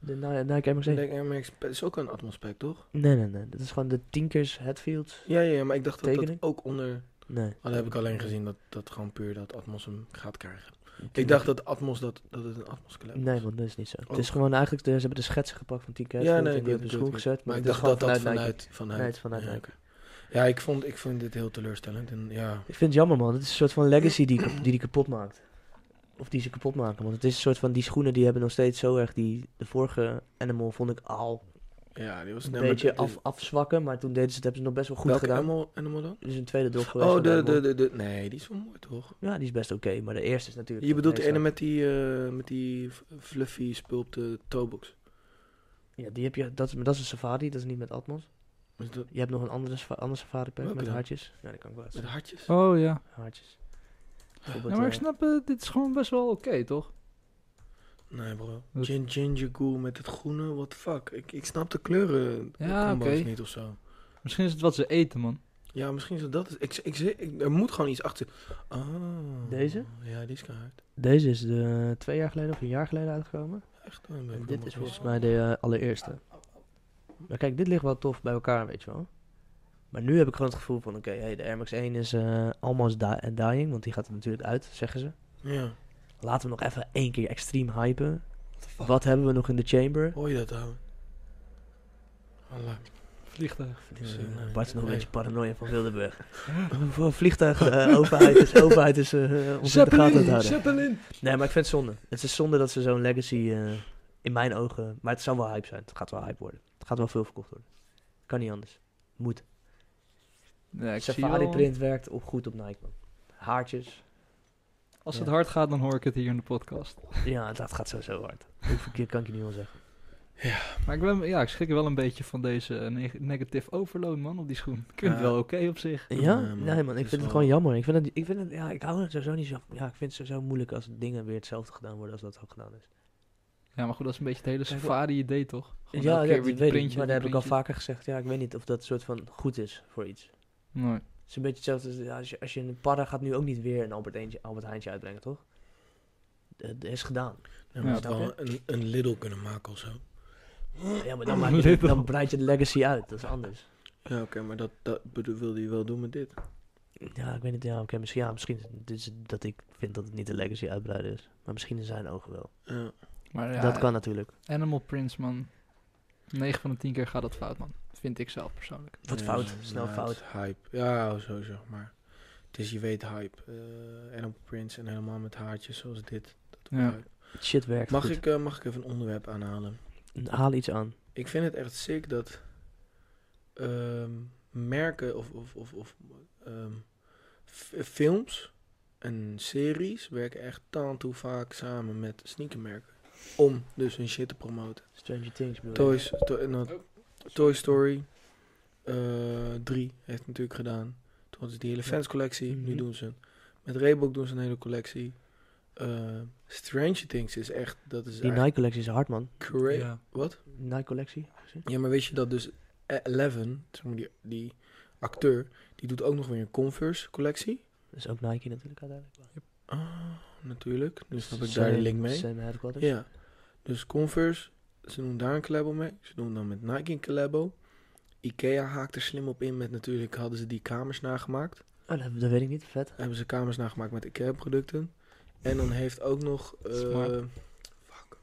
De nou Ni- Nike Air Max 1.
denk Air Max Pack is ook een Atmos pack, toch?
Nee, nee, nee. Dat is gewoon de Tinkers Hatfield.
Ja, ja, ja, maar ik dacht dat dat
Tekening?
ook onder...
Nee.
Maar dan heb ik alleen gezien dat, dat gewoon puur dat Atmos hem gaat krijgen. Ik dacht dat Atmos, dat, dat het een Atmos collab was.
Nee, want dat is niet zo. Het is
Oh.
gewoon eigenlijk, de- ze hebben de schetsen gepakt van Tinker
Ja,
Hatfield
nee,
en
ik
die
weet
hebben de
het,
schoen
ik
gezet.
Maar ik
dit is
dacht dat
gewoon
dat
vanuit
vanuit... vanuit,
Nee, het is vanuit
ja,
Nike.
oké. Ja, ik, vond, ik vind dit heel teleurstellend. En ja,
Ik vind het jammer, man. Het is een soort van legacy
[CLEARS THROAT]
die die, die kapot maakt. Of die ze kapot maken. Want het is een soort van, die schoenen die hebben nog steeds zo erg die... De vorige Animal vond ik al
ja die was...
een
nee, maar
beetje
dit-
af, afzwakken. Maar toen deden ze het, hebben ze nog best wel goed
welke
gedaan.
Animal, animal dan?
Dit is een tweede deel geweest.
Oh,
van
de,
Animal.
de, de, de... Nee, die is wel mooi, toch?
Ja, die is best oké. maar de eerste is natuurlijk...
Je bedoelt
de
de ene met die, eh, met die f- fluffy spul op de toebox.
Ja, die heb je... Dat, is- maar dat is een safari, dat is niet met Atmos.
Is dat
Je hebt nog een andere, safa- ander safari pack
Welke
met
dan?
hartjes. Ja, die kan ik wel
met
even-
hartjes?
Oh ja.
Hartjes.
Ja, maar ik snap, eh, dit is gewoon best wel oké, toch?
Nee, bro.
Dat-
Gin ginger ghoul met het groene, what the fuck? Ik, ik snap de kleuren
Ja,
combo's
oké.
niet of zo.
Misschien is het wat ze eten, man.
Ja, misschien is het dat. Ik, ik, ik, er moet gewoon iets achter. Oh.
Deze?
Ja, die is keihard.
Deze is de, twee jaar geleden of een jaar geleden uitgekomen.
Echt wel een
En dit
beetje combo's.
is volgens mij de eh, allereerste. Maar kijk, dit ligt wel tof bij elkaar, weet je wel. Maar nu heb ik gewoon het gevoel van, oké, hey, de Air Max 1 is eh almost di- dying, want die gaat er natuurlijk uit, zeggen ze.
Ja,
Laten we nog even één keer extreem hypen. Wat hebben we nog in de chamber?
hoor je dat dan? Allah.
Vliegtuig.
Eh,
nee,
Bart is nog een
nee.
beetje paranoia van Wildeburg. Voor vliegtuigen, eh, overheid is, overheid is eh ons in de gaten aan het houden.
Zeppelin!
Nee, maar ik vind het zonde. Het is zonde dat ze zo'n legacy eh, in mijn ogen. Maar het zou wel hype zijn. Het gaat wel hype worden. Het gaat wel veel verkocht worden. Kan niet anders. Moet.
Ja, ik zie
Safari
wel.
print werkt op, goed op Nike, man. Haartjes.
Als het
Ja.
hard gaat, dan hoor ik het hier in de podcast. [LAUGHS]
Ja, dat gaat sowieso hard. Hoeveel keer kan ik je niet al zeggen?
Maar ik, ben, ja, ik schrik er wel een beetje van deze eh, neg- negative overload, man, op die schoen. Ik vind het
Ja.
wel oké op zich.
Ja?
Nee, man.
Nee, man. Ik
Het is
vind het
wel-
gewoon jammer. Ik vind het, ik vind het, ja, ik hou het sowieso niet zo, ja, ik vind het sowieso moeilijk als dingen weer hetzelfde gedaan worden als dat ook gedaan is.
Ja, maar goed, dat is een beetje het hele
Kijk,
safari-idee, toch? Gewoon
ja,
elke
ja
keer
dat
weer die
weet ik.
printje,
Maar
die
dat heb ik al
printje.
vaker gezegd. Ja, ik weet niet of dat soort van goed is voor iets.
Nee.
Het is een beetje hetzelfde als, ja, als, je, als je een parra gaat nu ook niet weer een Albert, Eentje, Albert Heintje uitbrengen, toch? Het is gedaan.
Nee, maar
Ja.
het wel een, een Lidl kunnen maken of zo.
Ja, maar dan, maak je,
Lidl.
dan breid je de legacy uit. Dat is anders.
Ja, oké, maar dat, dat bedoel- wilde je wel doen met dit.
Ja, ik weet niet. Ja, oké, misschien, ja, misschien is het- dit is het dat ik vind dat het niet de legacy uitbreiden is. Maar misschien in zijn ogen wel.
Ja.
Maar ja,
dat kan natuurlijk.
Animal Prints, man. 9 van de 10 keer gaat dat fout, man. Vind ik zelf persoonlijk.
Wat
Ja,
fout. Snel
maar het
fout.
is Hype. Ja, sowieso. Maar het is, je weet, hype. Eh Animal Prince en helemaal met haartjes zoals dit. Dat wordt
Ja.
hype.
Shit werkt
Mag,
goed.
ik, eh, mag ik even een onderwerp aanhalen?
Haal iets aan.
Ik vind het echt sick dat ehm, merken of, of, of, of ehm, f- films en series werken echt taan toe vaak samen met sneakermerken. Om dus hun shit te promoten.
Stranger Things bedoel je?
Toys, to- en
Oh.
dat- Toy Story eh 3 heeft het natuurlijk gedaan. Toen hadden ze die hele fanscollectie. Nu
Mhm.
doen ze met Reebok doen ze een hele collectie. Eh Stranger Things is echt, dat is
Die
echt
Nike-collectie is hard, man.
cra-
Ja.
Wat?
Nike-collectie.
Ja, maar weet je dat dus Eleven, zeg maar die, die acteur, die doet ook nog weer een Converse collectie.
Dat is ook Nike natuurlijk uiteindelijk.
Ah, natuurlijk. Dus snap ik daar de
Same-
link mee.
Same headquarters.
Ja. Dus Converse, ze doen daar een collabo mee. Ze doen dan met Nike een collabo. Ikea haakt er slim op in met natuurlijk hadden ze die kamers nagemaakt.
Oh, dat, dat weet ik niet. Vet.
hebben ze kamers nagemaakt met IKEA-producten. En dan heeft ook nog... eh,
Smart.
fuck.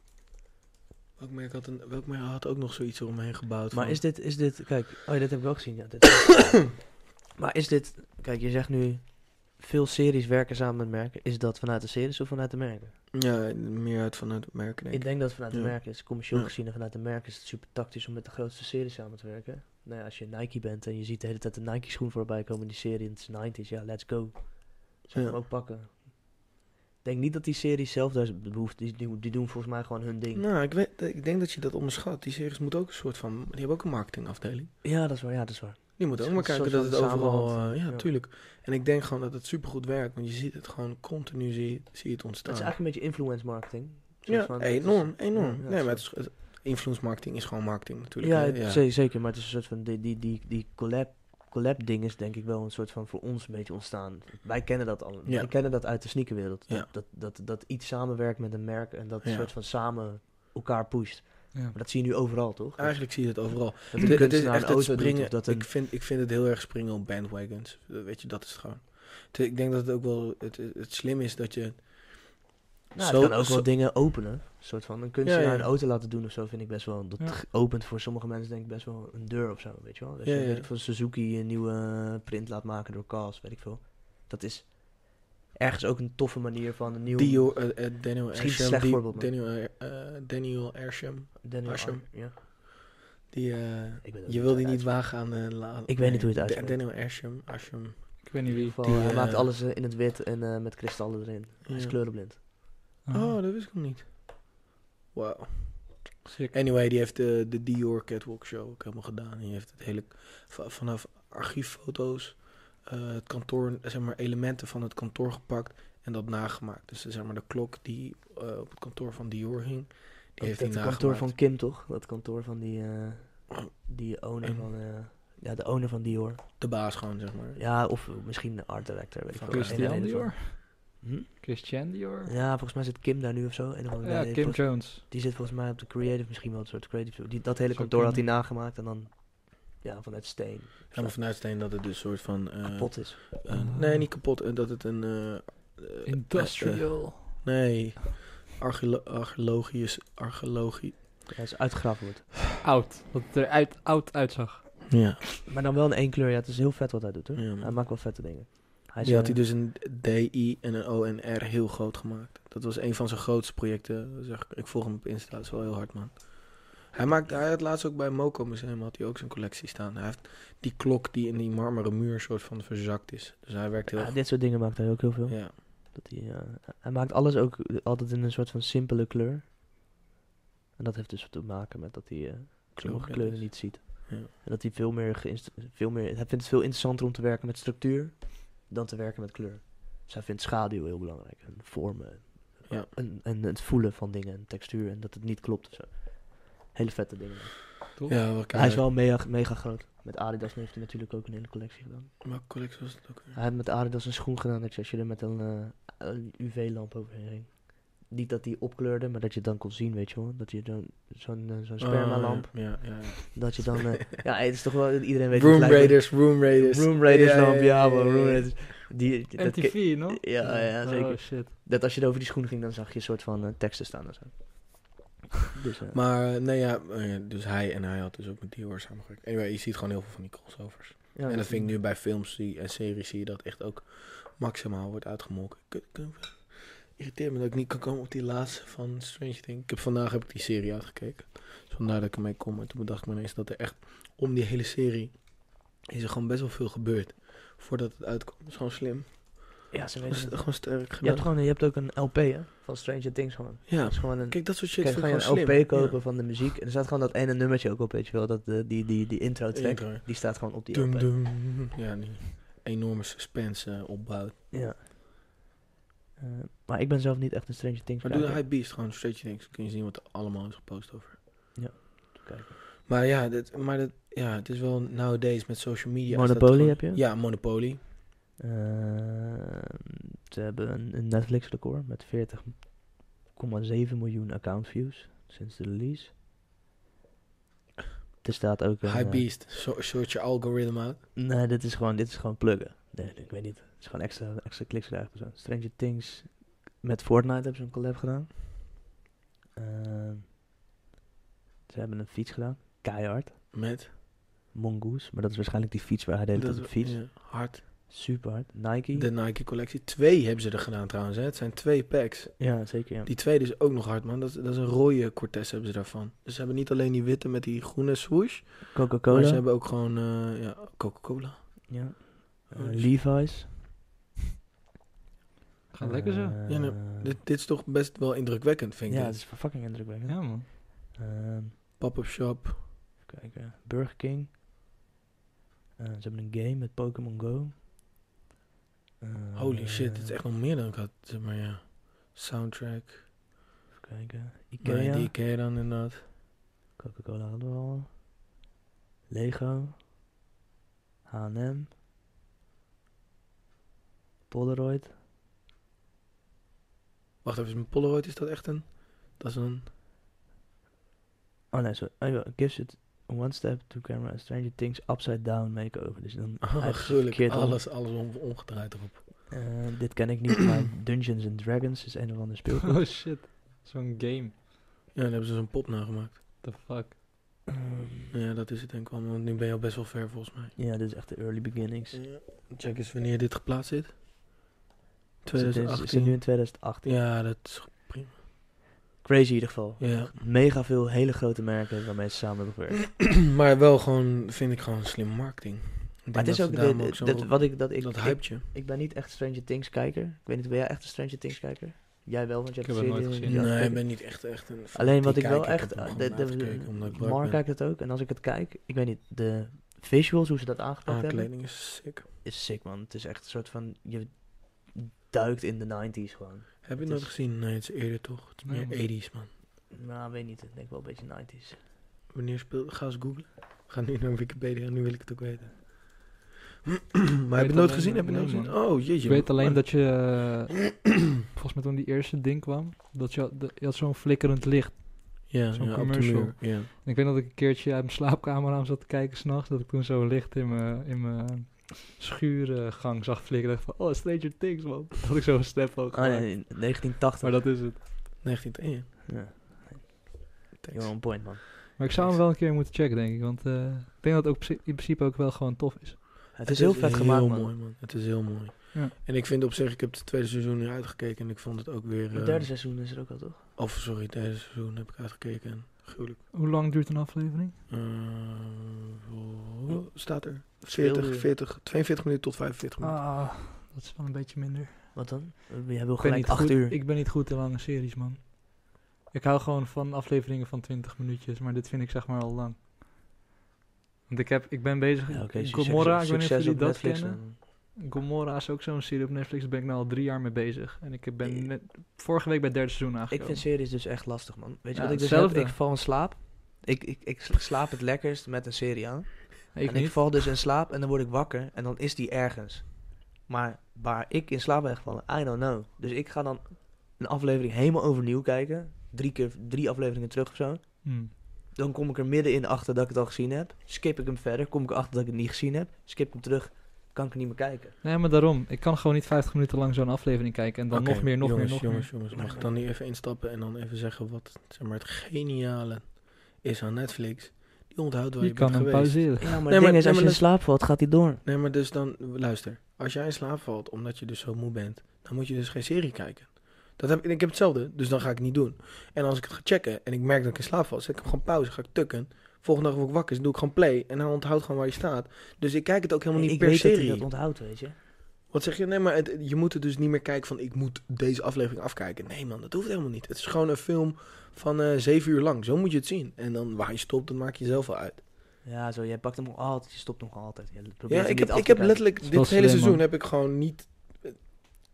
Welk merk, had een, welk merk had ook nog zoiets eromheen gebouwd?
Maar
van-
is dit, is dit, kijk, oh ja, dit heb ik wel gezien. Ja, dit.
[COUGHS]
maar is dit, kijk, je zegt nu, veel series werken samen met merken. Is dat vanuit de series of vanuit de merken?
Ja, meer uit vanuit het merk, denk
Ik
ik.
denk dat het vanuit de
Ja.
merken is, commercieel
Ja.
gezien en vanuit de merken is het super tactisch om met de grootste series samen te werken. Nou ja, als je Nike bent en je ziet de hele tijd de Nike schoen voorbij komen in die serie en het is 90s, ja, let's go. Zou je
Ja.
hem ook pakken. Ik denk niet dat die series zelf daar behoefte, die, die, die doen volgens mij gewoon hun ding.
Nou, ik, weet, ik denk dat je dat onderschat. Die series moet ook een soort van... Die hebben ook een marketingafdeling.
Ja, dat is waar, ja, dat is waar.
Die moeten ook
Een
maar kijken
soort
dat
van
het overal...
samenhang.
eh, ja,
Ja.
tuurlijk. En ik denk gewoon dat het supergoed werkt. Want je ziet het gewoon continu, zie, zie je het
Het
ontstaan.
is eigenlijk een beetje influence marketing. Soort
Ah. ja,
van,
enorm, enorm.
ja,
nee,
het
maar het
is-
is- het- influence marketing is gewoon marketing natuurlijk.
Ja,
hè?
het- ze- zeker. Maar het is een soort van. Die, die, die, die collab, collab ding is denk ik wel een soort van voor ons een beetje ontstaan. Wij kennen dat allemaal.
Ja.
Wij kennen dat uit de sneakerwereld. Dat,
Ja.
dat, dat, dat iets samenwerkt met een merk en dat
Ja.
soort van samen elkaar pusht.
Ja.
Maar dat zie je nu overal, toch? Dat-
Eigenlijk zie je het overal.
Dat
Dit-
een
dit
kunstenaar een
echt het
auto doet,
springen.
of dat een-
ik, vind, ik vind het heel erg springen op bandwagons. Dat Weet je, dat is het gewoon. Het- Ik denk dat het ook wel het, het, het slim is dat je...
nou,
zo-
het kan ook
zo-
wel dingen openen. Een soort van een kunstenaar
Ja, ja.
een auto laten doen of zo vind ik best wel. Dat
Ja.
g- opent voor sommige mensen denk ik best wel een deur of zo, weet je wel. Als
Ja,
je
ja.
weet ik veel, Suzuki een nieuwe eh, print laat maken door Cas, weet ik veel. Dat is ergens ook een toffe manier van een nieuw
Dio, eh, eh,
Misschien
Daniel
een
Ersham.
slecht
die-
voorbeeld, maar-
Daniel, eh, eh, Daniel Ersham.
Daniel
Ashram.
Ar- ja.
Die, eh,
Ik weet ook
je wil die
hoe het
niet wagen aan... eh, la-
Ik weet niet hoe je het
Da-
uitspreekt.
Daniel Ersham. Ersham.
Ik weet niet
In ieder
wie.
geval,
Die,
hij
eh,
maakt alles eh, in het wit en eh, met kristallen erin. Hij is
Ja.
kleurenblind. eh,
ah,
Oh, dat wist ik nog niet. Wauw.
sick.
Anyway, die heeft de, de Dior Catwalk Show ook helemaal gedaan. Die heeft het hele, v- vanaf archieffoto's, eh, het kantoor, zeg maar, elementen van het kantoor gepakt en dat nagemaakt. Dus eh, zeg maar, de klok die eh, op het kantoor van Dior hing, die heeft hij
dat
nagemaakt.
kantoor van Kim, toch? Dat kantoor van die, eh, die owner
En-
van... eh, ja, de owner van Dior.
De baas gewoon, zeg maar.
Ja, of misschien de art director, weet ik
Van
veel.
Christian
Een
Christian
en een van-
Dior?
Hm?
Christian Dior?
Ja, volgens mij zit Kim daar nu of zo. En dan
Ja, Kim Jones.
die zit volgens mij op de creative, misschien wel een soort creative. Die, dat hele
Zou
kantoor had hij
kunnen.
nagemaakt en dan ja, vanuit steen
Helemaal vanuit steen dat het dus soort van... eh,
kapot Oh. is.
een-
Ah.
Nee, niet kapot. eh, Dat het een... eh, eh, eh,
Industrial.
nee, archeolo- archeologisch... Archeologie...
Hij is uitgegraven wordt.
Oud. Dat het er uit, oud uitzag.
Ja.
Maar dan wel in één kleur. Ja, het is heel vet wat hij doet hoor.
Ja, man.
Hij maakt wel vette dingen. Hij is,
Die had hij
eh,
dus een DI en een O en R heel groot gemaakt. Dat was een van zijn grootste projecten. Zeg, ik. ik volg hem op Insta, dat is wel heel hard, man. Hij, maakt, hij had laatst ook bij Moco Museum had hij ook zijn collectie staan. Hij heeft die klok die in die marmeren muur soort van verzakt is. Dus hij werkt heel
ja,
goed.
Ah, dit soort dingen maakt hij ook heel veel.
Ja.
Dat hij, eh, hij maakt alles ook altijd in een soort van simpele kleur. En dat heeft dus te maken met dat hij eh, sommige
Kleur-
kleuren niet ziet.
Ja.
En dat hij veel meer, geïnst- veel meer... Hij vindt het veel interessanter om te werken met structuur dan te werken met kleur. Dus hij vindt schaduw heel belangrijk. En vormen.
Ja.
En, en het voelen van dingen en textuur. En dat het niet klopt. of Zo. Hele vette dingen.
Ja, wel
Hij is wel mega, mega groot. Met Adidas heeft hij natuurlijk ook een hele collectie gedaan.
Welke collectie was het ook weer?
Hij heeft met Adidas een schoen gedaan dat je als je er met een, eh, een UV-lamp overheen ging. Niet dat die opkleurde, maar dat je het dan kon zien, weet je wel. Dat je dan zo'n eh, zo'n spermalamp,
Oh, ja, ja, ja.
dat je dan...
[LAUGHS]
eh, ja, het is toch wel... Iedereen weet...
Room
het lijkt me-
Raiders, Room Raiders.
Room Raiders lamp, ja, man, Room
ja.
Raiders. Die, dat ke-
MTV, no?
ja, ja, zeker.
Oh, shit.
Dat als je er over die schoen ging, dan zag je een soort van eh, teksten staan
[LAUGHS]
en zo. Dus, eh,
Maar eh, nee, ja, eh, dus hij en hij had dus ook met Dior samengewerkt. Anyway, je ziet gewoon heel veel van die crossovers.
ja,
en dat vind ik nu bij films zie, en series zie je dat echt ook maximaal wordt uitgemolken. Ik, ik- ik- irriteer me dat ik niet kan komen op die laatste van Strange Things. Ik heb, vandaag heb ik die serie uitgekeken. Dus vandaar dat ik ermee kom. En toen bedacht ik me ineens dat er echt om die hele serie is er gewoon best wel veel gebeurd. Voordat het uitkomt. Dat is gewoon slim.
Ja,
[LAUGHS]
ze
Dat
weten
is
het.
gewoon sterk
Je hebt,
gedaan.
gewoon, je hebt ook een LP, hè? Van Stranger Things gewoon.
Ja,
Dat is gewoon een...
kijk, dat soort shit
Kijk,
vind
ga
ik
je
gewoon
een
slim.
LP kopen van de muziek. En er staat gewoon dat ene nummertje ook op, weet je wel. Dat, eh, die, die, die intro
Ja.
track, die staat gewoon op die
Dum,
LP.
dum. Ja, die enorme suspense eh, opbouwt.
Ja. Eh, maar ik ben zelf niet echt een Stranger Things
Maar doe de
kijker.
hype beast gewoon straight things. Dan kun je zien wat er allemaal is gepost over.
Ja,
Kijk.
kijken.
Maar ja, dit, maar dit, ja, het is wel nowadays met social media. is dat
Monopoly
gewoon-
heb je?
Ja, Monopoly.
Eh, ze hebben een, een Netflix-record met 40,7 miljoen account views sinds de release. Er staat ook een...
Hype
eh,
beast. So- sort je algoritme uit.
Nee, dit is gewoon, dit is gewoon pluggen. Nee, ik weet niet. Het is gewoon extra, extra kliks krijgen. of zo. Stranger Things met Fortnite hebben ze een collab gedaan. Ehm, ze hebben een fiets gedaan. Keihard.
Met.
Mongoose. Maar dat is waarschijnlijk die fiets waar hij deed op
is-
de fiets.
ja, hard.
Super hard. Nike.
De Nike collectie. Twee hebben ze er gedaan trouwens. Hè. Het zijn twee packs.
ja, zeker. Ja.
Die tweede is ook nog hard, man. Dat, is- dat is een rode Cortez hebben ze daarvan. Dus ze hebben niet alleen die witte met die groene swoosh. Maar Oh, ze
Coca-Cola.
hebben ook gewoon eh, ja, Coca-Cola.
Ja. Eh,
Oh,
Levi's.
Gaat lekker zo.
Eh,
Ja, nou, Dit, dit is toch best wel indrukwekkend, vind ik.
ja,
dit.
het is fucking indrukwekkend.
Ja, man. [LAUGHS]
Ehm,
Pop-up shop.
Even kijken. Burger King. Eh, ze hebben een game met Pokémon Go. Eh,
Holy shit, dit is echt nog meer dan ik had. Zeg maar ja. Soundtrack.
Even kijken.
Maar
Ikea.
die Ikea dan inderdaad.
Coca-Cola hadden we al. Lego. H&M. Polaroid.
Wacht even, is mijn Polaroid is dat echt een? Dat
[LAUGHS]
is een...
Oh nee, sorry. Oh, ja, gives it one step to camera. Stranger Things upside down makeover. Dus dan
[LAUGHS] Oh,
hij heeft ze
gruwelijk.
verkeerd om.
Alles, alles om- omgedraaid erop.
Eh, dit ken ik niet, maar
[CLEARS THROAT]
Dungeons and Dragons is een of ander speelgoed.
Oh shit. Zo'n game.
Ja, daar hebben ze zo'n pop nagemaakt.
The fuck.
Ehm,
Ja, dat is het denk ik wel. Want nu ben je al best wel ver volgens mij.
ja, dit is echt de early beginnings.
Check eens wanneer dit geplaatst zit.
Dus het is- Is het nu
2018.
in 2018?
Ja, dat is...
Crazy in ieder geval.
Ja.
Mega veel hele grote merken waarmee ze samen hebben gewerkt.
[CLEARS THROAT] maar wel gewoon, vind ik gewoon slim marketing. Ik
Maar
denk
het is
dat
ook,
ze
dit-
daarom ook zo
dit-
op-
wat ik, dat ik,
dat
ik,
hypeje.
ik ben niet echt Stranger Things kijker. Ik weet niet, ben jij echt een Stranger Things kijker? Jij wel, want je
Ik
hebt
heb
de
het
serie
nooit
in
gezien.
je
nee, ik
afgekeken.
ben niet echt, echt een...
Alleen wat ik
fanatiek
wel
kijker.
echt... eh,
Ik heb hem
de-
gewoon
de-
uitgekeken, omdat ik
Mar
brak ben.
kijkt het ook. En als ik het kijk, ik weet niet, de visuals, hoe ze dat aangepakt
Ah,
hebben,
kleding is sick.
is sick man. Het is echt een soort van, je duikt in de 90s gewoon.
Heb je
Het
dat
is-
gezien? Nee, het is eerder toch? Het is
Nee,
meer
man.
80s, man.
Nou, weet niet, ik denk wel een beetje 90s.
Wanneer speelt... Ga eens googlen. Ga nu naar Wikipedia, nu wil ik het ook weten. [CLEARS THROAT] maar heb je het
alleen-
nooit gezien? Heb je het
nee,
nooit gezien?
man.
Oh, jeetje.
Ik weet
man.
alleen
Maar-
[CLEARS THROAT]
dat je, eh, volgens mij toen die eerste ding kwam, dat je, de- je had zo'n flikkerend licht.
Ja,
zo'n
ja, op de
commercial.
muur, Ja.
En ik weet dat ik een keertje uit mijn slaapkamer aan zat te kijken s'nachts, dat ik toen zo'n licht in mijn, in mijn schuurgang zag flikkeren. Ik dacht van, oh, Stranger Things, man. [LAUGHS] Dat had ik zo'n snap ook
Oh
gemaakt.
nee, 1980.
Maar dat is het.
1910.
Ja,
Thanks.
you're on point man.
Maar ik zou hem wel een keer moeten checken, denk ik. Want eh, ik denk dat het ook psi- in principe ook wel gewoon tof is.
Het is heel vet gemaakt man.
mooi, man. Het is heel mooi.
Ja.
En ik vind op zich, ik heb het tweede seizoen nu uitgekeken en ik vond het ook weer...
Het
eh,
derde seizoen is er ook al, toch?
Of sorry, het derde seizoen heb ik uitgekeken en gruwelijk.
Hoe lang duurt een aflevering?
Eh, hoe staat er?
Speelde-
40, 40, 42 minuten tot 45 minuten.
Ah, dat is wel een beetje minder.
Wat dan? Jij wil
Ik ben,
gelijk
niet
8
goed,
uur.
ik ben niet goed in lange series, man. Ik hou gewoon van afleveringen van 20 minuutjes, maar dit vind ik zeg maar al lang. Want ik, heb, ik ben bezig
Ja,
met
oké, dus succes-
Gomorra, ik weet niet of
succes
jullie
op
dat
Netflix
kennen.
dan.
Gomorra is ook zo'n serie op Netflix, daar ben ik nou al drie jaar mee bezig. En ik heb-
Ik-
ben net- vorige week bij het derde seizoen
Ik
aangekomen.
vind series dus echt lastig, man. Weet je
Ja,
wat ik dus heb?
hetzelfde.
Ik val in slaap. Ik, ik, ik sla- slaap het lekkerst met een serie aan.
ik
en
niet.
ik val dus in slaap en dan word ik wakker en dan is die ergens. Maar waar ik in slaap ben gevallen, I don't know. Dus ik ga dan een aflevering helemaal overnieuw kijken. Drie keer, drie afleveringen terug of zo.
Hm.
Dan kom ik er middenin achter dat ik het al gezien heb. Skip ik hem verder. Kom ik erachter dat ik het niet gezien heb. Skip ik hem terug. Kan ik er niet meer kijken.
Nee, maar daarom. Ik kan gewoon niet 50 minuten lang zo'n aflevering kijken en dan
Oké,
nog meer, nog
jongens,
meer, nog
jongens,
meer.
Jongens, mag ik dan nu even instappen en dan even zeggen wat zeg maar, het geniale is aan Netflix? Die onthoudt waar je,
Je kan
bent
hem
geweest.
pauzeren.
Ja, Nou, maar
maar-
het
nee,
ding is,
maar
als je in
dat-
slaap valt, gaat hij door.
Nee, maar dus dan, luister. Als jij in slaap valt omdat je dus zo moe bent, dan moet je dus geen serie kijken. Dat heb, ik- ik heb hetzelfde, dus dan ga ik het niet doen. En als ik het ga checken en ik merk dat ik in slaap val, zet ik hem gewoon pauze, ga ik tukken. Volgende dag word ik wakker, dus doe ik gewoon play en dan onthoudt gewoon waar je staat. Dus ik kijk het ook helemaal
Nee,
niet
ik
per
weet dat hij
serie.
dat onthoudt, weet je.
Wat zeg je? Nee, maar het- je moet er dus niet meer kijken van ik moet deze aflevering afkijken. Nee man, dat hoeft helemaal niet. Het is gewoon een film van eh, zeven uur lang. Zo moet je het zien. En dan waar je stopt, dat maak je zelf wel uit.
Ja, zo, jij pakt hem nog altijd, je stopt nog altijd. Je probeert
Ja,
hem
ik
niet
heb,
af
ik
te
heb
kijken.
letterlijk
is
dit
wel
hele
slim,
seizoen
man.
heb ik gewoon niet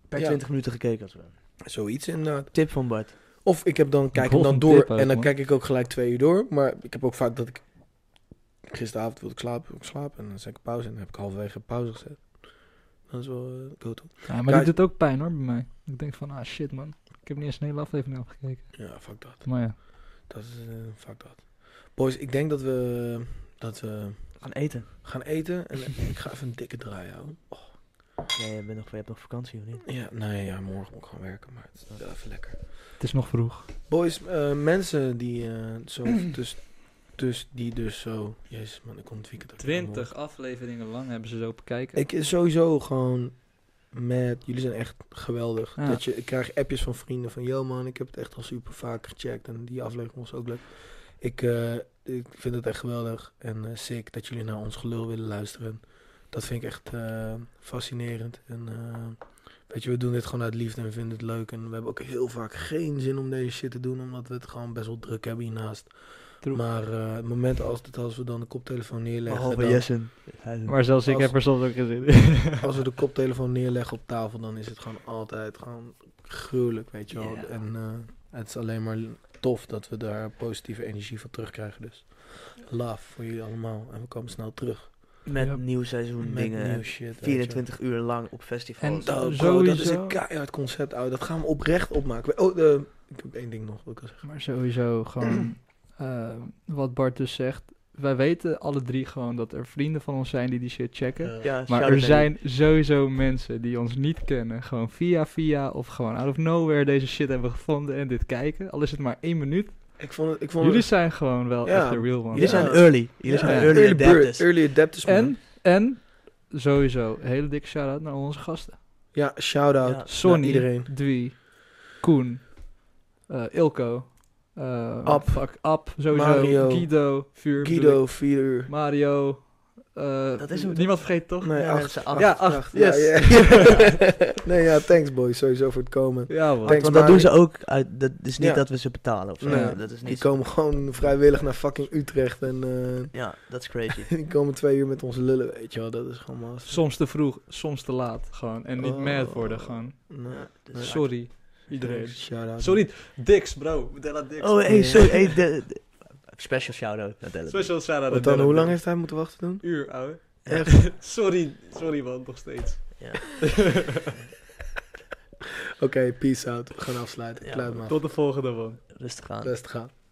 per
ja.
20 minuten gekeken. Als we.
zoiets inderdaad.
Tip van Bart.
Of ik heb dan, kijk hem
Wat
dan
een
door
tip ook,
en dan
man.
kijk ik ook gelijk twee uur door. Maar ik heb ook vaak dat ik gisteravond wilde ik slapen, wil ik slapen. En dan zet ik pauze en dan heb ik halverwege pauze gezet. Dat is wel eh, go-to.
Ja, maar
Kijk.
dit doet ook pijn hoor bij mij. Ik denk van, ah shit man. Ik heb niet eens een hele aflevering afgekeken.
Ja, fuck dat.
Maar ja,
Dat is, eh, fuck dat. Boys, ik denk dat we, dat we
Gaan eten.
gaan eten. En ik ga even een dikke draai houden.
Ja, je, bent nog, je hebt nog vakantie, of niet?
Ja, nee, ja, morgen moet ik gaan werken, maar het is wel even lekker.
het is nog vroeg.
Boys, eh, mensen die eh, zo [CLEARS THROAT] dus, dus die dus zo. Jezus man, ik kom het weekend ook weer aan, hoor.
afleveringen lang hebben ze zo bekijken.
Ik is sowieso gewoon met jullie zijn echt geweldig.
Ja.
Dat je, ik krijg appjes van vrienden van yo man, ik heb het echt al super vaak gecheckt en die aflevering was ook leuk. Ik, eh, ik vind het echt geweldig en eh, sick dat jullie naar ons gelul willen luisteren. Dat vind ik echt eh, fascinerend en eh, weet je, we doen dit gewoon uit liefde en we vinden het leuk en we hebben ook heel vaak geen zin om deze shit te doen omdat we het gewoon best wel druk hebben hiernaast.
True.
Maar eh, het moment als, dat als we dan de koptelefoon neerleggen,
Behalve
dan-
Jessen. Hij-
Maar zelfs ik
Als-
heb er soms ook geen zin in.
als we de koptelefoon neerleggen op tafel, dan is het gewoon altijd gewoon gruwelijk, weet je wel.
Ja.
En eh, het is alleen maar tof dat we daar positieve energie van terugkrijgen. Dus love voor jullie allemaal. En we komen snel terug.
Met
Ja.
nieuw seizoen
Met
dingen.
nieuw shit. weet je.
24 uur lang op festivals. Oh,
En-
Nou, bro, dat is
Sowieso.
een keihard concept, ouwe. Dat gaan we oprecht opmaken. Oh, eh, ik heb één ding nog. wil ik al zeggen.
[LAUGHS] Maar sowieso gewoon, eh, wat Bart dus zegt. Wij weten alle drie gewoon dat er vrienden van ons zijn die die shit checken.
Eh,
ja,
Maar
shout-out
er
naar
zijn sowieso mensen die ons niet kennen, gewoon via via of gewoon out of nowhere deze shit hebben gevonden en dit kijken. Al is het maar één minuut.
ik vond het... Ik vond
Jullie
het
zijn gewoon wel
Ja.
echt de real one.
Jullie
Ja.
zijn early. Jullie
Ja.
zijn
Ja.
early,
early, bird,
adapters.
early adapters, man.
En, en, sowieso, hele dikke shout-out naar onze gasten.
Ja, shout-out.
Ja.
Sonny,
iedereen.
Dwi, Koen, eh, Ilko, eh,
Ab.
fuck, Ab, sowieso,
Mario.
Guido, Vuur, bedoel
Guido, 4 uur.
ik, Mario, eh,
Dat is hem,
niemand vergeet toch?
Nee,
Ja,
acht.
mensen, acht.
ja, acht,
Ja,
yes. Ja,
ja. [LAUGHS] nee, ja, thanks boys sowieso voor het komen.
man.
Thanks,
Want dat
Mario.
doen ze ook uit. Dat is niet
Ja.
dat we ze betalen of zo.
Nee.
Dat is
Die
niet.
komen gewoon vrijwillig naar fucking Utrecht en eh, [LAUGHS]
Ja, dat is crazy. [LAUGHS]
die komen twee uur met ons lullen, weet je wel. Dat is gewoon master.
Soms te vroeg, soms te laat, gewoon. En niet
Oh.
mad worden, gewoon.
Nee.
Dat is-
Sorry, iedereen.
Shout-out.
Sorry, Dix, bro. Della Dix.
Oh, hey, sorry. Hey, de, de- special shout-out naar Dylan.
Special shout-out.
Want dan, hoe lang heeft hij moeten wachten toen?
Uur, ouwe.
Echt?
[LAUGHS] Sorry, sorry man, nog steeds.
Oké, peace out. We gaan afsluiten.
Ja,
Kluit maar. Ah.
Tot de volgende man.
Rustig aan.
Best gaan.